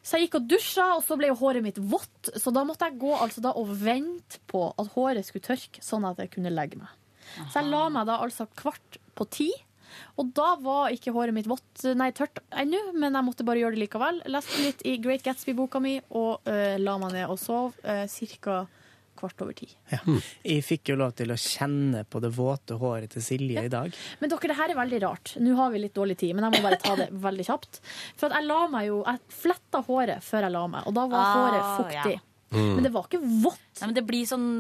Så jeg gikk og dusja, og så ble jo håret mitt vått. Så da måtte jeg gå altså da og vente på at håret skulle tørke, sånn at jeg kunne legge meg. Så jeg la meg da altså kvart på ti. Og da var ikke håret mitt vått, nei, tørt ennå, men jeg måtte bare gjøre det likevel. Leste litt i Great Gatsby-boka mi og eh, la meg ned og sov uh, ca. kvart over ti.
Ja. Jeg fikk jo lov til å kjenne på det våte håret til Silje i dag.
Men dere, det her er veldig rart. Nå har vi litt dårlig tid, men jeg må bare ta det veldig kjapt. For at jeg la meg jo Jeg fletta håret før jeg la meg, og da var håret
Ah,
fuktig.
ja.
Mm.
Men det var ikke vått. Nei, men det blir sånn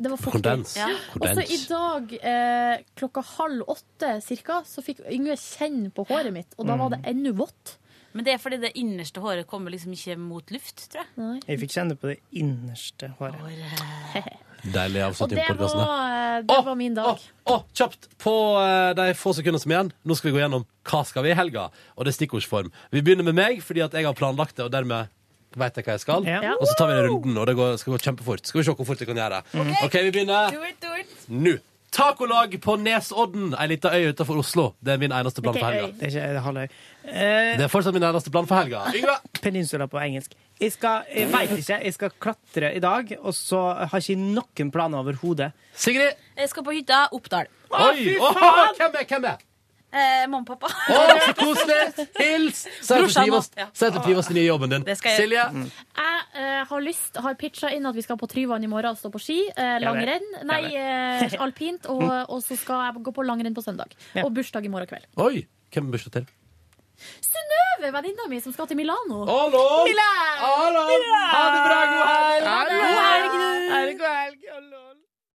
det var fuktig.
Kondens.
Ja. Og
Kondens.
så i dag eh, klokka halv åtte cirka, så fikk Yngve kjenne på håret mitt, og da var det ennå vått.
Men det er fordi det innerste håret kommer liksom ikke mot luft, tror jeg.
Jeg fikk kjenne på det innerste håret.
Deilig
Og
avslutning
det
på podkasten.
var, eh, det var min dag.
Å, kjapt på eh, de få sekundene som er igjen. Nå skal vi gå gjennom hva skal vi i helga. Og det er stikkordsform. Vi begynner med meg, fordi at jeg har planlagt det, og dermed vet jeg hva jeg skal.
Ja.
Og så tar vi den runden, og det går, skal gå kjempefort. Skal vi se hvor fort jeg kan gjøre det.
Mhm.
OK, vi begynner
Do it, do it.
nå. Tacolag på Nesodden, ei lita øy utenfor Oslo. Det er min eneste plan for helga.
Det er ikke det er halvøy.
Det er fortsatt min eneste plan for helga. Yngve!
Peninsula på engelsk. Jeg, skal, jeg vet ikke. Jeg skal klatre i dag, og så har jeg ikke noen planer overhodet.
Sigrid!
Jeg skal på hytta Oppdal.
Å, fy
Åh,
faen!
hvem er, hvem er?
Eh, mamma og pappa.
Å, så koselig! Hils! Si at du
Brorsan,
trives-
ja.
si at du trives i den nye jobben din.
Det skal jeg
Silje?
gjøre. Jeg eh, har lyst, har pitcha inn at vi skal på Tryvann i morgen, stå på ski. Eh,
Ja, det.
langrenn.
Ja,
Nei,
det.
eh, alpint. Og, og så skal jeg gå på langrenn på søndag.
Ja.
Og bursdag i morgen kveld.
Oi! Hvem er bursdag til?
Synnøve, venninna mi, som skal til Milano.
Hallo!
Milan!
Hallo!